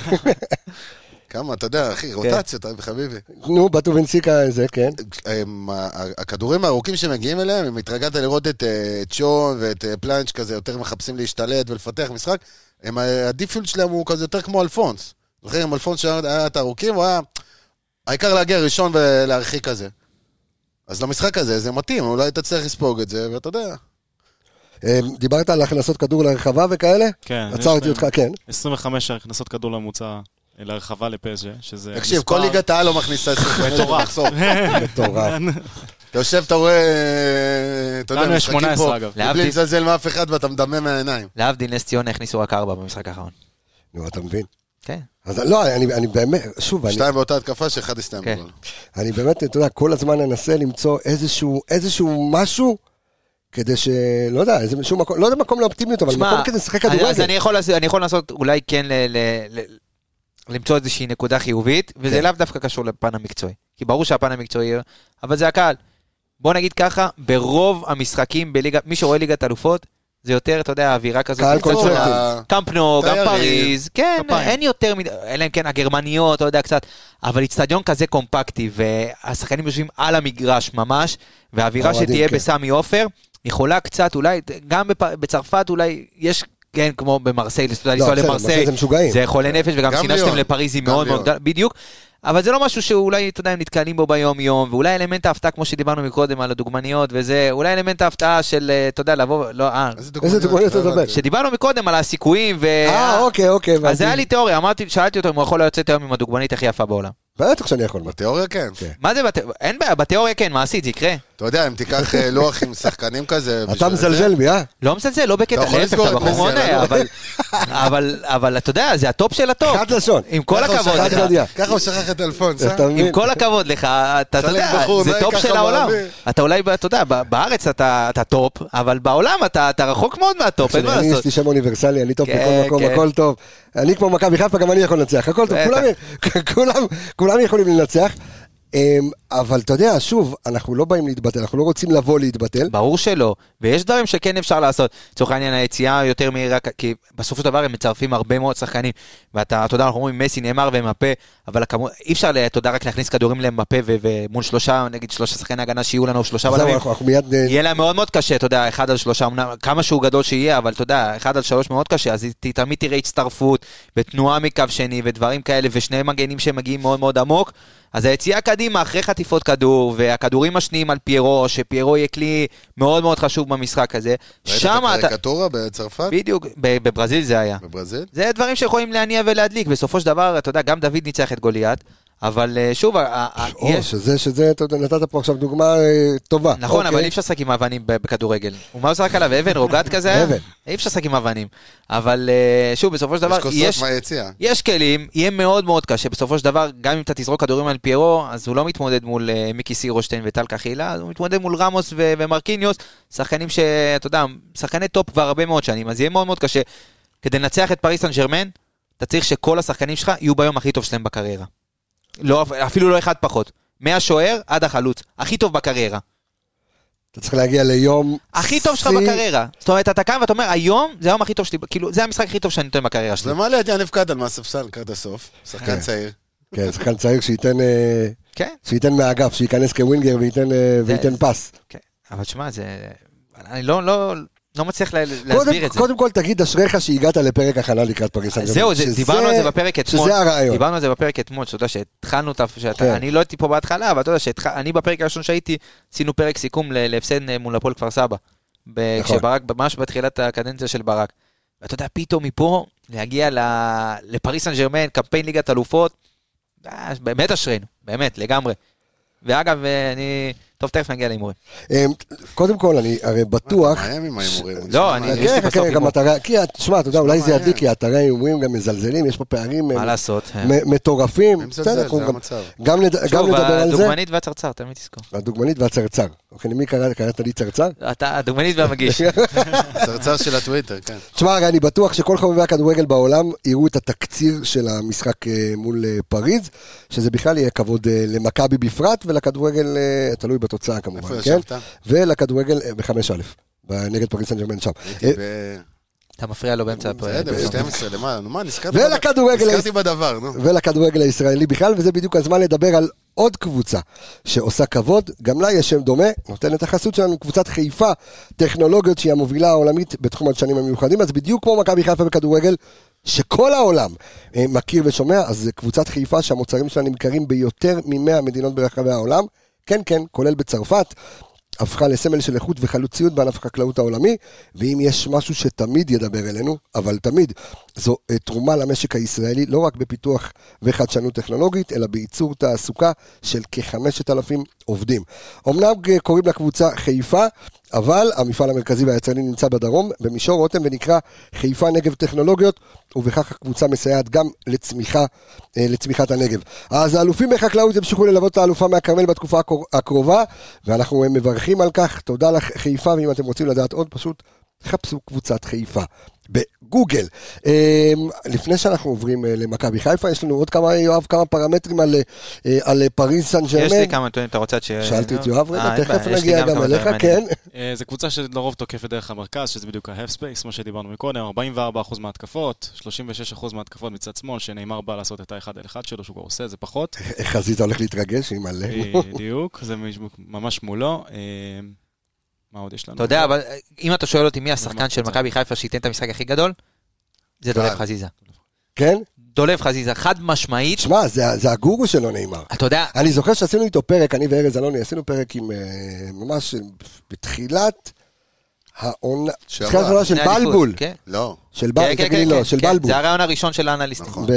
[SPEAKER 4] כמה, אתה יודע, אחי, רוטציות, אה, חביבי.
[SPEAKER 1] נו, בטובינסיקה זה, כן.
[SPEAKER 4] הם, ה- ה- הכדורים הארוכים שמגיעים אליהם, אם התרגלת לראות את אה, את שון ואת אה, פלנץ' כזה, יותר מחפשים להשתלט ולפתח משחק, הם, ה- הדיפיולט שלהם הוא כזה יותר כמו אלפונס. זוכר אם אלפונס שהיה היה את הארוכים, הוא היה... העיקר להגיע ראשון ולהרחיק כזה. אז למשחק הזה זה מתאים, אולי תצליח לספוג את זה, ואתה יודע.
[SPEAKER 5] כן,
[SPEAKER 1] אה, דיברת על הכנסות כדור לרחבה וכאלה?
[SPEAKER 5] כן, יש
[SPEAKER 1] עצרתי
[SPEAKER 5] להם
[SPEAKER 1] אותך, כן.
[SPEAKER 5] 25 הכנסות כדור לממוצע אה, לרחבה לפז'ה, שזה
[SPEAKER 4] תקשיב,
[SPEAKER 5] מספר
[SPEAKER 4] כל ליגת העל לא מכניסה עשרים
[SPEAKER 5] מטורף.
[SPEAKER 1] מטורף.
[SPEAKER 4] אתה יושב, אתה רואה, אה, אתה יודע,
[SPEAKER 5] כן. לנו יש
[SPEAKER 4] משחקים
[SPEAKER 5] 18
[SPEAKER 4] פה,
[SPEAKER 5] אגב.
[SPEAKER 4] מבלי
[SPEAKER 3] להבדיל.
[SPEAKER 4] לזלזל מאף אחד ואתה מדמם מהעיניים.
[SPEAKER 3] להבדיל, נס ציונה הכניסו רק ארבע במשחק האחרון.
[SPEAKER 1] נו, אתה מבין?
[SPEAKER 3] כן.
[SPEAKER 1] אז לא, אני, אני באמת, שוב, אני,
[SPEAKER 4] שתיים באותה התקפה שאחד הסתיים
[SPEAKER 3] כן.
[SPEAKER 4] בגול.
[SPEAKER 1] אני באמת, אתה יודע, כל הזמן אנסה למצוא איזשהו, איזשהו משהו, כדי ש... לא יודע, איזה משהו מקום, לא יודע מקום לאופטימיות, אבל
[SPEAKER 3] שמע,
[SPEAKER 1] מקום כזה לשחק
[SPEAKER 3] אני- אז
[SPEAKER 1] כדורגל.
[SPEAKER 3] אני יכול לעשות- אני יכול לעשות אולי כן ל- ל- ל- למצוא איזושהי נקודה חיובית, וזה
[SPEAKER 1] כן.
[SPEAKER 3] לאו דווקא קשור לפן המקצועי. כי ברור שהפן המקצועי, אבל זה הקהל. בוא נגיד ככה, ברוב המשחקים בליגה, מי שרואה ליגת אלופות, זה יותר, אתה יודע, האווירה כזאת.
[SPEAKER 1] קהל
[SPEAKER 3] מצד
[SPEAKER 1] קונצרטי.
[SPEAKER 3] שני,
[SPEAKER 4] אה,
[SPEAKER 3] קמפנו, גם
[SPEAKER 4] תיירים,
[SPEAKER 3] פריז, כן,
[SPEAKER 5] כפיים.
[SPEAKER 3] אין יותר מדי, אלא אם כן הגרמניות, אתה יודע, קצת, אבל איצטדיון כזה קומפקטי, והשחקנים יושבים על המגרש ממש, והאווירה
[SPEAKER 1] האוהדים,
[SPEAKER 3] שתהיה
[SPEAKER 1] כן.
[SPEAKER 3] בסמי עופר, יכולה קצת, אולי, גם בפ- בצרפת אולי, יש, כן, כמו במרסיי, לנסוע לנסוע
[SPEAKER 1] לא, בסדר, בסדר,
[SPEAKER 3] למרסיי,
[SPEAKER 1] זה משוגעים.
[SPEAKER 3] זה חולי נפש, וגם
[SPEAKER 4] גם
[SPEAKER 3] שינה
[SPEAKER 4] ליאון.
[SPEAKER 3] שאתם לפריז היא
[SPEAKER 4] גם
[SPEAKER 3] מאוד מאוד
[SPEAKER 4] ליאון.
[SPEAKER 3] גדולה, בדיוק. אבל זה לא משהו שאולי, אתה יודע, הם נתקלים בו ביום-יום, ואולי אלמנט ההפתעה, כמו שדיברנו מקודם, על הדוגמניות וזה, אולי אלמנט ההפתעה של, אה, אתה יודע, לבוא, לא, אה,
[SPEAKER 1] איזה דוגמניות אתה
[SPEAKER 4] לא
[SPEAKER 1] מדבר?
[SPEAKER 4] הבנתי.
[SPEAKER 3] שדיברנו מקודם על הסיכויים ו...
[SPEAKER 1] אה, אוקיי, אוקיי, הבנתי.
[SPEAKER 3] אז היה לי תיאוריה, אמרתי, שאלתי אותו אם הוא יכול לצאת היום עם הדוגמנית הכי יפה בעולם.
[SPEAKER 1] בטח שאני יכול, מה,
[SPEAKER 4] בתיאוריה כן.
[SPEAKER 1] כן.
[SPEAKER 3] מה זה, בת- אין בעיה, בתיאוריה כן, מעשית, זה יקרה.
[SPEAKER 4] אתה יודע, אם תיקח אה, לוח עם שחקנים כזה...
[SPEAKER 1] אתה
[SPEAKER 4] בשביל
[SPEAKER 1] מזלזל בי, אה?
[SPEAKER 3] לא מזלזל, לא בקטע,
[SPEAKER 4] אתה יכול
[SPEAKER 3] להפך,
[SPEAKER 4] לסגור
[SPEAKER 3] אתה
[SPEAKER 4] את
[SPEAKER 3] בחור מאוד,
[SPEAKER 4] מסיאלה, לא?
[SPEAKER 3] אבל, אבל, אבל אתה יודע, זה הטופ של הטופ.
[SPEAKER 1] חד לשון.
[SPEAKER 3] לא. עם כל
[SPEAKER 4] ככה הוא
[SPEAKER 3] הכבוד
[SPEAKER 4] שכח-
[SPEAKER 1] חד גדיה.
[SPEAKER 3] לך,
[SPEAKER 4] ככה הוא שכח את אלפונס, אה?
[SPEAKER 1] אתה
[SPEAKER 3] עם
[SPEAKER 1] מבין?
[SPEAKER 3] כל הכבוד לך, אתה אתה
[SPEAKER 4] שלג
[SPEAKER 3] יודע,
[SPEAKER 4] בחור, לא
[SPEAKER 3] זה
[SPEAKER 4] נוהג
[SPEAKER 3] טופ
[SPEAKER 4] ככה
[SPEAKER 3] של העולם.
[SPEAKER 4] באוויר.
[SPEAKER 3] אתה אולי, אתה יודע, ב- בארץ אתה אתה טופ, אבל בעולם אתה אתה רחוק מאוד מהטופ, אין מה
[SPEAKER 1] אני, יש
[SPEAKER 3] לעשות.
[SPEAKER 1] לי שם אוניברסלי, אני טוב
[SPEAKER 3] כן,
[SPEAKER 1] בכל מקום,
[SPEAKER 3] כן.
[SPEAKER 1] הכל טוב. אני כמו מכבי חיפה, גם אני יכול לנצח, הכל טוב,
[SPEAKER 3] בטח.
[SPEAKER 1] כולם, כולם, כולם יכולים לנצח. אמ, אבל אתה יודע, שוב, אנחנו לא באים להתבטל, אנחנו לא רוצים לבוא להתבטל.
[SPEAKER 3] ברור שלא, ויש דברים שכן אפשר לעשות. לצורך העניין היציאה יותר מהירה, כי בסופו של דבר הם מצרפים הרבה מאוד שחקנים. ואתה, אתה יודע, אנחנו אומרים מסי, נאמר ומפה, אבל הכמו- אי אפשר, אתה יודע, רק להכניס כדורים למפה ו- ומול שלושה, נגיד שלושה שחקני הגנה שיהיו לנו, או שלושה
[SPEAKER 1] זהו,
[SPEAKER 3] בלמים.
[SPEAKER 1] אנחנו אנחנו מיד... אה,
[SPEAKER 3] יהיה להם מאוד מאוד קשה, אתה יודע, אחד על שלושה, אמנם כמה שהוא גדול שיהיה, אבל אתה יודע, אחד על שלוש מאוד קשה, אז ת- תמיד תראה הצטרפות, ותנועה מקו שני, ודברים כאלה, ושני מגנים שמגיעים מאוד מאוד עמוק. אז היציאה קדימה, אחרי חטיפות כדור, והכדורים השניים על פיירו, שפיירו יהיה כלי מאוד מאוד חשוב במשחק הזה,
[SPEAKER 4] ראית
[SPEAKER 3] שם
[SPEAKER 4] את
[SPEAKER 3] אתה...
[SPEAKER 4] הקריקטורה בצרפת?
[SPEAKER 3] בדיוק, ב- בברזיל זה היה.
[SPEAKER 4] בברזיל?
[SPEAKER 3] זה דברים שיכולים להניע ולהדליק. בסופו של דבר, אתה יודע, גם דוד ניצח את גוליית, אבל אה, שוב, ה- ה- ה-
[SPEAKER 1] או, שזה, שזה, אתה יודע, נתת פה עכשיו דוגמה אה, טובה.
[SPEAKER 3] נכון, אבל
[SPEAKER 1] אוקיי.
[SPEAKER 3] אי אפשר לשחק עם אבנים ב- בכדורגל. ומה הוא זרק עליו? אבן, רוגת כזה? היה?
[SPEAKER 1] אבן.
[SPEAKER 3] אי אפשר לשחק עם אבנים. אבל אה, שוב, בסופו של דבר,
[SPEAKER 4] יש כוסות
[SPEAKER 3] יש...
[SPEAKER 4] מהיציאה.
[SPEAKER 3] יש כלים, יהיה מאוד מאוד קשה. בסופו של דבר, גם אם אתה תזרוק כדורים על פיירו, אז הוא לא מתמודד מול אה, מיקי סירושטיין וטל קחילה, אז הוא מתמודד מול רמוס ו- ומרקיניוס, שחקנים שאתה יודע, שחקני טופ כבר הרבה מאוד שנים, אז יהיה מאוד מאוד קשה. כדי לנצח את פריס סן ג'רמן, אתה צריך שכל השחקנים שלך יהיו ביום הכי טוב שלהם בקריירה. לא, אפילו לא אחד פחות. מהשוער עד החלוץ, הכי טוב בקריירה.
[SPEAKER 1] אתה צריך להגיע ליום...
[SPEAKER 3] הכי טוב שלך
[SPEAKER 1] שיא.
[SPEAKER 3] בקריירה. זאת אומרת, אתה קם ואתה אומר, היום זה היום הכי טוב שלי, כאילו, זה המשחק הכי טוב שאני טועה בקריירה שלי.
[SPEAKER 4] ומעלה את יניב קדן מהספסל לקראת הסוף, שחקן צעיר.
[SPEAKER 1] כן, שחקן צעיר שייתן... אה,
[SPEAKER 3] כן,
[SPEAKER 1] שייתן מהאגף, שייכנס כווינגר וייתן, אה,
[SPEAKER 3] זה-
[SPEAKER 1] וייתן פס.
[SPEAKER 3] כן. אבל שמע, זה... אני לא, לא, לא מצליח לה-
[SPEAKER 1] קודם,
[SPEAKER 3] להסביר את זה.
[SPEAKER 1] קודם כל תגיד אשריך שהגעת לפרק הכנה לקראת פריס סן
[SPEAKER 3] זהו, זה,
[SPEAKER 1] שזה-
[SPEAKER 3] דיברנו על זה בפרק אתמול.
[SPEAKER 1] שזה הרעיון.
[SPEAKER 3] דיברנו על זה בפרק אתמול, שאתה יודע שהתחלנו את ה... שאתה-
[SPEAKER 1] כן.
[SPEAKER 3] אני לא הייתי פה בהתחלה, אבל אתה יודע שאני בפרק הראשון שהייתי, עשינו פרק סיכום ל- להפסד אה, מול הפועל כפר סבא. ב-
[SPEAKER 1] נכון.
[SPEAKER 3] כשברק, ממש בתחילת הקדנציה של ברק. ואתה יודע, פתאום מפה להגיע ל- לפריס סן ג'רמן, קמפיין ליגת אלופות, אה, באמת אשרינו, באמת, לגמרי. ואגב, אה, אני... טוב, תכף נגיע להימורים.
[SPEAKER 1] אמ, קודם כל, אני הרי בטוח...
[SPEAKER 4] מאיים עם ההימורים.
[SPEAKER 3] לא, אני-
[SPEAKER 1] כן,
[SPEAKER 3] יש לי
[SPEAKER 1] כן,
[SPEAKER 3] בסוף
[SPEAKER 1] כן, גם
[SPEAKER 3] הימור.
[SPEAKER 1] אתרי... כי, תשמע, אתה יודע, אולי זה
[SPEAKER 4] מעניין.
[SPEAKER 1] ידליק, כי אתרי ההימורים גם מזלזלים, יש פה פערים
[SPEAKER 3] מה
[SPEAKER 1] הם,
[SPEAKER 3] לעשות?
[SPEAKER 1] כן.
[SPEAKER 3] אה.
[SPEAKER 1] מ- מטורפים.
[SPEAKER 4] הם
[SPEAKER 1] בסדר,
[SPEAKER 4] מזלזל,
[SPEAKER 1] אנחנו
[SPEAKER 4] זה
[SPEAKER 1] גם-
[SPEAKER 4] המצב.
[SPEAKER 1] גם נד- גם
[SPEAKER 3] שוב,
[SPEAKER 1] נדבר על זה.
[SPEAKER 3] הדוגמנית והצרצר, תמיד תזכור.
[SPEAKER 1] הדוגמנית והצרצר. אוקיי, למי קראת? קראת לי צרצר?
[SPEAKER 3] אתה הדוגמנית והמגיש.
[SPEAKER 4] צרצר של הטוויטר, כן.
[SPEAKER 1] תשמע, הרי אני בטוח שכל חובבי הכדורגל בעולם יראו את התקציר של המשחק אה, מול אה, פריז, שזה בכלל יהיה כבוד אה, למכבי בפרט ולכדורגל, אה, תלוי בתוצאה
[SPEAKER 4] איפה
[SPEAKER 1] כמובן, כן?
[SPEAKER 4] ישבת?
[SPEAKER 1] ולכדורגל אה, בחמש א', נגד פריז סן ג'רמן שם.
[SPEAKER 4] הייתי
[SPEAKER 1] אה,
[SPEAKER 4] ב-
[SPEAKER 3] אתה מפריע לו באמצע הפרק.
[SPEAKER 4] בסדר, ב-12 למעלה, נו מה, נזכרתי בד-
[SPEAKER 1] ולכדורגל
[SPEAKER 4] נזכרתי בדבר, נו.
[SPEAKER 1] ולכדורגל הישראלי בכלל, וזה בדיוק הזמן לדבר על עוד קבוצה שעושה כבוד, גם לה יש שם דומה, נותנת את החסות שלנו, קבוצת חיפה, טכנולוגיות שהיא המובילה העולמית בתחום הדשנים המיוחדים, אז בדיוק כמו מכבי חיפה בכדורגל, שכל העולם אה, מכיר ושומע, אז זה קבוצת חיפה שהמוצרים שלה נמכרים ביותר מ-100 מדינות ברחבי העולם, כן כן, כולל בצרפת. הפכה לסמל של איכות וחלוציות בענף החקלאות העולמי, ואם יש משהו שתמיד ידבר אלינו, אבל תמיד, זו אה, תרומה למשק הישראלי, לא רק בפיתוח וחדשנות טכנולוגית, אלא בייצור תעסוקה של כ-5,000 עובדים. אמנם אה, קוראים לקבוצה חיפה, אבל המפעל המרכזי והיצרני נמצא בדרום, במישור רותם, ונקרא חיפה נגב טכנולוגיות, ובכך הקבוצה מסייעת גם לצמיחה, אה, לצמיחת הנגב. אז האלופים בחקלאות ימשיכו ללוות את האלופה מהכרמל בתקופה הקור- הקרובה, ואנחנו אה, מברכים על כך. תודה לך, חיפה, ואם אתם רוצים לדעת עוד, פשוט חפשו קבוצת חיפה בגוגל. אה, לפני שאנחנו עוברים אה, למכבי חיפה, יש לנו עוד כמה, יואב, כמה פרמטרים על, אה, אה, על אה, פריז סן ג'רמן.
[SPEAKER 3] יש לי כמה נתונים, אתה רוצה ש...
[SPEAKER 1] שאלתי את יואב,
[SPEAKER 3] אה,
[SPEAKER 1] רגע,
[SPEAKER 3] אין
[SPEAKER 1] תכף
[SPEAKER 3] בעיה, יש לי
[SPEAKER 1] נגיע גם
[SPEAKER 3] כמה
[SPEAKER 1] אליך,
[SPEAKER 3] דברים
[SPEAKER 1] כן.
[SPEAKER 3] מעניינים.
[SPEAKER 5] אה, זו קבוצה שלרוב תוקפת דרך המרכז, שזה בדיוק ה-half space, מה שדיברנו מקודם, 44% מההתקפות, 36% מההתקפות מצד שמאל, שנאמר בא לעשות את האחד על אחד שלו, שהוא כבר עושה, זה פחות.
[SPEAKER 1] חזית הולך להתרגש עם הלב.
[SPEAKER 5] בדיוק, זה ממש מולו. אה, מה עוד יש לנו?
[SPEAKER 3] אתה יודע, אבל אה, אם אתה שואל אותי מי
[SPEAKER 5] מה
[SPEAKER 3] השחקן של
[SPEAKER 5] הקבוצה?
[SPEAKER 3] מכבי חיפה שייתן את המשחק הכי גדול, זה דולב
[SPEAKER 4] קהל.
[SPEAKER 3] חזיזה.
[SPEAKER 1] כן?
[SPEAKER 3] דולב חזיזה, חד משמעית.
[SPEAKER 1] תשמע, זה, זה הגורו שלו נאמר.
[SPEAKER 3] אתה יודע,
[SPEAKER 1] אני זוכר שעשינו איתו פרק, אני וארז אלוני, עשינו פרק עם אה, ממש בתחילת העונה,
[SPEAKER 4] שעברה.
[SPEAKER 1] תחילת העונה של
[SPEAKER 3] לפני האליפות,
[SPEAKER 1] בלבול.
[SPEAKER 3] כן?
[SPEAKER 4] לא.
[SPEAKER 1] של
[SPEAKER 3] כן,
[SPEAKER 1] בלבול,
[SPEAKER 3] כן,
[SPEAKER 1] תגיד לי
[SPEAKER 3] כן,
[SPEAKER 1] לא,
[SPEAKER 3] כן,
[SPEAKER 1] של
[SPEAKER 3] כן,
[SPEAKER 1] בלבול.
[SPEAKER 3] זה הרעיון הראשון של האנליסטים.
[SPEAKER 4] נכון.
[SPEAKER 1] ב-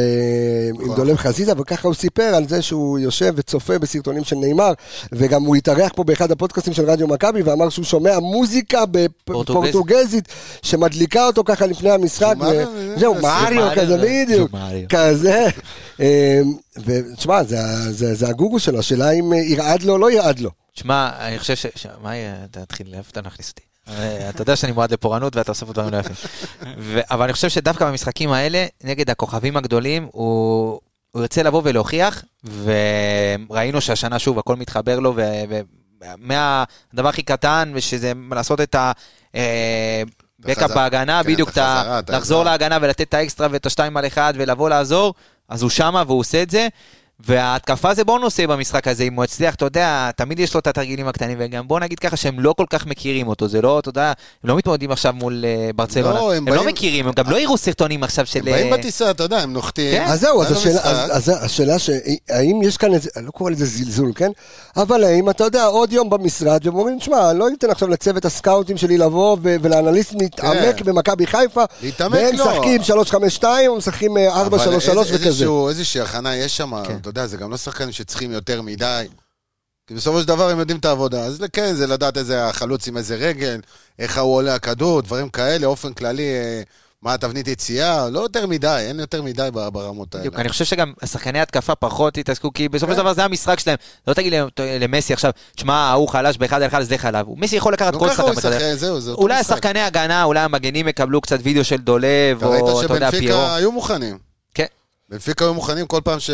[SPEAKER 1] עם
[SPEAKER 4] נכון.
[SPEAKER 1] דולב חזיזה, וככה הוא סיפר על זה שהוא יושב וצופה בסרטונים של נאמר, וגם הוא התארח פה באחד הפודקאסטים של רדיו מכבי, ואמר שהוא שומע מוזיקה
[SPEAKER 3] פורטוגזית.
[SPEAKER 1] בפורטוגזית, שמדליקה אותו ככה לפני המשחק,
[SPEAKER 4] זומאריו,
[SPEAKER 1] ו- זהו,
[SPEAKER 4] אה, זה
[SPEAKER 1] מאריו
[SPEAKER 3] זומאריו,
[SPEAKER 1] כזה
[SPEAKER 3] זה-
[SPEAKER 1] בדיוק,
[SPEAKER 3] זומאריו.
[SPEAKER 1] כזה. אה, ותשמע, זה ה- זה זה הגורו שלו, השאלה אם אה, ירעד לו או לא ירעד לו.
[SPEAKER 3] שמע, אני חושב ש... ש- מה יהיה, אתה תתחיל, איפה אתה מכניס אותי? אה, אתה יודע שאני מועד לפורענות ואתה עושה פה דברים לא יפים. ו- אבל אני חושב שדווקא במשחקים האלה, נגד הכוכבים הגדולים, הוא... הוא ירצה לבוא ולהוכיח, וראינו שהשנה שוב הכל מתחבר לו, ומהדבר הכי קטן, שזה לעשות את ה... אה,
[SPEAKER 4] את
[SPEAKER 3] בקאפ
[SPEAKER 4] החזרה.
[SPEAKER 3] בהגנה,
[SPEAKER 4] כן,
[SPEAKER 3] בדיוק,
[SPEAKER 4] את
[SPEAKER 3] את ה-
[SPEAKER 4] החזרה, את
[SPEAKER 3] לחזור
[SPEAKER 4] העזרה.
[SPEAKER 3] להגנה ולתת את האקסטרה ואת השתיים על אחד ולבוא לעזור, אז הוא שמה והוא עושה את זה. וההתקפה זה בונוס יהיה במשחק הזה, אם הוא יצליח, אתה יודע, תמיד יש לו את התרגילים הקטנים, וגם בוא נגיד ככה שהם לא כל כך מכירים אותו, זה לא, אתה יודע, הם לא מתמודדים עכשיו מול אה, ברצלונה,
[SPEAKER 4] לא,
[SPEAKER 3] לא,
[SPEAKER 4] הם
[SPEAKER 3] הם,
[SPEAKER 4] באים-
[SPEAKER 3] לא מכירים, הם גם לא יראו סרטונים עכשיו של...
[SPEAKER 4] הם באים
[SPEAKER 3] אה,
[SPEAKER 4] בטיסה, אתה יודע, הם נוחתים.
[SPEAKER 3] כן.
[SPEAKER 1] אז זהו, אז
[SPEAKER 4] ואז
[SPEAKER 1] השאלה,
[SPEAKER 4] המשחק.
[SPEAKER 1] אז, אז השאלה ש... האם יש כאן איזה, אני לא קורא לזה זלזול, כן? אבל האם אתה יודע, עוד יום במשרד, והם אומרים, שמע, אני לא אתן עכשיו לצוות הסקאוטים שלי לבוא ו- ולאנליסט להתעמק
[SPEAKER 4] כן.
[SPEAKER 1] במכבי חיפה,
[SPEAKER 4] להתעמק
[SPEAKER 1] והם
[SPEAKER 4] לא.
[SPEAKER 1] משחקים 3-5-2 או משחקים אה, 4-3-3
[SPEAKER 4] אבל איזה-
[SPEAKER 1] וכזה.
[SPEAKER 4] איזשהו- איזושהי הכנה יש שם,
[SPEAKER 3] כן.
[SPEAKER 4] אתה יודע, זה גם לא שחקנים שצריכים יותר מדי. כי בסופו של דבר הם יודעים את העבודה. אז כן, זה לדעת איזה החלוץ עם איזה רגל, איך ההוא עולה הכדור, דברים כאלה, אופן כללי, אה, מה התבנית יציאה, לא יותר מדי, אין יותר מדי ב- ברמות האלה.
[SPEAKER 3] בדיוק, אני חושב שגם שחקני התקפה פחות התעסקו, כי בסופו של
[SPEAKER 4] כן.
[SPEAKER 3] דבר זה המשחק שלהם. לא תגיד למ- למסי עכשיו, שמע, ההוא חלש באחד על אחד, אז לך עליו. מסי יכול לקחת
[SPEAKER 4] גם
[SPEAKER 3] כל
[SPEAKER 4] לא ככה
[SPEAKER 3] שחקן
[SPEAKER 4] הוא
[SPEAKER 3] באחד על אחד.
[SPEAKER 4] ישחק, זהו, זה אותו
[SPEAKER 3] אולי
[SPEAKER 4] משחק.
[SPEAKER 3] השחקני הגנה, אולי המגנים יקבלו קצת וידאו של דולב,
[SPEAKER 4] אתה ראית
[SPEAKER 3] או אתה יודע, פיירו.
[SPEAKER 4] שבנפיקה היו מוכנים.
[SPEAKER 3] כן.
[SPEAKER 4] בנפיקה היו מוכנים כל פעם ש-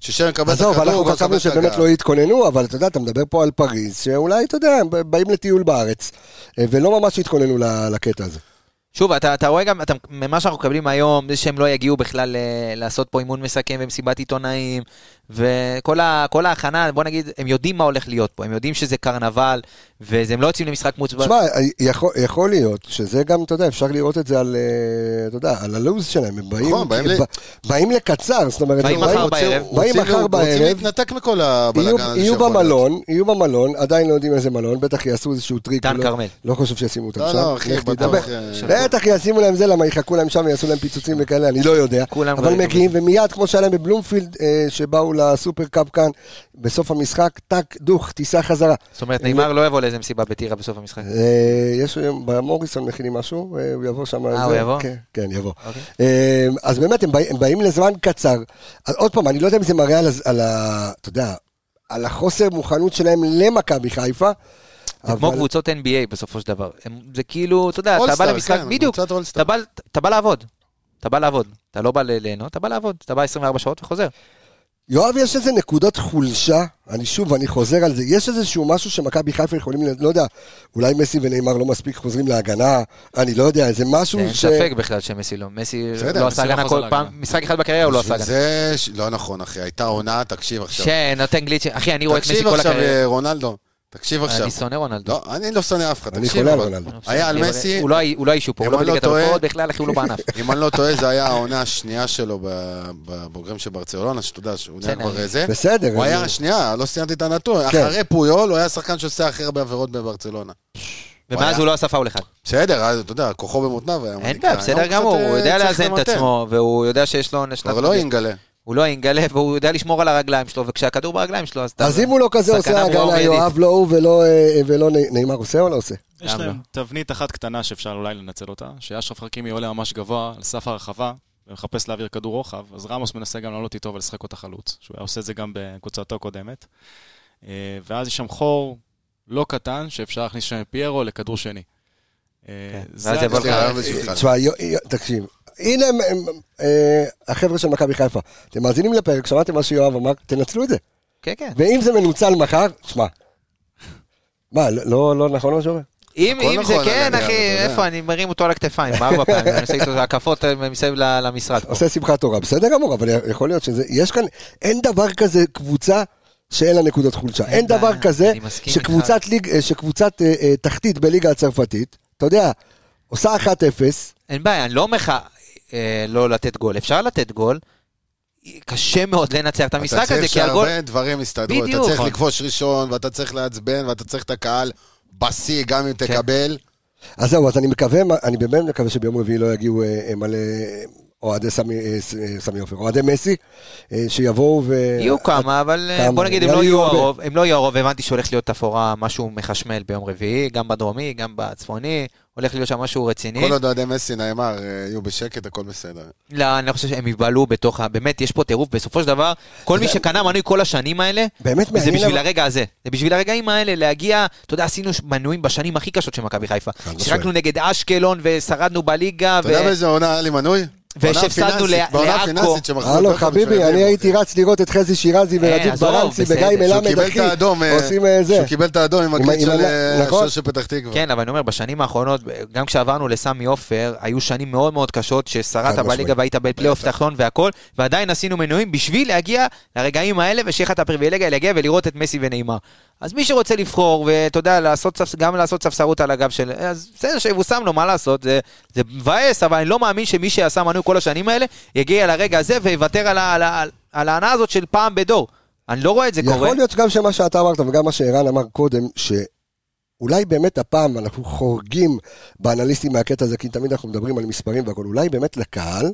[SPEAKER 4] ששם יקבל את
[SPEAKER 1] עזוב,
[SPEAKER 4] הכדור,
[SPEAKER 1] אנחנו
[SPEAKER 4] הוא
[SPEAKER 1] כבר
[SPEAKER 4] יקבל
[SPEAKER 1] חשבנו
[SPEAKER 4] את
[SPEAKER 1] שבאמת
[SPEAKER 4] הגב.
[SPEAKER 1] לא התכוננו, אבל אתה יודע, אתה מדבר פה על פריז, שאולי, אתה יודע, הם באים לטיול בארץ, אה, ולא ממש התכוננו ל- לקטע הזה.
[SPEAKER 3] שוב, אתה, אתה רואה גם, אתה, ממה שאנחנו מקבלים היום, זה שהם לא יגיעו בכלל אה, לעשות פה אימון מסכם ומסיבת עיתונאים, וכל ה, כל ההכנה, בוא נגיד, הם יודעים מה הולך להיות פה, הם יודעים שזה קרנבל, והם לא יוצאים למשחק מוצבע.
[SPEAKER 1] תשמע, יכול, יכול להיות שזה גם, אתה יודע, אפשר לראות את זה על, אה, אתה יודע, על הלו"ז שלהם, הם באים,
[SPEAKER 4] נכון, באים ל-
[SPEAKER 1] ב- באים לקצר, זאת אומרת,
[SPEAKER 3] באים
[SPEAKER 1] הם
[SPEAKER 3] מחר
[SPEAKER 1] באים
[SPEAKER 3] בערב.
[SPEAKER 4] רוצים-
[SPEAKER 1] מחר
[SPEAKER 4] רוצים
[SPEAKER 1] בערב,
[SPEAKER 4] להתנתק מכל הבלאגן
[SPEAKER 1] יהיו,
[SPEAKER 4] הזה
[SPEAKER 1] יהיו
[SPEAKER 4] שיכול להיות.
[SPEAKER 1] במלון, יהיו במלון, עדיין לא יודעים איזה מלון, בטח יעשו איזשהו טריק.
[SPEAKER 3] דן
[SPEAKER 1] לא-
[SPEAKER 3] כרמל.
[SPEAKER 1] לא חושב שישימו אותם
[SPEAKER 4] לא,
[SPEAKER 1] שם.
[SPEAKER 4] לא, אחי,
[SPEAKER 1] לך תדע.
[SPEAKER 4] בטוח,
[SPEAKER 1] ב-
[SPEAKER 4] אה,
[SPEAKER 1] בטח ישימו להם זה, למה יחכו להם שם ויעשו להם פיצוצים וכאלה, אני לא יודע.
[SPEAKER 3] כולם
[SPEAKER 1] אבל
[SPEAKER 3] כבר
[SPEAKER 1] מגיעים, ומיד, כמו שהיה להם בבלומפילד, אה, שבאו לסופרקאפ כאן, בסוף המשחק, טאק, דוך, טיסה חזרה.
[SPEAKER 3] זאת אומרת, נאמר לא יבוא לאיזה מסיבה בטירה בסוף המשחק.
[SPEAKER 1] אה, יש היום, במוריסון מכינים משהו, אה, הוא יבוא שם.
[SPEAKER 3] אה,
[SPEAKER 1] זה-
[SPEAKER 3] הוא יבוא?
[SPEAKER 1] כן, כן, יבוא.
[SPEAKER 3] אוקיי.
[SPEAKER 1] אה, אז באמת, הם בא- הם באים לזמן קצר. אז עוד פעם, אני לא יודע אם זה מראה על הז- על ה... אתה יודע, על החוסר מוכנות שלהם למכבי חיפה.
[SPEAKER 3] זה כמו
[SPEAKER 1] אבל-
[SPEAKER 3] קבוצות NBA בסופו של דבר. הם- זה כאילו, אתה יודע, אתה בא
[SPEAKER 4] All-Star,
[SPEAKER 3] למשחק,
[SPEAKER 4] כן,
[SPEAKER 3] בדיוק,
[SPEAKER 4] קבוצת All-Star.
[SPEAKER 3] אתה בא- אתה בא לעבוד. אתה בא לעבוד. אתה לא בא ל- ליהנות, אתה בא לעבוד. אתה בא 24 שעות וחוזר.
[SPEAKER 1] יואב, יש איזה נקודות חולשה, אני שוב, אני חוזר על זה, יש איזשהו משהו שמכבי חיפה יכולים, ל- לא יודע, אולי מסי ונאמר לא מספיק חוזרים להגנה, אני לא יודע, איזה משהו
[SPEAKER 3] אין
[SPEAKER 1] ש...
[SPEAKER 3] ספק בכלל שמסי לא. מסי
[SPEAKER 4] בסדר,
[SPEAKER 3] לא
[SPEAKER 4] מסי
[SPEAKER 3] עשה
[SPEAKER 5] לא
[SPEAKER 3] הגנה
[SPEAKER 5] חוזר
[SPEAKER 3] כל פעם,
[SPEAKER 5] להגנה.
[SPEAKER 3] משחק אחד בקריירה הוא לא עשה
[SPEAKER 4] בשביל
[SPEAKER 3] הגנה.
[SPEAKER 4] זה ש- לא נכון, אחי, הייתה עונה, תקשיב עכשיו.
[SPEAKER 3] שנותן גליצ'ים. אחי, אני רואה את מסי
[SPEAKER 4] תקשיב
[SPEAKER 3] כל
[SPEAKER 4] עכשיו,
[SPEAKER 3] הקריירה.
[SPEAKER 4] אה, רונלדו. תקשיב עכשיו.
[SPEAKER 3] אני שונא רונלדו.
[SPEAKER 4] לא, אני לא שונא אף אחד,
[SPEAKER 1] אני
[SPEAKER 4] תקשיב.
[SPEAKER 1] חולה על
[SPEAKER 4] אבל-
[SPEAKER 1] רונלדו.
[SPEAKER 4] היה על
[SPEAKER 3] אני-
[SPEAKER 4] מסי,
[SPEAKER 3] הוא לא הוא לא אישו פה, הוא
[SPEAKER 4] אם
[SPEAKER 3] לא
[SPEAKER 4] אני לא
[SPEAKER 3] בליגת
[SPEAKER 4] טועה-
[SPEAKER 3] הבחורות בכלל, אחי, הוא לא בענף.
[SPEAKER 4] אם אני לא טועה, זה היה העונה השנייה שלו ב- בבוגרים של ברצלונה, שאתה יודע, שהוא נהיה
[SPEAKER 3] בסדר. כן.
[SPEAKER 4] כבר זה.
[SPEAKER 1] בסדר.
[SPEAKER 4] הוא היה,
[SPEAKER 1] אני-
[SPEAKER 4] שנייה, לא סיימתי את הנתון. אחרי פויול, הוא היה השחקן שעושה הכי הרבה עבירות בברצלונה.
[SPEAKER 3] ומאז הוא לא עשה פאול אחד.
[SPEAKER 4] בסדר, אז אתה יודע, כוחו במותניו היה
[SPEAKER 3] אין
[SPEAKER 4] מוניקה.
[SPEAKER 3] בעיה, בסדר
[SPEAKER 4] היום
[SPEAKER 3] גמור,
[SPEAKER 4] קצת,
[SPEAKER 3] הוא יודע
[SPEAKER 4] אה, צריך
[SPEAKER 3] לאזן את
[SPEAKER 4] למתן.
[SPEAKER 3] עצמו, והוא יודע שיש לו... שנת-
[SPEAKER 4] כבר לא אינגלה.
[SPEAKER 3] הוא לא אינגלה, והוא יודע לשמור על הרגליים שלו, וכשהכדור ברגליים שלו, אז אתה...
[SPEAKER 1] אז אם הוא לא כזה
[SPEAKER 3] סכנה
[SPEAKER 1] עושה
[SPEAKER 3] ברורה
[SPEAKER 1] הגנה,
[SPEAKER 3] ומיידית.
[SPEAKER 1] יואב, לא הוא ולא, אה, ולא נ- נאמר עושה או לא עושה?
[SPEAKER 5] יש
[SPEAKER 3] גם לא.
[SPEAKER 5] להם תבנית אחת קטנה שאפשר אולי לנצל אותה, שאשרף חכימי עולה ממש גבוה על סף הרחבה ומחפש להעביר כדור רוחב, אז רמוס מנסה גם לעלות איתו ולשחק אותה חלוץ, שהוא היה עושה את זה גם בקבוצתו הקודמת. אה, ואז יש שם חור לא קטן שאפשר להכניס שם את פיירו לכדור שני. אה,
[SPEAKER 3] כן,
[SPEAKER 5] זה
[SPEAKER 3] ואז יבוא
[SPEAKER 4] יש לי
[SPEAKER 3] לך-
[SPEAKER 4] רעיון בשבילך.
[SPEAKER 1] תשמע, יו- יו- תקשיב, הנה הם- הם- אה, החבר'ה של מכבי חיפה. אתם מאזינים לפרק, שמעתם מה שיואב אמר, תנצלו את זה.
[SPEAKER 3] כן, כן.
[SPEAKER 1] ואם זה מנוצל מחר, תשמע. מה, לא- לא לא נכון מה שאומר?
[SPEAKER 3] אם
[SPEAKER 4] הכל
[SPEAKER 3] אם זה
[SPEAKER 4] נכון,
[SPEAKER 3] כן,
[SPEAKER 4] אני-
[SPEAKER 3] אחי,
[SPEAKER 4] אתה יודע.
[SPEAKER 3] איפה, אני מרים אותו על הכתפיים, מה הוא הפעם? אני עושה איתו הקפות אה, מסביב ל- למשרד. פה.
[SPEAKER 1] עושה שמחת תורה, בסדר גמור, אבל יכול להיות שזה, יש כאן, אין דבר כזה קבוצה שאין לה נקודות חולשה. אין,
[SPEAKER 3] אין
[SPEAKER 1] אין
[SPEAKER 3] בעיה,
[SPEAKER 1] דבר כזה
[SPEAKER 3] אני מסכים
[SPEAKER 1] שקבוצת, ליג, אה, שקבוצת אה, אה, תחתית בליגה הצרפתית, אתה יודע, עושה 1-0,
[SPEAKER 3] אין בעיה, אני לא אומר לך אה, לא לתת גול, אפשר לתת גול. קשה מאוד לנצח את
[SPEAKER 4] אתה
[SPEAKER 3] המשחק הזה,
[SPEAKER 4] צריך
[SPEAKER 3] כי על גול...
[SPEAKER 4] שהרבה דברים יסתדרו. אתה
[SPEAKER 3] בדיוק.
[SPEAKER 4] צריך לכבוש ראשון, ואתה צריך לעצבן, ואתה צריך את הקהל בשיא, גם
[SPEAKER 3] כן.
[SPEAKER 4] אם תקבל.
[SPEAKER 1] אז זהו, אז אני מקווה, אני באמת מקווה שביום רביעי לא יגיעו אה, אה, מלא אה, אוהדי סמי אה, ס- אה, סמי עופר, אוהדי מסי, אה, שיבואו ו...
[SPEAKER 3] יהיו כמה, אבל אה,
[SPEAKER 1] כמה.
[SPEAKER 3] בוא נגיד, הם
[SPEAKER 1] נראה
[SPEAKER 3] לא
[SPEAKER 1] לי
[SPEAKER 3] יהיו
[SPEAKER 1] הרבה.
[SPEAKER 3] הרוב, הם לא יהיו הרוב, הבנתי שהולך להיות תפאורה, משהו מחשמל ביום רביעי, גם בדרומי, גם בצפוני, הולך להיות שם משהו רציני.
[SPEAKER 4] כל עוד אוהדי מסי נאמר, אה, יהיו בשקט, הכל בסדר.
[SPEAKER 3] לא, אני לא חושב שהם יבלעו בתוך ה... באמת, יש פה טירוף. בסופו של דבר, כל מי שקנה מנוי כל השנים האלה,
[SPEAKER 1] באמת
[SPEAKER 3] זה
[SPEAKER 1] מעניין
[SPEAKER 3] בשביל
[SPEAKER 1] למה-
[SPEAKER 3] הרגע הזה. זה בשביל הרגעים האלה להגיע, אתה יודע, עשינו ש- מנויים בשנים הכי קשות של מכבי חיפה.
[SPEAKER 1] משמעית.
[SPEAKER 3] שיחקנו נגד אשקלון ושרדנו בליגה,
[SPEAKER 4] אתה יודע
[SPEAKER 3] ו...
[SPEAKER 4] באיזה עונה היה לי מנוי?
[SPEAKER 3] ושהפסדנו
[SPEAKER 4] בעונה
[SPEAKER 3] ל-
[SPEAKER 4] פיננסית, בעונה
[SPEAKER 3] לעכו.
[SPEAKER 4] פיננסית שמכרו
[SPEAKER 1] הלו
[SPEAKER 4] את בית"ר
[SPEAKER 1] חביבי,
[SPEAKER 4] בשביל
[SPEAKER 1] אני
[SPEAKER 4] לבוא.
[SPEAKER 1] הייתי רץ לראות את חזי שירזי ורדיף
[SPEAKER 3] עזוב,
[SPEAKER 1] ברנצי
[SPEAKER 3] בסדר.
[SPEAKER 1] וגיא
[SPEAKER 4] אה, שהוא
[SPEAKER 1] מלמד,
[SPEAKER 4] קיבל את
[SPEAKER 1] אחי,
[SPEAKER 4] האדום, אה,
[SPEAKER 1] עושים אה, זה.
[SPEAKER 4] שהוא קיבל את האדום
[SPEAKER 1] עם
[SPEAKER 4] עם הקליט
[SPEAKER 1] ה- עם
[SPEAKER 4] של
[SPEAKER 1] ה-
[SPEAKER 4] אה,
[SPEAKER 1] נכון.
[SPEAKER 4] של פתח תקווה.
[SPEAKER 3] כן, אבל אני אומר, בשנים האחרונות, גם כשעברנו לסמי עופר, היו שנים מאוד מאוד קשות, ששרדת
[SPEAKER 1] חד
[SPEAKER 3] בליגה
[SPEAKER 1] משמעית.
[SPEAKER 3] והיית בפלייאוף תחתון והכל, ועדיין עשינו מנויים בשביל להגיע לרגעים האלה, ושיהיה לך את הפריבילגיה להגיע ולראות את מסי ונעימה. אז מי שרוצה לבחור, ואתה יודע, לעשות, ספס- גם לעשות ספסרות על הגב של... אז בסדר, שיבושם לו, מה לעשות? זה, זה מבאס, אבל אני לא מאמין שמי שעשה מנוי כל השנים האלה, יגיע לרגע הזה ויוותר על ה- על ה- על ההנאה הזאת של פעם בדור. אני לא רואה את זה קורה.
[SPEAKER 1] יכול להיות גם שמה שאתה אמרת וגם מה שערן אמר קודם, שאולי באמת הפעם אנחנו חורגים באנליסטים מהקטע הזה, כי תמיד אנחנו מדברים על מספרים והכול, אולי באמת לקהל,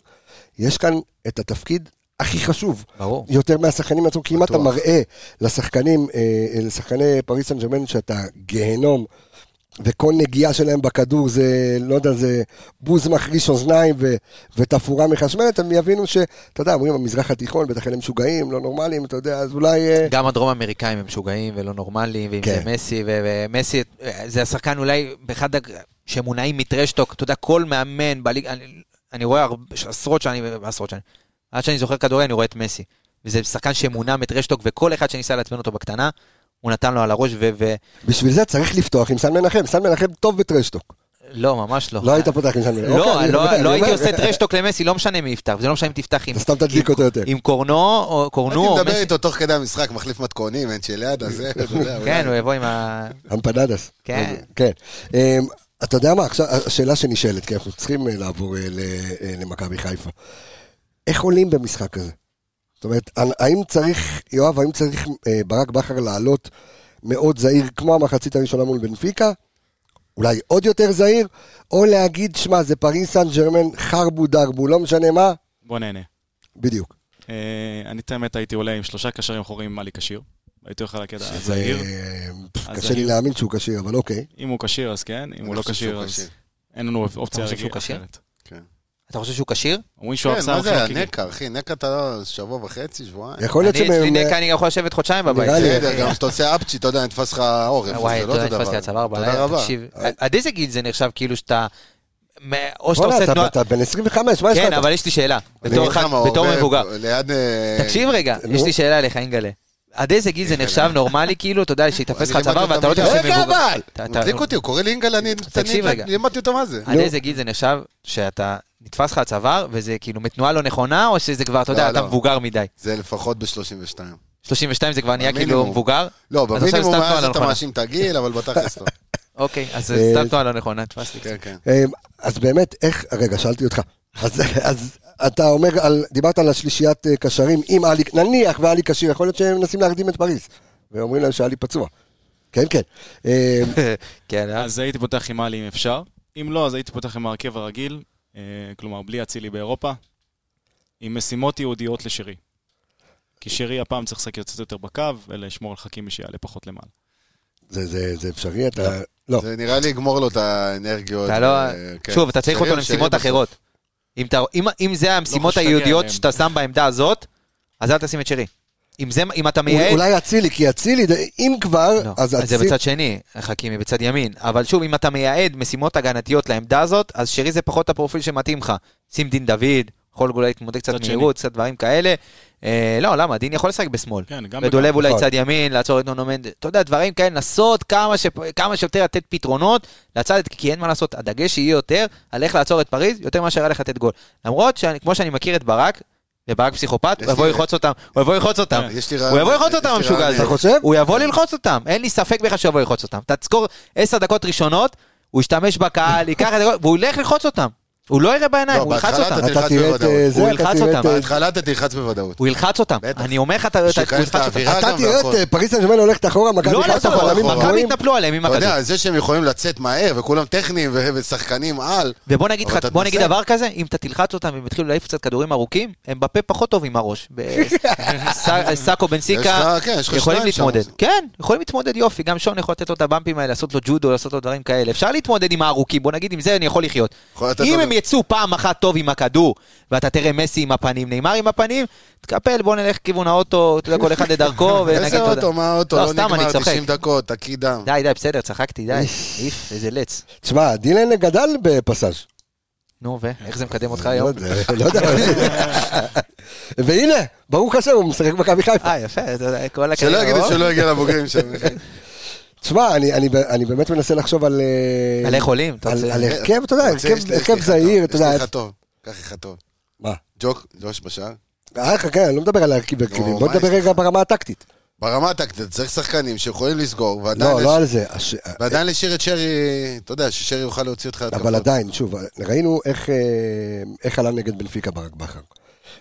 [SPEAKER 1] יש כאן את התפקיד הכי חשוב.
[SPEAKER 3] ברור.
[SPEAKER 1] יותר מהשחקנים עצמם, כי אם אתה
[SPEAKER 4] בטוח.
[SPEAKER 1] מראה לשחקנים, אה, לשחקני פריס סן ג'רמן שאתה גהנום, וכל נגיעה שלהם בכדור זה, לא יודע, זה בוז מחריש אוזניים ו, ותפאורה מחשמלת, הם יבינו שאתה יודע, אומרים המזרח התיכון, בטח אלה משוגעים, לא נורמלים, אתה יודע, אז אולי... אה,
[SPEAKER 3] גם הדרום אמריקאים הם משוגעים ולא נורמליים, ואם
[SPEAKER 1] כן.
[SPEAKER 3] זה מסי, ו- ומסי אה, זה השחקן אולי באחד הג- שמונעים מטרשטוק, אתה יודע, כל מאמן בליגה, אני, אני רואה הרבה, עשרות שנים, עשרות שנים, עד שאני זוכר כדורגל אני רואה את מסי, וזה שחקן שמונע מטרשטוק, וכל אחד שניסה לעצבן אותו בקטנה, הוא נתן לו על הראש, ו... ו-
[SPEAKER 1] בשביל זה צריך לפתוח עם סן מנחם, סן מנחם טוב בטרשטוק.
[SPEAKER 3] לא, ממש לא.
[SPEAKER 1] לא היית פותח עם ז'אן מילר. אוקיי,
[SPEAKER 3] לא,
[SPEAKER 1] אני-
[SPEAKER 3] לא-
[SPEAKER 1] אני
[SPEAKER 3] לא
[SPEAKER 1] אומר-
[SPEAKER 3] הייתי עושה טרשטוק למסי, לא משנה מי יפתח, וזה לא משנה אם תפתח עם-
[SPEAKER 1] אתה סתם תדליק
[SPEAKER 3] עם-
[SPEAKER 1] אותו יותר.
[SPEAKER 3] עם קורנו, או קורנו,
[SPEAKER 4] הייתי
[SPEAKER 3] או
[SPEAKER 4] מדבר
[SPEAKER 3] מסי.
[SPEAKER 4] איתו תוך כדי המשחק, מחליף מתכונים, אין שליד, אז זה, אתה יודע, אולי-
[SPEAKER 3] כן, הוא יבוא עם ה...
[SPEAKER 1] אמפנדס.
[SPEAKER 3] כן.
[SPEAKER 1] אז- כן. אמ, אתה יודע מה, עכשיו, השאלה שנשאלת, כי אנחנו צריכים אה, לעבור אה, ל- אה, למכבי חיפה. איך עולים במשחק הזה? זאת אומרת, ה- האם צריך, יואב, האם צריך אה, ברק בכר לעלות מאוד זהיר, כמו המחצית הראשונה מול בנפיקה? אולי עוד יותר זהיר? או להגיד, שמע, זה פריס סן ג'רמן, חרבו דרבו, לא משנה מה,
[SPEAKER 5] בוא נהנה.
[SPEAKER 1] בדיוק.
[SPEAKER 5] אה, אני את האמת הייתי עולה עם שלושה קשרים אחוריים עם עלי כשיר. הייתי הולך על הקטע הזהיר.
[SPEAKER 1] אה, פף, קשה לי
[SPEAKER 5] הזהיר.
[SPEAKER 1] להאמין שהוא כשיר, אבל אוקיי.
[SPEAKER 5] אם הוא כשיר אז כן, אם
[SPEAKER 4] אני
[SPEAKER 5] הוא לא
[SPEAKER 4] חושב שהוא
[SPEAKER 5] כשיר
[SPEAKER 4] כשיר.
[SPEAKER 5] אז אין לנו אופציה
[SPEAKER 3] חושב שהוא
[SPEAKER 5] רגילה
[SPEAKER 3] כשיר?
[SPEAKER 5] אחרת.
[SPEAKER 3] אתה חושב שהוא כשיר?
[SPEAKER 5] אומרים שהוא
[SPEAKER 4] כן,
[SPEAKER 5] אבסר
[SPEAKER 4] מה
[SPEAKER 5] הכי
[SPEAKER 4] זה,
[SPEAKER 5] נקי.
[SPEAKER 4] הנקע, אחי, נקע אתה לא, שבוע וחצי, שבועיים.
[SPEAKER 1] יכול
[SPEAKER 3] אני
[SPEAKER 1] להיות
[SPEAKER 3] אצלי
[SPEAKER 1] שהם... אה,
[SPEAKER 3] נקע, אני גם יכול לשבת חודשיים בבית.
[SPEAKER 1] נראה לי.
[SPEAKER 4] בסדר, גם כשאתה עושה אפצ'י, אתה יודע, נתפס לך העורף,
[SPEAKER 3] וואי,
[SPEAKER 4] זה
[SPEAKER 3] אתה
[SPEAKER 4] לא
[SPEAKER 3] יודע,
[SPEAKER 4] אותו דבר.
[SPEAKER 3] נתפסתי הצוואר
[SPEAKER 4] תודה
[SPEAKER 3] בלילה,
[SPEAKER 4] רבה.
[SPEAKER 3] תקשיב. עד איזה גיל זה נחשב כאילו שאתה... מ- או שאתה
[SPEAKER 1] בוא'נה,
[SPEAKER 3] עושה
[SPEAKER 1] אתה
[SPEAKER 3] תנועה...
[SPEAKER 1] אתה בן 25, מה יש לך?
[SPEAKER 3] כן,
[SPEAKER 1] אתה-
[SPEAKER 3] אבל יש לי שאלה.
[SPEAKER 4] אני
[SPEAKER 3] בתור
[SPEAKER 4] אגיד לך
[SPEAKER 3] אחד-
[SPEAKER 4] מה,
[SPEAKER 3] בתור
[SPEAKER 4] עובר
[SPEAKER 3] מבוגר.
[SPEAKER 4] ליד... אה,
[SPEAKER 3] תקשיב רגע,
[SPEAKER 1] נו.
[SPEAKER 3] יש לי שאלה אליך, אינגלה. עד איזה גיל זה נחשב נורמלי, כאילו, אתה יודע, שיתפס לך
[SPEAKER 4] אני
[SPEAKER 3] הצוואר
[SPEAKER 4] לימדתי
[SPEAKER 3] ואתה לא
[SPEAKER 4] אותם
[SPEAKER 3] יודע
[SPEAKER 4] רגע,
[SPEAKER 3] שמבוגר.
[SPEAKER 4] אבל!
[SPEAKER 3] אתה-
[SPEAKER 4] הוא
[SPEAKER 3] אתה-
[SPEAKER 4] מדליק אותי, הוא קורא לי אינגל, אני...
[SPEAKER 3] תקשיב
[SPEAKER 4] אני-
[SPEAKER 3] רגע.
[SPEAKER 4] לימדתי אותו מה זה.
[SPEAKER 3] עד
[SPEAKER 1] נו.
[SPEAKER 3] איזה גיל זה נחשב שאתה נתפס לך הצוואר, וזה כאילו מתנועה לא נכונה, או שזה כבר, אתה יודע,
[SPEAKER 4] לא,
[SPEAKER 3] אתה
[SPEAKER 4] לא.
[SPEAKER 3] מבוגר מדי.
[SPEAKER 4] זה לפחות ב-32.
[SPEAKER 3] 32 זה כבר נהיה כאילו
[SPEAKER 4] המינימום.
[SPEAKER 3] מבוגר?
[SPEAKER 4] לא,
[SPEAKER 3] אז עכשיו
[SPEAKER 4] במינימום
[SPEAKER 3] הסתמנו על
[SPEAKER 4] מאז אתה
[SPEAKER 3] הנכונה.
[SPEAKER 4] מאשים את הגיל, אבל בתכלס לא.
[SPEAKER 3] אוקיי, אז
[SPEAKER 1] אה,
[SPEAKER 3] סתם תנועה לא נכונה, נתפסתי.
[SPEAKER 4] כן, כן.
[SPEAKER 1] אמ, אז באמת, איך, רגע, שאלתי אותך. אז, אז אתה אומר, על, דיברת על השלישיית אה, קשרים עם עלי, נניח ועלי כשיר, יכול להיות שהם מנסים להרדים את פריז. ואומרים להם שעלי פצוע. כן, כן. אמ,
[SPEAKER 3] כן, אה?
[SPEAKER 5] אז הייתי פותח עם עלי אם אפשר. אם לא, אז הייתי פותח עם ההרכב הרגיל. אה, כלומר, בלי אצילי באירופה. עם משימות ייעודיות לשירי. כי שירי הפעם צריך לשחק קצת יותר בקו, ולשמור על חכימי שיעלה פחות למעלה.
[SPEAKER 1] זה, זה, זה אפשרי, אתה... לא.
[SPEAKER 4] זה נראה לי יגמור לו את האנרגיות.
[SPEAKER 3] אתה לא...
[SPEAKER 4] אה, כן.
[SPEAKER 3] שוב, אתה צריך
[SPEAKER 4] שרי-
[SPEAKER 3] אותו
[SPEAKER 4] שרי
[SPEAKER 3] למשימות
[SPEAKER 4] בסוף. לא
[SPEAKER 3] אחרות. אם אתה- אם- אם זה המשימות
[SPEAKER 5] חושב שתגיע
[SPEAKER 3] היהודיות
[SPEAKER 5] אליהם.
[SPEAKER 3] שאתה שם בעמדה הזאת, אז אל תשים את שרי. אם זה- אם אתה מייעד...
[SPEAKER 1] אולי אצילי, כי אצילי, זה- אם כבר,
[SPEAKER 3] לא,
[SPEAKER 1] אז
[SPEAKER 3] אז זה
[SPEAKER 1] אצילי...
[SPEAKER 3] בצד שני, חכימי בצד ימין. אבל שוב, אם אתה מייעד משימות הגנתיות לעמדה הזאת, אז שרי זה פחות הפרופיל שמתאים לך. שים דין דוד, יכול אולי להתמודד קצת
[SPEAKER 5] צד שני.
[SPEAKER 3] מהירות, קצת דברים כאלה. אה, לא, למה? דין יכול לשחק בשמאל.
[SPEAKER 5] כן, גם
[SPEAKER 3] ודולב אולי
[SPEAKER 1] נכון.
[SPEAKER 3] צד ימין, לעצור את נונו מנדל. אתה יודע, דברים כאלה, לנסות כמה, ש... כמה שיותר לתת פתרונות לצד, כי אין מה לעשות, הדגש יהיה יותר על איך לעצור את פריז, יותר מאשר על איך לתת גול. למרות שכמו שאני מכיר את ברק, וברק פסיכופת,
[SPEAKER 4] יש
[SPEAKER 3] הוא יבוא
[SPEAKER 4] לי-
[SPEAKER 3] ללחוץ אותם, הוא יבוא ללחוץ אותם.
[SPEAKER 4] יש לי
[SPEAKER 3] הוא יבוא ללחוץ אותם,
[SPEAKER 4] יש לי
[SPEAKER 3] המשוגע
[SPEAKER 4] רעיון.
[SPEAKER 3] הזה.
[SPEAKER 1] אתה חושב?
[SPEAKER 3] הוא יבוא ללחוץ אותם, אין לי ספק בכלל שהוא יבוא ללחוץ אותם. תזכור עשר דקות ראשונות, הוא ישתמש בקהל, ייקח את הגול, והוא ילך ללחוץ אותם. הוא לא יראה בעיניים,
[SPEAKER 4] לא,
[SPEAKER 3] הוא ילחץ
[SPEAKER 4] בהתחלה
[SPEAKER 3] אותם.
[SPEAKER 4] אתה
[SPEAKER 1] אתה תראה את אה,
[SPEAKER 4] הוא
[SPEAKER 1] זה, אתה
[SPEAKER 3] ילחץ
[SPEAKER 1] תראה את...
[SPEAKER 3] אותם.
[SPEAKER 1] אה,
[SPEAKER 4] בהתחלה אתה תלחץ בוודאות.
[SPEAKER 3] הוא ילחץ אותם.
[SPEAKER 4] בטח.
[SPEAKER 3] אני אומר לך, אתה- אתה- הוא
[SPEAKER 4] שייכנס
[SPEAKER 3] ילחץ אותם.
[SPEAKER 4] לאווירה
[SPEAKER 1] אתה
[SPEAKER 4] גם
[SPEAKER 1] תראה את
[SPEAKER 4] והכל.
[SPEAKER 1] אה, פריס סן ג'רמן הולכת אחורה, מכבי
[SPEAKER 3] לא
[SPEAKER 1] חיפה,
[SPEAKER 3] הולכת אחורה,
[SPEAKER 1] בלמים
[SPEAKER 4] אחורה.
[SPEAKER 3] מכבי
[SPEAKER 1] גבוהים.
[SPEAKER 3] התנפלו עליהם עם
[SPEAKER 4] אתה
[SPEAKER 3] הכדור.
[SPEAKER 4] יודע, זה שהם יכולים לצאת מהר, וכולם טכניים ו- ושחקנים על,
[SPEAKER 3] ובוא נגיד
[SPEAKER 4] אבל
[SPEAKER 3] לך,
[SPEAKER 4] אתה
[SPEAKER 3] בוא נגיד
[SPEAKER 4] תנסה.
[SPEAKER 3] דבר כזה, אם אתה תלחץ אותם והם יתחילו להעיף קצת כדורים ארוכים, הם בפה פחות טוב עם הראש. ב- ס- סאקו בן סיקה,
[SPEAKER 4] לך- כן, יש לך
[SPEAKER 3] יכולים
[SPEAKER 4] שניים שם.
[SPEAKER 3] להתמודד. כן, יכולים להתמודד יופי, גם שון יכול לתת לו את הבמפים האלה, לעשות לו ג'ודו, לעשות לו דברים כאלה. אפשר להתמודד עם הארוכים, בוא נגיד, עם זה אני יכול לחיות.
[SPEAKER 4] יכול לתת
[SPEAKER 3] אם
[SPEAKER 4] לו-
[SPEAKER 3] הם יצאו פעם אחת טוב עם הכדור, ואתה תראה מסי עם הפנים, נאמר עם הפנים, תקפל, בוא נלך כיוון האוטו, אתה יודע, כל אחד לדרכו, ונגיד
[SPEAKER 4] איזה
[SPEAKER 3] תודה.
[SPEAKER 4] אוטו, מה האוטו,
[SPEAKER 3] לא,
[SPEAKER 4] לא
[SPEAKER 3] סתם, אני
[SPEAKER 4] נגמר,
[SPEAKER 3] צוחק.
[SPEAKER 4] 90 דקות, תקי דם.
[SPEAKER 3] די, די, בסדר, צחקתי, די. איף, איזה לץ.
[SPEAKER 1] תשמע, דילן גדל בפסאז'.
[SPEAKER 3] נו, ואיך זה מקדם אותך
[SPEAKER 1] לא
[SPEAKER 3] היום?
[SPEAKER 1] יודע, לא יודע. והנה, ברוך השם, הוא משחק במכבי חיפה.
[SPEAKER 3] אה, יפה, אתה יודע, כל הקריירה.
[SPEAKER 4] שלא יגידו
[SPEAKER 1] לא?
[SPEAKER 3] או?
[SPEAKER 4] שלא הגיע לבוגרים שם.
[SPEAKER 1] תשמע, אני- אני ב- אני באמת מנסה לחשוב על... אה,
[SPEAKER 3] על איך עולים, אתה
[SPEAKER 1] על
[SPEAKER 3] רוצה-
[SPEAKER 1] על הרכב, אתה יודע,
[SPEAKER 4] רוצה, יש
[SPEAKER 1] הרכב-
[SPEAKER 4] לי- יש
[SPEAKER 1] הרכב
[SPEAKER 4] לי אחד
[SPEAKER 1] זהיר,
[SPEAKER 4] טוב,
[SPEAKER 1] אתה יודע.
[SPEAKER 4] יש לי אחד טוב, קח אחד טוב.
[SPEAKER 1] מה?
[SPEAKER 4] ג'וק, ג'וש בשער.
[SPEAKER 1] אה, חכה, אני לא מדבר על הרכיב הרכיבים,
[SPEAKER 4] לא,
[SPEAKER 1] בוא
[SPEAKER 4] מה יש
[SPEAKER 1] נדבר
[SPEAKER 4] לך?
[SPEAKER 1] רגע ברמה הטקטית.
[SPEAKER 4] ברמה הטקטית, צריך שחקנים שיכולים לסגור, ועדיין
[SPEAKER 1] לא,
[SPEAKER 4] יש-
[SPEAKER 1] לא על זה. הש-
[SPEAKER 4] ועדיין להשאיר את שרי, אתה יודע, ששרי יוכל להוציא אותך
[SPEAKER 1] אבל עדיין, שוב, ראינו איך, אה, איך עלה נגד בנפיקה ברק בכר.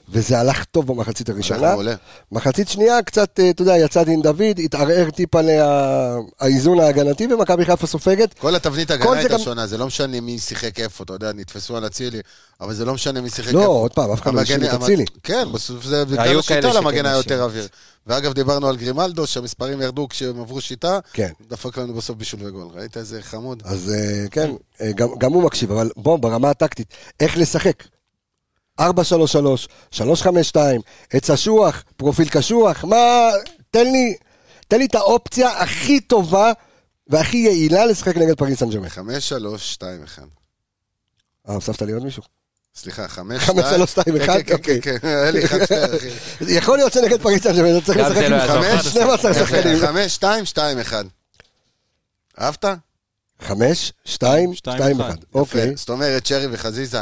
[SPEAKER 1] וזה הלך טוב במחצית הראשונה.
[SPEAKER 4] מעולה.
[SPEAKER 1] מחצית שנייה, קצת, אה, אתה יודע, יצא דין דוד, התערער טיפה לאיזון ההגנתי, ומכבי חיפה סופגת.
[SPEAKER 4] כל התבנית
[SPEAKER 1] כל
[SPEAKER 4] הגנה
[SPEAKER 1] זה
[SPEAKER 4] הייתה
[SPEAKER 1] גם-
[SPEAKER 4] שונה, זה לא משנה מי שיחק איפה, אתה יודע, נתפסו על אצילי, אבל זה לא משנה מי שיחק
[SPEAKER 1] לא,
[SPEAKER 4] איפה.
[SPEAKER 1] עוד פעם, אף אחד לא
[SPEAKER 4] המגן-
[SPEAKER 1] האשים את
[SPEAKER 4] המ-
[SPEAKER 1] אצילי.
[SPEAKER 4] כן, בסוף זה בגלל
[SPEAKER 3] היו כאלה
[SPEAKER 4] השיטה
[SPEAKER 3] שכן
[SPEAKER 4] למגן היה
[SPEAKER 3] האשימו.
[SPEAKER 4] יותר אוויר. ואגב, דיברנו על גרימלדו, שהמספרים ירדו כשהם עברו שיטה,
[SPEAKER 1] כן.
[SPEAKER 4] דפק לנו בסוף בישול וגול. ראית איזה חמוד?
[SPEAKER 1] אז אה, כן, אה, גם, גם הוא מקשיב, אבל בוא, ברמה הטקטית, איך לשחק? 4-3-3, 3-5-2, עץ אשוח, פרופיל קשוח, מה... תן לי, תן לי את האופציה הכי טובה והכי יעילה לשחק נגד פריס סן ג'רמן.
[SPEAKER 4] 5, 3, 2, 1.
[SPEAKER 1] אה, הוספת לי עוד מישהו?
[SPEAKER 4] סליחה, 5, 2.
[SPEAKER 1] חמש, שלוש, שתיים, אחד, אוקיי.
[SPEAKER 4] כן, כן, היה לי אחד, שתיים, אחי.
[SPEAKER 1] יכול להיות שנגד פריס סן ג'רמן, אתה צריך
[SPEAKER 3] גם
[SPEAKER 1] לשחק
[SPEAKER 3] זה
[SPEAKER 1] עם
[SPEAKER 3] לא יעזור.
[SPEAKER 1] חמש, 12 שחקנים.
[SPEAKER 4] 5, 2, 2, 1. אהבת?
[SPEAKER 1] חמש, שתיים,
[SPEAKER 5] שתיים,
[SPEAKER 1] שתיים,
[SPEAKER 5] אחד.
[SPEAKER 1] אחד. אוקיי.
[SPEAKER 4] כן, זאת אומרת, שרי וחזיזה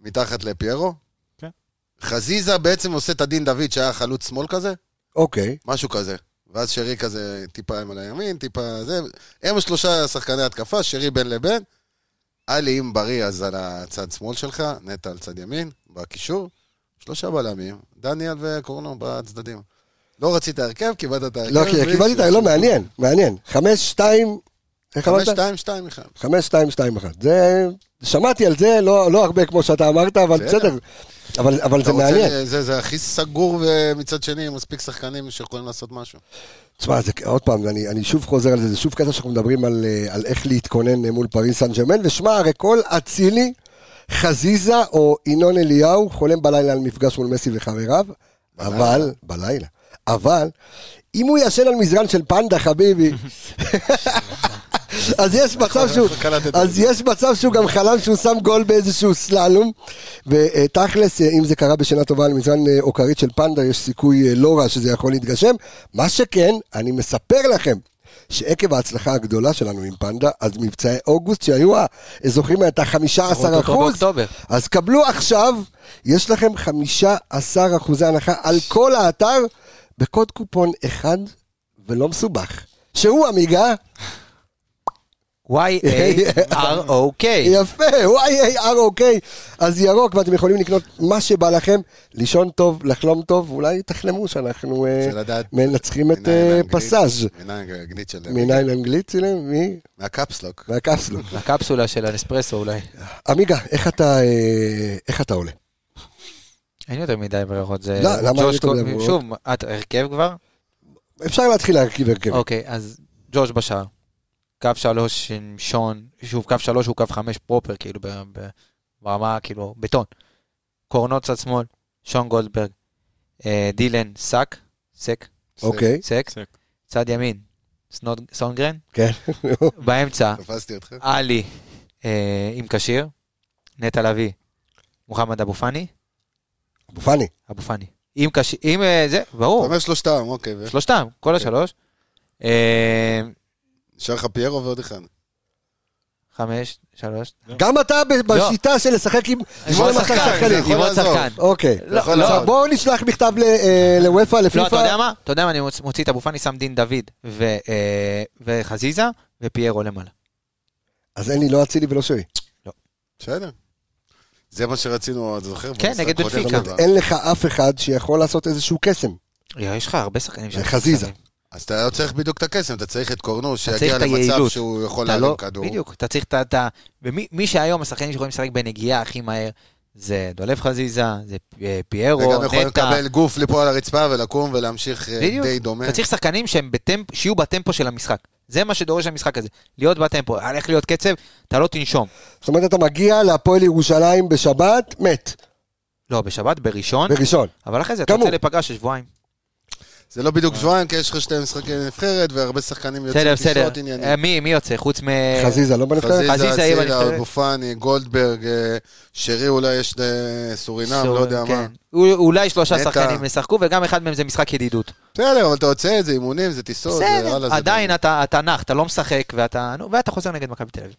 [SPEAKER 4] מתחת לפיירו.
[SPEAKER 5] כן.
[SPEAKER 4] חזיזה בעצם עושה את הדין דוד, שהיה חלוץ שמאל כזה,
[SPEAKER 1] אוקיי.
[SPEAKER 4] משהו כזה. ואז שרי כזה טיפה עם על הימין, טיפה זה. הם שלושה שחקני התקפה, שרי בין לבין. עלי, אם בריא, אז על הצד שמאל שלך, נטע על צד ימין, בקישור. שלושה בלמים, דניאל וקורנו בצדדים. לא רצית הרכב, קיבלת את ההרכב.
[SPEAKER 1] לא, כי קיבלתי את ה... לא, מעניין, מעניין. חמש, שתיים... איך
[SPEAKER 4] חמש,
[SPEAKER 1] אמרת?
[SPEAKER 4] שתיים, שתיים, אחד.
[SPEAKER 1] חמש, שתיים, שתיים, אחד. זה... שמעתי על זה, לא לא הרבה כמו שאתה אמרת, אבל
[SPEAKER 4] בסדר.
[SPEAKER 1] בסדר. אבל- אבל
[SPEAKER 4] אתה
[SPEAKER 1] זה
[SPEAKER 4] רוצה-
[SPEAKER 1] מעניין.
[SPEAKER 4] זה, זה הכי סגור, ומצד שני, מספיק שחקנים שיכולים לעשות משהו.
[SPEAKER 1] תשמע, זה, עוד פעם, אני, אני שוב חוזר על זה, זה שוב קטע שאנחנו מדברים על, אה, על איך להתכונן אה, מול פריס סן ג'רמן, ושמע, הרי כל אצילי, חזיזה או ינון אליהו חולם בלילה על מפגש מול מסי וחבריו, אבל, בלילה, אבל, אם הוא ישן על מזרן של פנדה, חביבי, אז יש מצב שהוא,
[SPEAKER 4] איך קלטת את
[SPEAKER 1] אז יש מצב שהוא גם חלם שהוא שם גול באיזשהו סללום. ותכלס, אה, אם זה קרה בשינה טובה על מזרן אה, אוקרית של פנדה, יש סיכוי אה, לא רע שזה יכול להתגשם. מה שכן, אני מספר לכם. שעקב ההצלחה הגדולה שלנו עם פנדה, אז מבצעי אוגוסט שהיו, אה, זוכרים, הייתה 15
[SPEAKER 3] אותו
[SPEAKER 1] אחוז,
[SPEAKER 3] באוקטובר.
[SPEAKER 1] אז קבלו עכשיו, יש לכם 15 אחוזי הנחה על כל האתר, בקוד קופון אחד ולא מסובך, שהוא עמיגה
[SPEAKER 3] Y-A-R-O-K.
[SPEAKER 1] יפה, YAROK. אוקיי. אז ירוק, ואתם יכולים לקנות מה שבא לכם, לישון טוב, לחלום טוב, אולי תחלמו שאנחנו אה,
[SPEAKER 4] רוצה לדעת.
[SPEAKER 1] מנצחים את
[SPEAKER 4] מנין
[SPEAKER 1] אה,
[SPEAKER 4] האנגלית-
[SPEAKER 1] פסאז'.
[SPEAKER 4] מנין הגנית של...
[SPEAKER 1] מניין אנגלית צילם? מי?
[SPEAKER 4] מהקפסלוק.
[SPEAKER 1] מהקפסלו.
[SPEAKER 3] הקפסולה של הנספרסו אולי.
[SPEAKER 1] עמיגה, איך אתה אה, איך אתה עולה?
[SPEAKER 3] אין יותר מדי ברירות. זה
[SPEAKER 1] לא, למה אין
[SPEAKER 3] ג'וש
[SPEAKER 1] יותר
[SPEAKER 3] קו-
[SPEAKER 1] ברירות?
[SPEAKER 3] שוב, את הרכב כבר?
[SPEAKER 1] אפשר להתחיל להרכיב הרכב.
[SPEAKER 3] אוקיי, אז ג'וש בשער. קו שלוש עם שון, שוב, קו שלוש הוא קו חמש פרופר, כאילו, ב- ב- ברמה, כאילו, בטון. קורנו צד שמאל, שון גולדברג. אה, דילן, סק, סק,
[SPEAKER 1] אוקיי,
[SPEAKER 3] סק.
[SPEAKER 5] סק.
[SPEAKER 3] צד ימין, סנוד- סונגרן.
[SPEAKER 1] כן.
[SPEAKER 3] באמצע,
[SPEAKER 4] תפסתי אותך.
[SPEAKER 3] עלי אה, עם כשיר, נטע לביא, מוחמד אבו פאני,
[SPEAKER 1] אבו פאני.
[SPEAKER 3] אבו פאני. עם כשיר, עם אה, זה, ברור,
[SPEAKER 4] אתה אומר שלושתם, אוקיי. ו-
[SPEAKER 3] שלושתם, כל השלוש. אה,
[SPEAKER 4] נשאר לך פיירו ועוד אחד.
[SPEAKER 3] חמש, שלוש.
[SPEAKER 1] גם אתה ב- בשיטה של לשחק עם
[SPEAKER 3] עם
[SPEAKER 1] שמונה
[SPEAKER 3] עוד
[SPEAKER 1] עשר
[SPEAKER 3] לא. שחקן,
[SPEAKER 1] שחקנים.
[SPEAKER 4] יכול
[SPEAKER 3] עם עוד
[SPEAKER 4] לעזור.
[SPEAKER 3] שחקן.
[SPEAKER 1] אוקיי.
[SPEAKER 3] לא,
[SPEAKER 4] יכול
[SPEAKER 3] לא.
[SPEAKER 4] לעזור.
[SPEAKER 1] בואו נשלח מכתב ל- אה, לוופא,
[SPEAKER 3] לא, אתה
[SPEAKER 1] לפיפ"א.
[SPEAKER 3] יודע מה? אתה יודע מה, אני מוצ- מוציא את אבו פאני, שם דין דוד ו- אה, וחזיזה ופיירו למעלה.
[SPEAKER 1] אז אין לי לא אצילי ולא שרי.
[SPEAKER 4] בסדר. זה מה שרצינו, אתה זוכר?
[SPEAKER 3] כן,
[SPEAKER 4] במשחק
[SPEAKER 3] נגד
[SPEAKER 4] הקודם
[SPEAKER 3] בנפיקה.
[SPEAKER 4] שלך.
[SPEAKER 1] אין לך אף אחד שיכול לעשות איזשהו קסם.
[SPEAKER 3] יא, יש לך הרבה שחקנים שם.
[SPEAKER 1] חזיזה.
[SPEAKER 4] אז אתה לא צריך בדיוק את הקסם, אתה צריך את קורנו,
[SPEAKER 3] צריך
[SPEAKER 4] שיגיע
[SPEAKER 3] את
[SPEAKER 4] למצב
[SPEAKER 3] היעילות.
[SPEAKER 4] שהוא יכול
[SPEAKER 3] אתה לא,
[SPEAKER 4] להרים כדור.
[SPEAKER 3] בדיוק, אתה צריך את ה... את ה- ומי מי שהיום השחקנים שיכולים לשחק בנגיעה הכי מהר, זה דולב חזיזה, זה אה, פיירו,
[SPEAKER 4] וגם יכול
[SPEAKER 3] נטע.
[SPEAKER 4] לקבל גוף ליפול על הרצפה ולקום ולהמשיך אה,
[SPEAKER 3] בדיוק.
[SPEAKER 4] די דומה.
[SPEAKER 3] אתה צריך שחקנים שהם בטמפ... שיהיו בטמפו של המשחק. זה מה שדורש המשחק הזה. להיות בטמפו, הלך להיות קצב, אתה לא תנשום.
[SPEAKER 1] זאת אומרת, אתה מגיע להפועל ירושלים בשבת, מת,
[SPEAKER 3] לא, בשבת, בראשון,
[SPEAKER 1] בראשון.
[SPEAKER 3] אבל אחרי זה אתה
[SPEAKER 1] גמור.
[SPEAKER 3] יוצא לפגרה של שבועיים.
[SPEAKER 4] זה לא בדיוק שבועיים, כי יש לך שתי משחקי נבחרת, והרבה שחקנים
[SPEAKER 3] בסדר,
[SPEAKER 4] יוצאים
[SPEAKER 3] בסדר.
[SPEAKER 4] טיסות עניינים.
[SPEAKER 3] אה, מי מי יוצא? חוץ מ...
[SPEAKER 1] חזיזה לא בנבחרת?
[SPEAKER 4] חזיזה,
[SPEAKER 3] אה, חזיזה יהיה
[SPEAKER 4] אצילה,
[SPEAKER 3] בנבחרת.
[SPEAKER 4] אבו פאני, גולדברג, אה, שרי אולי יש אה, סורינם, לא
[SPEAKER 3] סורן,
[SPEAKER 4] יודע מה.
[SPEAKER 3] כן. אול- אולי שלושה
[SPEAKER 4] נטע.
[SPEAKER 3] שחקנים ישחקו, וגם אחד מהם זה משחק ידידות.
[SPEAKER 4] בסדר, אבל אתה יוצא את זה, אימונים, זה טיסות, זה יאללה,
[SPEAKER 3] בסדר,
[SPEAKER 4] זה...
[SPEAKER 3] עדיין אתה אתה נח, אתה לא משחק, ואתה נו, ואתה חוזר נגד מכבי תל אביב.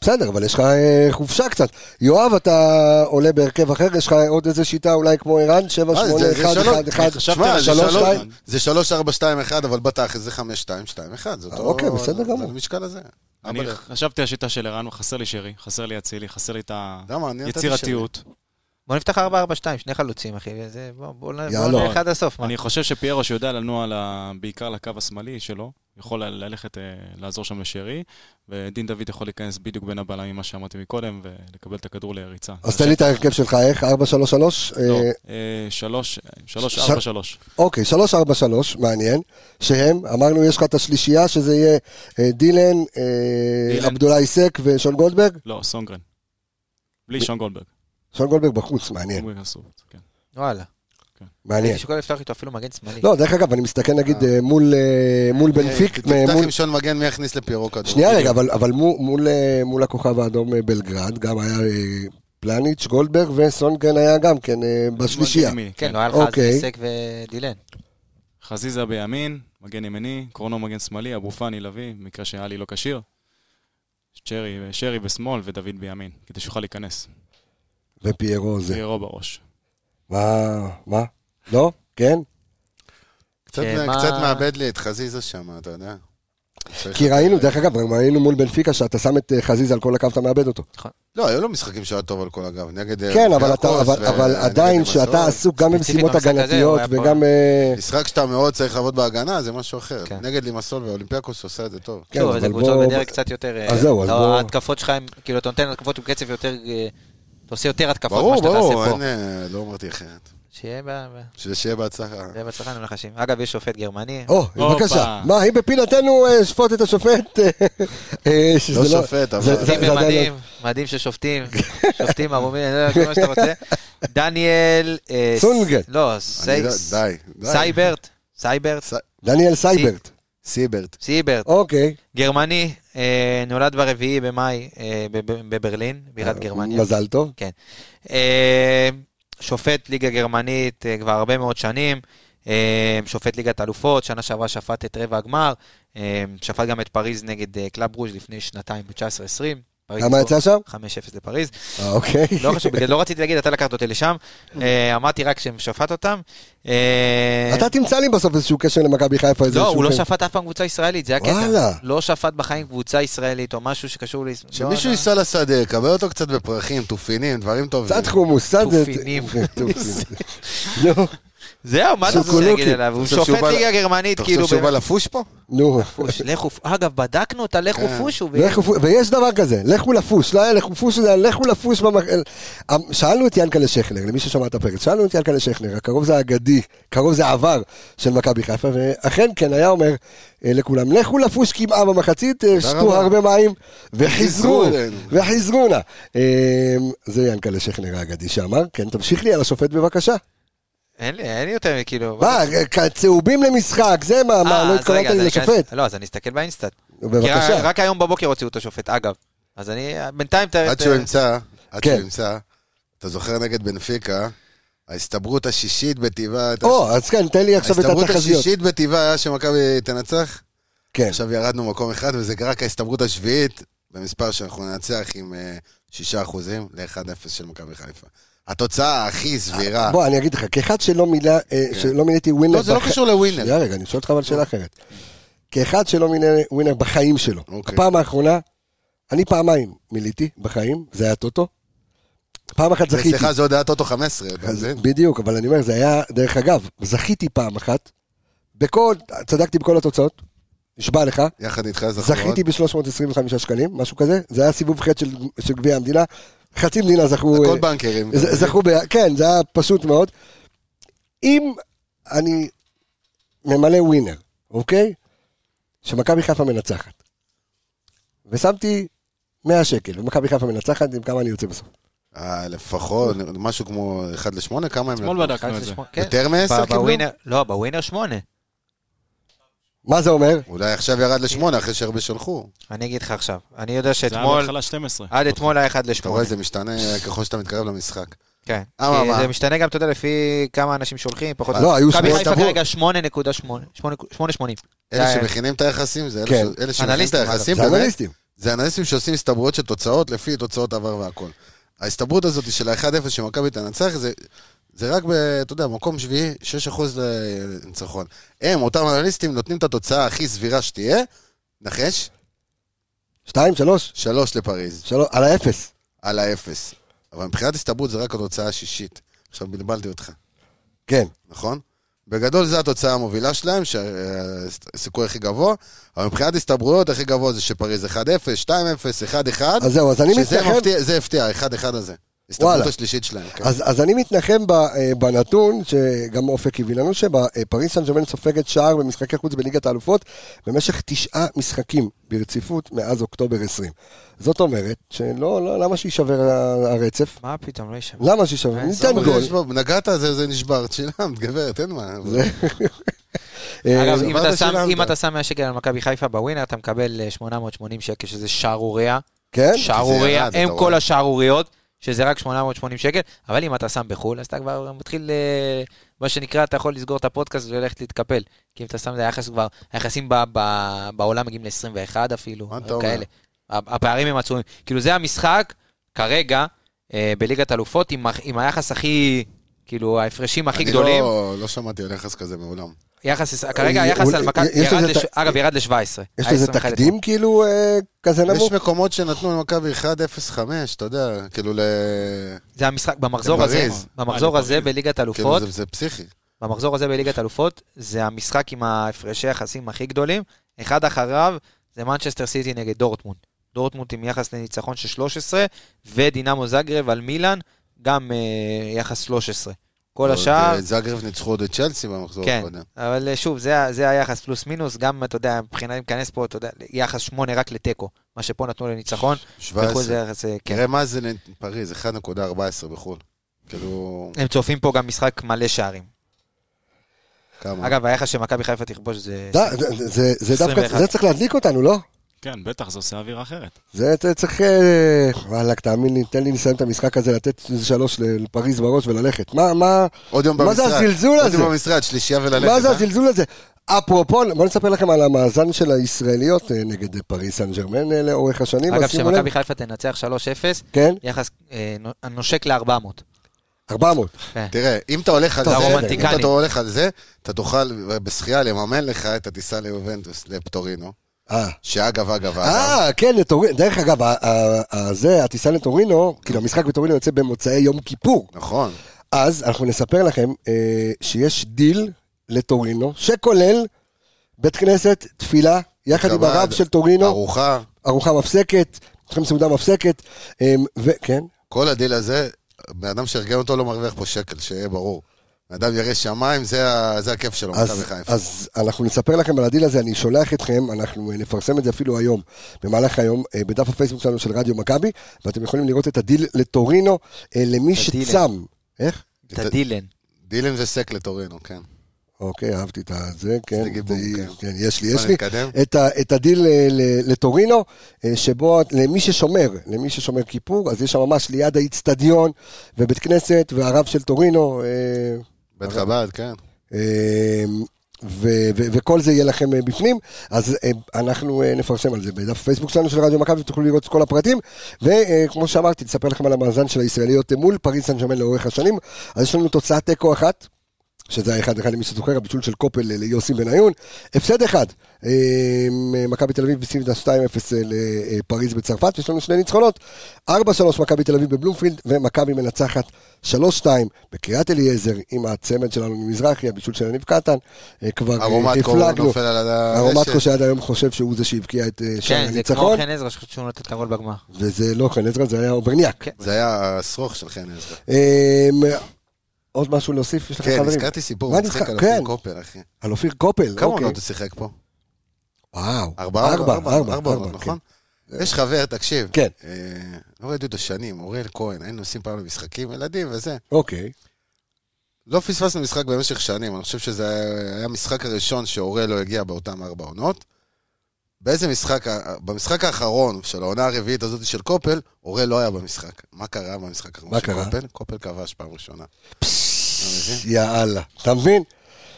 [SPEAKER 1] בסדר, אבל יש לך אה, חופשה קצת. יואב, אתה עולה בהרכב אחר, יש לך עוד איזה שיטה אולי כמו ערן? 7,
[SPEAKER 4] אה,
[SPEAKER 1] 8,
[SPEAKER 4] זה- זה
[SPEAKER 1] 1,
[SPEAKER 4] שלוש.
[SPEAKER 1] 1, 1.
[SPEAKER 5] חשבתי
[SPEAKER 4] שמע,
[SPEAKER 5] על
[SPEAKER 4] זה
[SPEAKER 1] שלוש,
[SPEAKER 4] שלוש,
[SPEAKER 1] שתיים.
[SPEAKER 4] זה 3, 4, 2, 1, אבל בתכלס זה 5, 2, 2, 1. זה אותו...
[SPEAKER 1] אוקיי, בסדר
[SPEAKER 4] לא- זה-
[SPEAKER 1] גמור.
[SPEAKER 4] זה המשקל הזה.
[SPEAKER 5] אני
[SPEAKER 4] אבל-
[SPEAKER 5] חשבתי על השיטה של ערן, חסר לי שרי, חסר לי אצילי, חסר לי את
[SPEAKER 4] למה? אני נתתי
[SPEAKER 5] היצירתיות.
[SPEAKER 3] בוא נפתח 4-4-2, שני חלוצים, אחי, וזה, בוא, בוא, נ- בוא
[SPEAKER 1] יאללה.
[SPEAKER 3] נלך עד הסוף. מה?
[SPEAKER 5] אני חושב שפיירו שיודע לנוע ל- בעיקר לקו השמאלי שלו, יכול ל- ללכת אה, לעזור שם לשרי, ודין דוד יכול להיכנס בדיוק בין הבלמים, מה שאמרתי מקודם, ולקבל את הכדור לריצה.
[SPEAKER 1] אז תן לי את ההרכב שלך, איך? 4, 3, 3?
[SPEAKER 5] לא, אה, שלוש, שלוש,
[SPEAKER 1] ש-
[SPEAKER 5] ארבע, שלוש.
[SPEAKER 1] אוקיי, 3, 4, 3, מעניין. שהם, אמרנו, יש לך את השלישייה, שזה יהיה אה, דילן, אה,
[SPEAKER 5] דילן.
[SPEAKER 1] עבדולאי סק ושון גולדברג.
[SPEAKER 5] לא, סונגרן. בלי שון גולדברג.
[SPEAKER 1] שון גולדברג בחוץ, מעניין.
[SPEAKER 5] הוא יכנסו, כן.
[SPEAKER 3] וואלה.
[SPEAKER 1] מעניין.
[SPEAKER 3] הייתי שוקל לפתוח איתו אפילו מגן שמאלי.
[SPEAKER 1] לא, דרך אגב, אני מסתכל נגיד אה, מול, אה, מול בנפיק, אה,
[SPEAKER 4] תפתח
[SPEAKER 1] מול
[SPEAKER 4] עם שון מגן, מי יכניס לפיירו כדור?
[SPEAKER 1] שנייה רגע, אבל, אבל מול, מול, אה, מול הכוכב האדום אה, בלגרד, גם היה אה, פלניץ', גולדברג וסונגרן היה גם כן אה, בשלישייה.
[SPEAKER 5] מגן כן. ימיני,
[SPEAKER 3] כן,
[SPEAKER 5] כן.
[SPEAKER 3] לא היה לך אז
[SPEAKER 1] אוקיי.
[SPEAKER 3] היסק ודילן.
[SPEAKER 5] חזיזה בימין, מגן ימיני, קורנו מגן שמאלי, אבו פאני לביא, במקרה שאלי לא כשיר. שרי, שרי בשמאל ודוד בימין, כדי שיוכל להיכנס.
[SPEAKER 1] ופיירו זה.
[SPEAKER 5] פיירו בראש.
[SPEAKER 1] מה? מה? לא? כן?
[SPEAKER 4] קצת
[SPEAKER 3] כן, מה-
[SPEAKER 4] קצת מאבד לי את חזיזה שם, אתה יודע. צריך-
[SPEAKER 1] כי
[SPEAKER 3] אה,
[SPEAKER 1] ראינו, דרך אגב, ראינו מול בנפיקה שאתה שם את אה, חזיזה על כל הקו, אתה מאבד אותו.
[SPEAKER 3] כן,
[SPEAKER 4] לא, היו לו משחקים שהיה טוב על כל הגב, נגד... אה,
[SPEAKER 1] כן, אבל, אתה,
[SPEAKER 4] אולימפיאקוס
[SPEAKER 1] אבל,
[SPEAKER 4] ו- אה,
[SPEAKER 1] אבל
[SPEAKER 3] לא
[SPEAKER 4] נגד
[SPEAKER 1] עדיין
[SPEAKER 4] לימסול.
[SPEAKER 1] שאתה עסוק גם
[SPEAKER 3] ספציפית
[SPEAKER 1] במשימות
[SPEAKER 3] במשחק הזה, הוא
[SPEAKER 1] הגנתיות
[SPEAKER 3] היה פה-
[SPEAKER 1] וגם... אה,
[SPEAKER 4] משחק שאתה מאוד צריך לעבוד בהגנה, זה משהו אחר.
[SPEAKER 3] כן.
[SPEAKER 4] נגד לימסול ואולימפיאקוס עושה את זה טוב.
[SPEAKER 1] כן,
[SPEAKER 3] שוב,
[SPEAKER 1] אבל
[SPEAKER 3] זה קבוצות
[SPEAKER 1] בוא-
[SPEAKER 3] בדרך קצת יותר... אה,
[SPEAKER 1] אז זהו, אז
[SPEAKER 3] לא,
[SPEAKER 1] בוא-
[SPEAKER 3] ההתקפות שלך הם... כאילו, אתה נותן התקפות עם קצב יותר... אה, אתה עושה יותר התקפות ממה
[SPEAKER 4] ברור,
[SPEAKER 3] שאתה
[SPEAKER 4] ברור,
[SPEAKER 3] תעשה פה.
[SPEAKER 4] אין... אה, לא אמרתי אחרת.
[SPEAKER 3] שיהיה ב- ב-
[SPEAKER 4] שזה שיהיה בהצלחה.
[SPEAKER 3] שיהיה בהצלחה, אני מנחשים. אגב, יש שופט גרמני.
[SPEAKER 1] או,
[SPEAKER 5] הופה.
[SPEAKER 1] בבקשה. מה, אם בפינתנו אה, שפוט את השופט? אה, אה, שזה
[SPEAKER 4] לא שופט, אבל...
[SPEAKER 1] זה- זה-
[SPEAKER 3] שופטים
[SPEAKER 1] עדיין לא-
[SPEAKER 3] מדהים, מדהים ששופטים, שופטים ערומים, אני לא יודע כל מה שאתה רוצה. דניאל... אה,
[SPEAKER 1] סונגה.
[SPEAKER 3] ס- לא,
[SPEAKER 4] אני לא-
[SPEAKER 3] סייס-
[SPEAKER 4] די, די.
[SPEAKER 3] סייברט, סייברט,
[SPEAKER 1] דניאל סייברט.
[SPEAKER 4] סיברט.
[SPEAKER 3] סייברט,
[SPEAKER 1] אוקיי.
[SPEAKER 3] גרמני, אה, נולד ברביעי במאי אה, בב- בברלין, בירת גרמניה.
[SPEAKER 1] מזל טוב.
[SPEAKER 3] כן. אה, שופט ליגה גרמנית אה, כבר הרבה מאוד שנים, אה, שופט ליגת אלופות, שנה שעברה שפט את רבע הגמר, אה, שפט גם את פריז נגד אה, קלאב רוז' לפני שנתיים, ב-19-20.
[SPEAKER 1] כמה יצא שם?
[SPEAKER 3] 5-0 לפריז.
[SPEAKER 1] אה, אוקיי.
[SPEAKER 3] לא חשוב, בגלל- לא רציתי להגיד, אתה לקחת אותי לשם. אה, אמרתי רק שהם שפט אותם. אה,
[SPEAKER 1] אתה תמצא לי בסוף איזשהו קשר למכבי חיפה.
[SPEAKER 3] לא,
[SPEAKER 1] איזשהו
[SPEAKER 3] הוא לא
[SPEAKER 1] שם.
[SPEAKER 3] שפט אף פעם קבוצה ישראלית, זה הקטע.
[SPEAKER 1] וואלה.
[SPEAKER 3] לא שפט בחיים קבוצה ישראלית או משהו שקשור ל...
[SPEAKER 1] לא,
[SPEAKER 3] לא,
[SPEAKER 4] שמישהו ייסע לשדה, יקבל אותו קצת בפרחים, תופינים, דברים טובים.
[SPEAKER 1] קצת חומוס, קצת... זה-
[SPEAKER 3] תופינים.
[SPEAKER 1] תופינים. נו,
[SPEAKER 3] זהו, מה אתה רוצה
[SPEAKER 1] סוקולוקי.
[SPEAKER 3] להגיד עליו? הוא
[SPEAKER 4] אתה חושב שהוא
[SPEAKER 3] שופט
[SPEAKER 4] בא ל-
[SPEAKER 3] ליגה גרמנית,
[SPEAKER 4] אתה חושב
[SPEAKER 3] כאילו...
[SPEAKER 4] שהוא
[SPEAKER 3] באמת.
[SPEAKER 4] בא לפוש פה?
[SPEAKER 1] נו.
[SPEAKER 3] פוש, לכו, אגב, בדקנו אותה, לכו פושו. ו-
[SPEAKER 1] לכו פו- ויש דבר כזה, לכו לפוש, לא היה לכו פוש, זה היה לכו לפוש. במח- אה, שאלנו את ינקלה שכנר, למי ששמע את הפרק, שאלנו את ינקלה שכנר, הקרוב זה האגדי, קרוב זה העבר של מכבי חיפה, ואכן כן היה אומר אה, לכולם, לכו לפוש קמעה במחצית, אה, שתו
[SPEAKER 4] רבה.
[SPEAKER 1] הרבה מים וחיזרו,
[SPEAKER 4] חיזרו אלינו.
[SPEAKER 1] וחיזרו נא. אה, זה ינקלה שכנר האגדי שאמר, כן, תמשיך לי על השופט בבקשה.
[SPEAKER 3] אין לי, אין לי יותר, כאילו...
[SPEAKER 1] מה, אה, צהובים למשחק, זה מה, מה,
[SPEAKER 3] אה,
[SPEAKER 1] לא
[SPEAKER 3] אז רגע,
[SPEAKER 1] התכוונת
[SPEAKER 3] אז
[SPEAKER 1] לי
[SPEAKER 3] אני
[SPEAKER 1] לשופט.
[SPEAKER 3] אכנס- לא, אז אני אסתכל באינסטאט. כי
[SPEAKER 1] בבקשה.
[SPEAKER 3] רק היום בבוקר הוציאו את השופט, אגב. אז אני, בינתיים... ת-
[SPEAKER 4] עד
[SPEAKER 3] ת-
[SPEAKER 4] שהוא ימצא, עד
[SPEAKER 1] כן.
[SPEAKER 4] שהוא ימצא, אתה זוכר נגד בנפיקה, ההסתברות השישית בטבעה, הייתה-
[SPEAKER 1] או, אז כן, תן לי עכשיו את
[SPEAKER 4] ההסתברות
[SPEAKER 1] התחזיות.
[SPEAKER 4] השישית בטבעה היה שמכבי תנצח,
[SPEAKER 1] כן.
[SPEAKER 4] עכשיו ירדנו מקום אחד, וזה רק ההסתברות השביעית, במספר שאנחנו ננצח עם אה, שישה אחוזים ל-1-0 של מכבי חיפה. התוצאה הכי סבירה.
[SPEAKER 1] בוא, אני אגיד לך, כאחד שלא מילא, אה, שלא מילאתי ווינר...
[SPEAKER 4] אה. כן. לא, זה לא
[SPEAKER 1] בח-
[SPEAKER 4] קשור לווינר.
[SPEAKER 1] שנייה רגע, אני שואל אותך אבל שאלה אחרת. כאחד שלא מילא ווינר בחיים שלו,
[SPEAKER 4] אוקיי.
[SPEAKER 1] הפעם האחרונה, אני פעמיים מילאתי בחיים, זה היה טוטו. פעם אחת זכיתי.
[SPEAKER 4] אצלך זה עוד היה טוטו 15, אתה
[SPEAKER 1] אז
[SPEAKER 4] מבין?
[SPEAKER 1] בדיוק, אבל אני אומר, זה היה, דרך אגב, זכיתי פעם אחת, בכל, צדקתי בכל התוצאות, נשבע לך,
[SPEAKER 4] יחד איתך זכו עוד.
[SPEAKER 1] זכיתי ב-325 שקלים, משהו כזה, זה היה סיבוב חטא של- של גביע המדינה, חצי מדינה זכו...
[SPEAKER 4] הכל
[SPEAKER 1] אה,
[SPEAKER 4] בנקרים.
[SPEAKER 1] ז- זכו ב... כן, זה היה פשוט מאוד. אם אני ממלא ווינר, אוקיי? שמכבי חיפה מנצחת, ושמתי 100 שקל, ומכבי חיפה מנצחת, עם כמה אני יוצא בסוף.
[SPEAKER 4] אה, לפחות, משהו כמו 1 ל-8, כמה הם...
[SPEAKER 5] אתמול בדקנו את זה.
[SPEAKER 3] שמונה, כן.
[SPEAKER 4] יותר מ-10
[SPEAKER 3] ב-
[SPEAKER 4] קיבלו?
[SPEAKER 3] בווינר- לא, בווינר שמונה.
[SPEAKER 1] מה זה אומר?
[SPEAKER 4] אולי עכשיו ירד לשמונה, אחרי שהרבה שלחו.
[SPEAKER 3] אני אגיד לך עכשיו. אני יודע
[SPEAKER 5] זה היה
[SPEAKER 3] שאתמול,
[SPEAKER 5] בהתחלה 12.
[SPEAKER 3] עד אתמול היה 1
[SPEAKER 4] אתה רואה,
[SPEAKER 3] ל-8.
[SPEAKER 4] זה משתנה ככל שאתה מתקרב למשחק.
[SPEAKER 3] כן.
[SPEAKER 4] אממה.
[SPEAKER 3] כי זה משתנה גם, אתה יודע, לפי כמה אנשים שולחים, פחות...
[SPEAKER 1] לא, היו
[SPEAKER 3] מכבי
[SPEAKER 1] שמונה
[SPEAKER 3] חיפה
[SPEAKER 1] טבעו.
[SPEAKER 3] כרגע 8.8. 8.80.
[SPEAKER 4] אלה
[SPEAKER 3] זה-
[SPEAKER 4] שמכינים את היחסים, זה אלה
[SPEAKER 1] כן.
[SPEAKER 4] ש- אלה שמכינים את
[SPEAKER 3] אנליסטים,
[SPEAKER 4] היחסים,
[SPEAKER 1] זה
[SPEAKER 4] באמת,
[SPEAKER 1] אנליסטים.
[SPEAKER 4] זה אנליסטים שעושים הסתברויות של תוצאות לפי תוצאות עבר והכל. ההסתברות הזאת של ה-1-0 שמכבי תנצח, זה- זה רק, ב- אתה יודע, מקום שביעי, 6% לניצחון. הם, אותם אנליסטים, נותנים את התוצאה הכי סבירה שתהיה, נחש,
[SPEAKER 1] שתיים, שלוש,
[SPEAKER 4] 3 לפריז,
[SPEAKER 1] שלוש, על האפס.
[SPEAKER 4] על האפס. אבל מבחינת הסתברות זה רק התוצאה השישית. עכשיו בלבלתי אותך.
[SPEAKER 1] כן.
[SPEAKER 4] נכון? בגדול זו התוצאה המובילה שלהם, שהסיכוי הכי גבוה, אבל מבחינת הסתברויות הכי גבוה זה שפריז 1-0, 2-0, 1-1,
[SPEAKER 1] אז זהו, אז אני
[SPEAKER 4] שזה
[SPEAKER 1] מתנחם...
[SPEAKER 4] מפתיע, זה הפתיע, ה-1-1 הזה. הסתברות
[SPEAKER 1] וואלה.
[SPEAKER 4] השלישית שלהם. כן.
[SPEAKER 1] אז, אז אני מתנחם ב, אה, בנתון שגם אופק הביא לנו, שפריס סן ג'רמן סופגת שער במשחקי חוץ בליגת האלופות במשך תשעה משחקים ברציפות מאז אוקטובר 20. זאת אומרת שלא, לא, למה שיישבר ה- הרצף?
[SPEAKER 3] מה פתאום, לא ישב.
[SPEAKER 1] למה שיישבר?
[SPEAKER 3] אה,
[SPEAKER 1] ניתן
[SPEAKER 4] אבל
[SPEAKER 1] גול.
[SPEAKER 4] יש פה- נגעת, זה זה נשבר, שילמת, גברת, אין מה.
[SPEAKER 1] אה,
[SPEAKER 3] אגב,
[SPEAKER 4] זה
[SPEAKER 3] אם
[SPEAKER 4] מה
[SPEAKER 3] אתה
[SPEAKER 4] אתה
[SPEAKER 3] שם-
[SPEAKER 4] שילמת?
[SPEAKER 3] אם אתה שם 100 שקל על מכבי חיפה בווינר, אתה מקבל אה, 880 שקל, שזה שערוריה.
[SPEAKER 1] כן?
[SPEAKER 3] שערוריה,
[SPEAKER 4] זה ירד,
[SPEAKER 3] הם
[SPEAKER 4] אתה
[SPEAKER 3] כל
[SPEAKER 4] רואה.
[SPEAKER 3] השערוריות, שזה רק 880 שקל, אבל אם אתה שם בחו"ל, אז אתה כבר מתחיל, אה, מה שנקרא, אתה יכול לסגור את הפודקאסט וללכת להתקפל. כי אם אתה שם, זה היחס כבר, היחסים ב- ב- בעולם מגיעים ל-21 אפילו,
[SPEAKER 4] מה אתה
[SPEAKER 3] דברים
[SPEAKER 4] אומר?
[SPEAKER 3] כאלה. הפערים הם עצומים. כאילו זה המשחק, כרגע, אה, בליגת אלופות, עם, ה- עם היחס הכי, כאילו ההפרשים הכי גדולים.
[SPEAKER 4] אני לא- לא שמעתי על יחס כזה מעולם.
[SPEAKER 3] יחס, כרגע
[SPEAKER 1] אה,
[SPEAKER 3] היחס
[SPEAKER 1] אולי-
[SPEAKER 3] על מכבי,
[SPEAKER 1] יש
[SPEAKER 3] ירד
[SPEAKER 1] לזה
[SPEAKER 3] לש-
[SPEAKER 1] ת-
[SPEAKER 3] אגב, ירד ל-17.
[SPEAKER 1] יש לזה תקדים כאילו אה, כזה
[SPEAKER 4] יש
[SPEAKER 1] נמוך?
[SPEAKER 4] מקומות שנתנו למכבי 1-0-5, אתה יודע, כאילו ל...
[SPEAKER 3] זה המשחק במחזור הזה,
[SPEAKER 4] לפריז.
[SPEAKER 3] במחזור
[SPEAKER 5] אה,
[SPEAKER 3] הזה בליגת
[SPEAKER 1] כן,
[SPEAKER 4] כאילו
[SPEAKER 3] אלופות,
[SPEAKER 4] זה- זה פסיכי.
[SPEAKER 3] במחזור הזה בליגת אלופות, זה המשחק עם ההפרשי היחסים הכי גדולים. אחד אחריו זה מנצ'סטר סיטי נגד דורטמונד. דורטמונד עם יחס לניצחון של 13, ודינמו זגרב על מילאן, גם אה, יחס 13. כל
[SPEAKER 4] אבל
[SPEAKER 3] השאר,
[SPEAKER 1] אה,
[SPEAKER 4] תראה, זאגרב ניצחו עוד לא, את צ'לסי במחזור
[SPEAKER 3] כן.
[SPEAKER 4] הקודם.
[SPEAKER 3] אבל אה, שוב, זה, ה- זה היחס פלוס מינוס, גם, אתה יודע, מבחינת, אם ניכנס פה, אתה יודע, יחס 8 רק לתיקו. מה שפה נתנו לניצחון, בחו"ל
[SPEAKER 4] 17.
[SPEAKER 3] זה יחס, אה, כן.
[SPEAKER 4] תראה מה זה נ- פריז, 1.14 בחו"ל. כאילו,
[SPEAKER 3] הם צופים פה גם משחק מלא שערים.
[SPEAKER 1] אה.
[SPEAKER 4] כמה?
[SPEAKER 3] אגב, היחס שמכבי חיפה תכבוש זה...
[SPEAKER 1] ד- זה- זה- זה דווקא,
[SPEAKER 3] 21.
[SPEAKER 1] זה צריך להדליק אותנו, לא?
[SPEAKER 5] כן, בטח, זה עושה אווירה אחרת.
[SPEAKER 1] זה זה צריך... אה, וואלכ, תאמין לי, תן לי לסיים את המשחק הזה, לתת איזה שלוש לפריז בראש וללכת. מה, מה,
[SPEAKER 4] עוד יום
[SPEAKER 1] מה
[SPEAKER 4] במשרד.
[SPEAKER 1] זה הזלזול
[SPEAKER 4] עוד
[SPEAKER 1] הזה?
[SPEAKER 4] יום במשרד, שלישייה וללכת.
[SPEAKER 1] מה זה
[SPEAKER 4] אה?
[SPEAKER 1] הזלזול הזה? אפרופו, בואו נספר לכם על המאזן של הישראליות אה, נגד אה, פריס סן ג'רמן אה, לאורך השנים.
[SPEAKER 3] אגב,
[SPEAKER 1] אז שימו לב.
[SPEAKER 3] כשמכבי חיפה תנצח 3-0,
[SPEAKER 1] כן,
[SPEAKER 3] יחס אה, נו- נושק כן, ל-400.
[SPEAKER 1] 400.
[SPEAKER 4] תראה, אם אתה הולך על
[SPEAKER 1] כן. טוב,
[SPEAKER 4] זה, אם
[SPEAKER 3] הרומנטיקני.
[SPEAKER 4] אתה הולך על זה, אתה תוכל בשחייה לממן לך את הטיסה ליובנטוס, לפטורינו.
[SPEAKER 1] אה.
[SPEAKER 4] שאגב, אגב, אגב,
[SPEAKER 1] אה, כן, לטורינו. דרך אגב, ה- ה- ה- זה, הטיסה לטורינו, כאילו המשחק בטורינו יוצא במוצאי יום כיפור.
[SPEAKER 4] נכון.
[SPEAKER 1] אז אנחנו נספר לכם אה, שיש דיל לטורינו, שכולל בית כנסת, תפילה, יחד עם
[SPEAKER 4] קב"ד,
[SPEAKER 1] הרב של טורינו,
[SPEAKER 4] ארוחה,
[SPEAKER 1] ארוחה מפסקת, אוכלים סעודה מפסקת, אה, וכן,
[SPEAKER 4] כל הדיל הזה, בן אדם שארגן אותו לא מרוויח פה שקל, שיהיה ברור. בן אדם ירא שמיים, זה ה- זה הכיף שלו, מכבי
[SPEAKER 1] אז,
[SPEAKER 4] חיפה.
[SPEAKER 1] אז אנחנו נספר לכם על הדיל הזה, אני שולח אתכם, אנחנו אה, נפרסם את זה אפילו היום, במהלך היום, אה, בדף הפייסבוק שלנו של רדיו מכבי, ואתם יכולים לראות את הדיל לטורינו, אה, למי
[SPEAKER 3] הדילן.
[SPEAKER 1] שצם. איך?
[SPEAKER 3] את הדילן.
[SPEAKER 4] דילן וסק לטורינו, כן.
[SPEAKER 1] אוקיי, אהבתי את הזה, כן,
[SPEAKER 4] זה גיבור,
[SPEAKER 1] זה-
[SPEAKER 4] כן.
[SPEAKER 1] כן, יש לי, יש
[SPEAKER 4] בוא
[SPEAKER 1] לי.
[SPEAKER 4] נתקדם.
[SPEAKER 1] את, ה, את הדיל אה, ל- לטורינו, אה, שבו למי ששומר, למי ששומר כיפור, אז יש שם ממש ליד האיצטדיון, ובית כנסת, והרב של טורינו, אה,
[SPEAKER 4] בית חב"ד, כן.
[SPEAKER 1] אה, ו- ו- וכל זה יהיה לכם אה, בפנים, אז אה, אנחנו אה, נפרסם על זה בדף הפייסבוק שלנו של רדיו מכבי, ותוכלו לראות את כל הפרטים, וכמו שאמרתי, נספר לכם על המאזן של הישראליות מול פריס סן ג'רמן לאורך השנים, אז יש לנו תוצאת תיקו אחת. שזה היה אחד אחד למי שזוכר, הבישול של קופל אה, ליוסי בניון. הפסד אחד, אה, מכבי תל אביב בסביבה 2-0 אה, לפריז בצרפת, ויש לנו שני ניצחונות, 4-3 מכבי תל אביב בבלומפילד, ומכבי מנצחת 3-2 בקריית אליעזר, עם הצמד שלנו ממזרחי, הבישול של יניב קטן, אה, כבר אה,
[SPEAKER 4] ארומטקו
[SPEAKER 1] הפלגנו.
[SPEAKER 4] נופל על הרשת.
[SPEAKER 1] ארומטקו שעד היום חושב שהוא זה שהבקיע את אה, שער
[SPEAKER 3] כן, זה כמו
[SPEAKER 1] הניצחון,
[SPEAKER 3] חן עזרא שהוא נותן את הגול בגמר.
[SPEAKER 1] וזה לא חן עזרא, זה היה אוברניאק.
[SPEAKER 3] כן.
[SPEAKER 4] זה היה השרוך של חן עזרא.
[SPEAKER 1] אה, עוד משהו להוסיף? יש לך
[SPEAKER 4] כן,
[SPEAKER 1] חברים?
[SPEAKER 4] הזכרתי סיפור
[SPEAKER 1] מה
[SPEAKER 4] מצחיק
[SPEAKER 1] נזכר?
[SPEAKER 4] על
[SPEAKER 1] כן.
[SPEAKER 4] אופיר קופר, אחי.
[SPEAKER 1] על אופיר קופל,
[SPEAKER 4] כמה
[SPEAKER 1] אוקיי.
[SPEAKER 4] עונות הוא שיחק פה?
[SPEAKER 1] וואו,
[SPEAKER 4] ארבע,
[SPEAKER 1] ארבע, ארבע, כן.
[SPEAKER 4] ארבע,
[SPEAKER 1] ארבע,
[SPEAKER 4] נכון? יש חבר, תקשיב.
[SPEAKER 1] כן.
[SPEAKER 4] אה, לא ראיתי אותו שנים, אוריאל כהן, היינו נוסעים פעם למשחקים, ילדים וזה.
[SPEAKER 1] אוקיי.
[SPEAKER 4] לא פספסנו משחק במשך שנים, אני חושב שזה היה- היה המשחק הראשון שאוריאל לא הגיע באותם ארבע עונות. באיזה משחק, ה- במשחק האחרון של העונה הרביעית הזאת של קופל, אוריאל לא היה במשחק. מה קרה במשחק האחרון
[SPEAKER 1] מה
[SPEAKER 4] של
[SPEAKER 1] קרה?
[SPEAKER 4] קופל? קופל כבש פעם ראשונה.
[SPEAKER 1] יאללה. אתה מבין?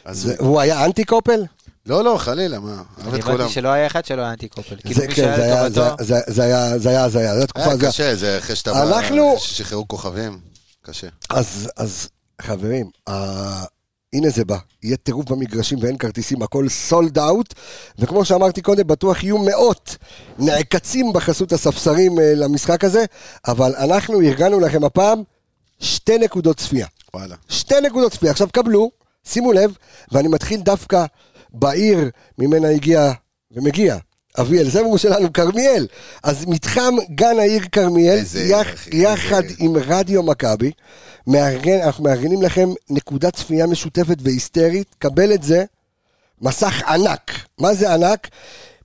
[SPEAKER 4] אז
[SPEAKER 1] זה- הוא היה אנטי קופל?
[SPEAKER 4] לא, לא, חלילה, מה? אהב
[SPEAKER 3] אני
[SPEAKER 4] את כולם.
[SPEAKER 3] הבנתי שלא היה אחד שלא היה אנטי-קופל. כאילו
[SPEAKER 1] זה-
[SPEAKER 3] מי
[SPEAKER 1] כן, זה
[SPEAKER 3] שהיה
[SPEAKER 1] היה- זה-
[SPEAKER 3] לטובתו...
[SPEAKER 1] זה- זה היה- זה היה הזיה, זו התקופה
[SPEAKER 4] היה
[SPEAKER 1] הזיה.
[SPEAKER 4] קשה, זה אחרי שאתה...
[SPEAKER 1] אנחנו-
[SPEAKER 4] אחרי ששחררו כוכבים, קשה.
[SPEAKER 1] אז- אז חברים, ה- הנה זה בא. יהיה טירוף במגרשים ואין כרטיסים, הכל סולד אאוט. וכמו שאמרתי קודם, בטוח יהיו מאות נעקצים בחסות הספסרים אה, למשחק הזה, אבל אנחנו ארגנו לכם הפעם שתי נקודות צפייה.
[SPEAKER 4] וואלה.
[SPEAKER 1] שתי נקודות צפייה. עכשיו קבלו, שימו לב, ואני מתחיל דווקא בעיר ממנה הגיע ומגיע. אביאל, זה אמרו שלנו, כרמיאל. אז מתחם גן העיר כרמיאל,
[SPEAKER 4] איזה עיר,
[SPEAKER 1] יח,
[SPEAKER 4] אחי, איזה
[SPEAKER 1] יחד
[SPEAKER 4] עיר.
[SPEAKER 1] עם רדיו מכבי, מארגן, אנחנו מארגנים לכם נקודת צפייה משותפת והיסטרית, קבל את זה, מסך ענק. מה זה ענק?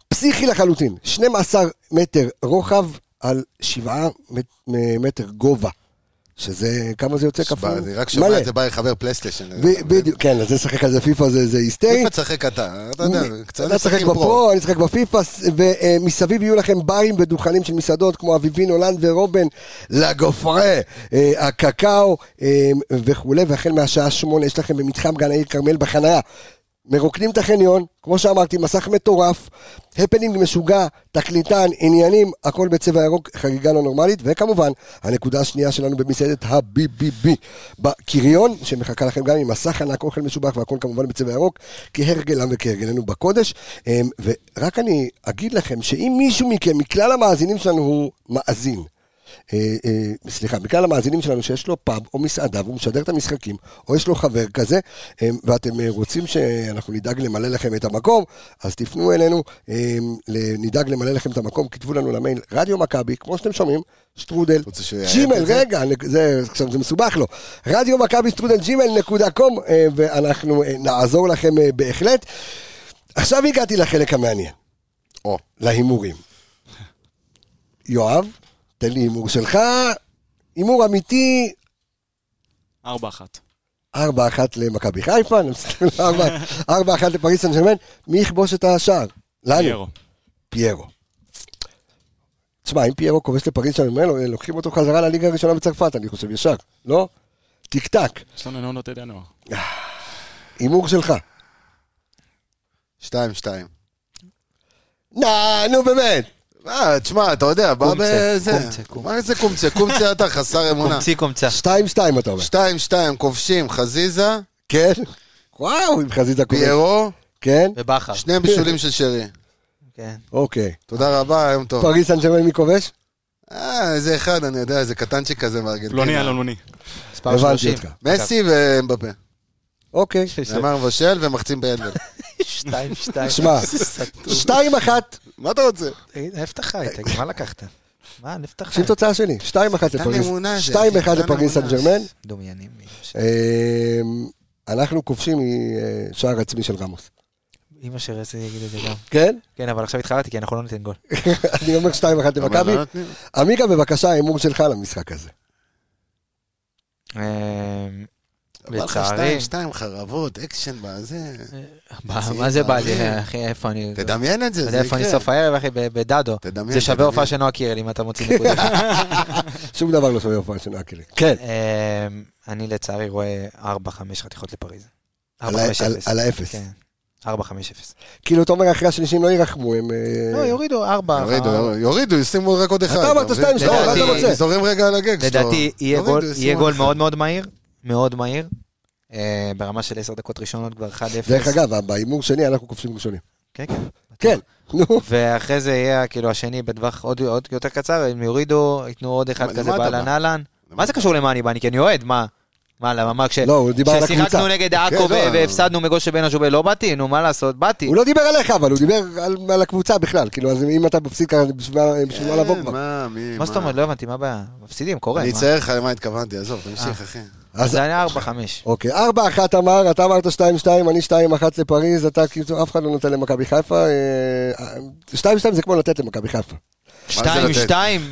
[SPEAKER 1] פסיכי לחלוטין, 12 מטר רוחב על 7 מ- מ- מטר גובה. שזה, כמה זה יוצא כפול?
[SPEAKER 4] שמע, אני רק שומע
[SPEAKER 1] מלא.
[SPEAKER 4] את זה בא לחבר פלייסטיישן.
[SPEAKER 1] ב- בדיוק, כן, אז זה לשחק על זה פיפא זה זה היסטרי.
[SPEAKER 4] איפה תשחק אתה? אתה יודע, קצת
[SPEAKER 1] אתה תשחק בפרו, אני אשחק בפיפא, ומסביב יהיו לכם ברים ודוכנים של מסעדות כמו אביבין, הולנד ורובן, לגופרה, אה, הקקאו אה, וכולי, והחל מהשעה שמונה יש לכם במתחם גן העיר כרמל בחניה. מרוקנים את החניון, כמו שאמרתי, מסך מטורף, הפנינג משוגע, תקליטן, עניינים, הכל בצבע ירוק, חגיגה לא נורמלית, וכמובן, הנקודה השנייה שלנו במסעדת ה-BBB, בקריון, שמחכה לכם גם עם מסך ענק, אוכל משובח, והכל כמובן בצבע ירוק, כהרגלם וכהרגלנו בקודש. אמ, ורק אני אגיד לכם, שאם מישהו מכם, מכלל המאזינים שלנו, הוא מאזין, אה, אה, סליחה, מכלל המאזינים שלנו שיש לו פאב או מסעדה והוא משדר את המשחקים, או יש לו חבר כזה, אה, ואתם אה, רוצים שאנחנו נדאג למלא לכם את המקום, אז תפנו אלינו, אה, ל- נדאג למלא לכם את המקום, כתבו לנו למייל רדיו מכבי, כמו שאתם שומעים, שטרודל,
[SPEAKER 4] רוצה שהוא יעט
[SPEAKER 1] ג'ימל,
[SPEAKER 4] את זה?
[SPEAKER 1] רגע, נק- זה, עכשיו זה מסובך לו, רדיו מכבי שטרודל ג'ימל נקודה קום, אה, ואנחנו אה, נעזור לכם אה, בהחלט. עכשיו הגעתי לחלק המעניין,
[SPEAKER 4] או.
[SPEAKER 1] להימורים. יואב, תן לי הימור שלך, הימור אמיתי,
[SPEAKER 5] ארבע אחת.
[SPEAKER 1] 4-1 למכבי חיפה, אני מסתכל, 4-1 לפריס סן ג'רמן, מי יכבוש את השער? לנו,
[SPEAKER 5] פיירו.
[SPEAKER 1] פיירו. תשמע, אם פיירו כובש לפריס סן ג'רמן, לוקחים אותו חזרה לליגה הראשונה בצרפת, אני חושב, ישר, לא? טיק טק,
[SPEAKER 5] יש לנו נאונות עד ינואר.
[SPEAKER 1] הימור שלך.
[SPEAKER 4] שתיים, שתיים.
[SPEAKER 1] נה, נו באמת.
[SPEAKER 4] אה, תשמע, אתה יודע, בא
[SPEAKER 3] קומצה,
[SPEAKER 4] בזה.
[SPEAKER 3] קומצה, קומצה.
[SPEAKER 4] מה זה קומצה? קומצה אתה חסר אמונה.
[SPEAKER 3] קומצי קומצה.
[SPEAKER 1] 2-2 אתה אומר.
[SPEAKER 4] שתיים, שתיים, כובשים, חזיזה,
[SPEAKER 1] כן? וואו, עם חזית הכובש.
[SPEAKER 4] פיירו,
[SPEAKER 1] כן?
[SPEAKER 3] ובכר.
[SPEAKER 4] שני בישולים של שרי.
[SPEAKER 3] כן.
[SPEAKER 1] אוקיי.
[SPEAKER 4] תודה רבה, יום טוב.
[SPEAKER 1] פריס סן ג'רמן מי כובש?
[SPEAKER 4] אה, איזה אחד, אני יודע, איזה קטנצ'יק כזה
[SPEAKER 3] לא
[SPEAKER 5] פלוני
[SPEAKER 4] מארגנטינה.
[SPEAKER 5] אלונוני.
[SPEAKER 3] מספר
[SPEAKER 1] הבנתי
[SPEAKER 3] 30.
[SPEAKER 1] אותך.
[SPEAKER 4] מסי ומבפה.
[SPEAKER 1] אוקיי.
[SPEAKER 4] נאמר מבשל ומחצים באנדל.
[SPEAKER 3] שתיים, שתיים.
[SPEAKER 1] שמע, שתיים אחת,
[SPEAKER 4] מה אתה רוצה?
[SPEAKER 3] תגיד, איפה אתה חי? תגיד, מה לקחת? מה, איפה אתה חי?
[SPEAKER 1] שום תוצאה שלי, שתיים אחת
[SPEAKER 4] נתן
[SPEAKER 1] לפריס,
[SPEAKER 4] אמונה זה,
[SPEAKER 1] שתיים אחד
[SPEAKER 4] נתן
[SPEAKER 1] לפריס סן
[SPEAKER 4] אמונה.
[SPEAKER 1] ג'רמן.
[SPEAKER 3] דומיינים. ש-
[SPEAKER 1] אה. אמ, אנחנו כובשים משער עצמי של רמוס.
[SPEAKER 3] אמא שרציתי להגיד את זה גם.
[SPEAKER 1] כן?
[SPEAKER 3] כן, אבל עכשיו התחרטתי, כי אנחנו לא ניתן גול.
[SPEAKER 1] אני אומר שתיים אחת למכבי.
[SPEAKER 4] אבל לא נותנים.
[SPEAKER 1] עמיגה, בבקשה, ההימור שלך למשחק הזה.
[SPEAKER 3] אמ,
[SPEAKER 4] בא לך
[SPEAKER 3] לצערי.
[SPEAKER 4] שתיים, שתיים חרבות, אקשן בזה.
[SPEAKER 3] מה- מה זה בא לי, אחי, איפה אני...
[SPEAKER 4] תדמיין את זה,
[SPEAKER 3] אתה
[SPEAKER 4] זה
[SPEAKER 3] יודע איפה אני סוף
[SPEAKER 4] יקרה.
[SPEAKER 3] הערב, אחי? ב- בדאדו.
[SPEAKER 4] תדמיין,
[SPEAKER 3] זה שווה
[SPEAKER 4] תדמיין.
[SPEAKER 3] הופעה של נועה קירל, אם אתה מוציא נקודה.
[SPEAKER 1] שום דבר לא שווה הופעה של נקלי. כן.
[SPEAKER 3] אמ, אני לצערי רואה 4-5 חתיכות לפריז.
[SPEAKER 1] על ה-
[SPEAKER 3] 4-5-0.
[SPEAKER 1] על- על האפס.
[SPEAKER 3] כן. 4-5-0.
[SPEAKER 1] כאילו, אתה אומר, אחרי השלישים לא ירחמו, הם... אה,
[SPEAKER 3] לא, יורידו 4.
[SPEAKER 4] יורידו, יורידו, יורידו, ישימו רק עוד אחד.
[SPEAKER 1] אמרת
[SPEAKER 4] מבין?
[SPEAKER 1] שתיים,
[SPEAKER 3] שתיים, מה אתה
[SPEAKER 4] לדעתי,
[SPEAKER 3] רוצה?
[SPEAKER 4] זורם רגע על הגג שלו.
[SPEAKER 3] לדעתי יהיה
[SPEAKER 4] יורידו,
[SPEAKER 3] גול-
[SPEAKER 4] ישימו
[SPEAKER 3] יהיה
[SPEAKER 4] עוד
[SPEAKER 3] גול
[SPEAKER 4] אחד.
[SPEAKER 3] מאוד מאוד מהיר, מאוד מהיר. אה, ברמה של 10 דקות ראשונות כבר 1-0.
[SPEAKER 1] דרך אגב, בהימור שני אנחנו כובשים ראשונים.
[SPEAKER 3] כן, כן.
[SPEAKER 1] כן, נו.
[SPEAKER 3] ואחרי זה יהיה כאילו השני בטווח עוד עוד יותר קצר, הם יורידו, ייתנו עוד אחד
[SPEAKER 4] למה
[SPEAKER 3] כזה
[SPEAKER 4] אתה בא?
[SPEAKER 3] באהלן אהלן. מה זה קשור למה אני בא? אני כי אני אוהד, מה? מה, למה? מה, כש-
[SPEAKER 1] לא, הוא דיבר על
[SPEAKER 3] כן. כששיחקנו
[SPEAKER 1] הקבוצה.
[SPEAKER 3] נגד עכו
[SPEAKER 4] כן, לא.
[SPEAKER 3] ו- והפסדנו מגוש בן הז'ובל, לא באתי? נו, מה לעשות? באתי.
[SPEAKER 1] הוא לא דיבר עליך, אבל הוא דיבר על- על הקבוצה בכלל. כאילו, אז אם אתה מפסיד ככה, בשביל מה- בשביל מה לבוא
[SPEAKER 4] כן,
[SPEAKER 1] כבר?
[SPEAKER 4] מה, מי,
[SPEAKER 3] מה זאת אומרת? לא הבנתי, מה הבעיה? מפסידים, קורה.
[SPEAKER 4] אני
[SPEAKER 3] מה? אה.
[SPEAKER 4] אצייר לך למה התכוונתי, עזוב, תמשיך, אחי.
[SPEAKER 1] אז
[SPEAKER 3] אז זה היה 4-5.
[SPEAKER 1] אוקיי, ארבע אחת אמר, אתה אמרת שתיים שתיים, אני שתיים אחת לפריז, אתה כאילו, אף אחד לא נותן למכבי חיפה. אה, שתיים שתיים זה כמו לתת למכבי חיפה.
[SPEAKER 3] 2-2,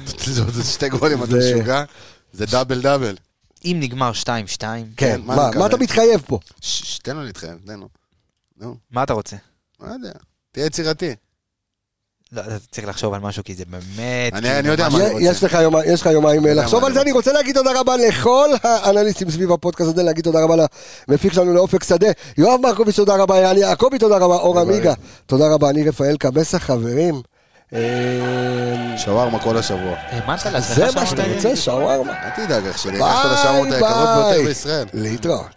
[SPEAKER 4] לתת? זה- זה שתי גולים, אתה
[SPEAKER 1] זה-
[SPEAKER 4] משוגע? זה דאבל דאבל.
[SPEAKER 3] אם נגמר 2-2,
[SPEAKER 1] כן,
[SPEAKER 4] מה
[SPEAKER 1] מה,
[SPEAKER 4] אני
[SPEAKER 1] מה
[SPEAKER 4] מקבל?
[SPEAKER 1] אתה מתחייב פה?
[SPEAKER 4] ש- ש- תן לו להתחייב, תן לו. נו,
[SPEAKER 3] מה אתה רוצה?
[SPEAKER 4] מה יודע, תהיה יצירתי.
[SPEAKER 3] לא, אתה צריך לחשוב על משהו, כי זה באמת...
[SPEAKER 4] אני-
[SPEAKER 3] כאילו,
[SPEAKER 4] אני יודע
[SPEAKER 3] משהו-
[SPEAKER 4] מה אני
[SPEAKER 1] יה- יש לך יומי- יש לך יומיים
[SPEAKER 4] יודע
[SPEAKER 1] לחשוב
[SPEAKER 4] מה
[SPEAKER 1] על
[SPEAKER 4] אני
[SPEAKER 1] זה, אני רוצה להגיד תודה רבה לכל האנליסטים סביב הפודקאסט הזה, להגיד תודה רבה למפיק שלנו לאופק שדה, יואב מרקוביץ' תודה רבה, יאלי יעקבי תודה רבה, אור עמיגה, תודה רבה, אני רפאל קבסה, חברים. אה,
[SPEAKER 4] שווארמה כל השבוע.
[SPEAKER 3] האמנת לעצמך
[SPEAKER 1] זה מה
[SPEAKER 3] שאמרת
[SPEAKER 1] שאתה
[SPEAKER 3] לי?
[SPEAKER 1] רוצה, שווארמה.
[SPEAKER 4] אל תדאג, אח שלי,
[SPEAKER 1] ביי,
[SPEAKER 4] לקחת את השערות היקרות
[SPEAKER 1] ביי.
[SPEAKER 4] ביותר בישראל.
[SPEAKER 1] להתראות.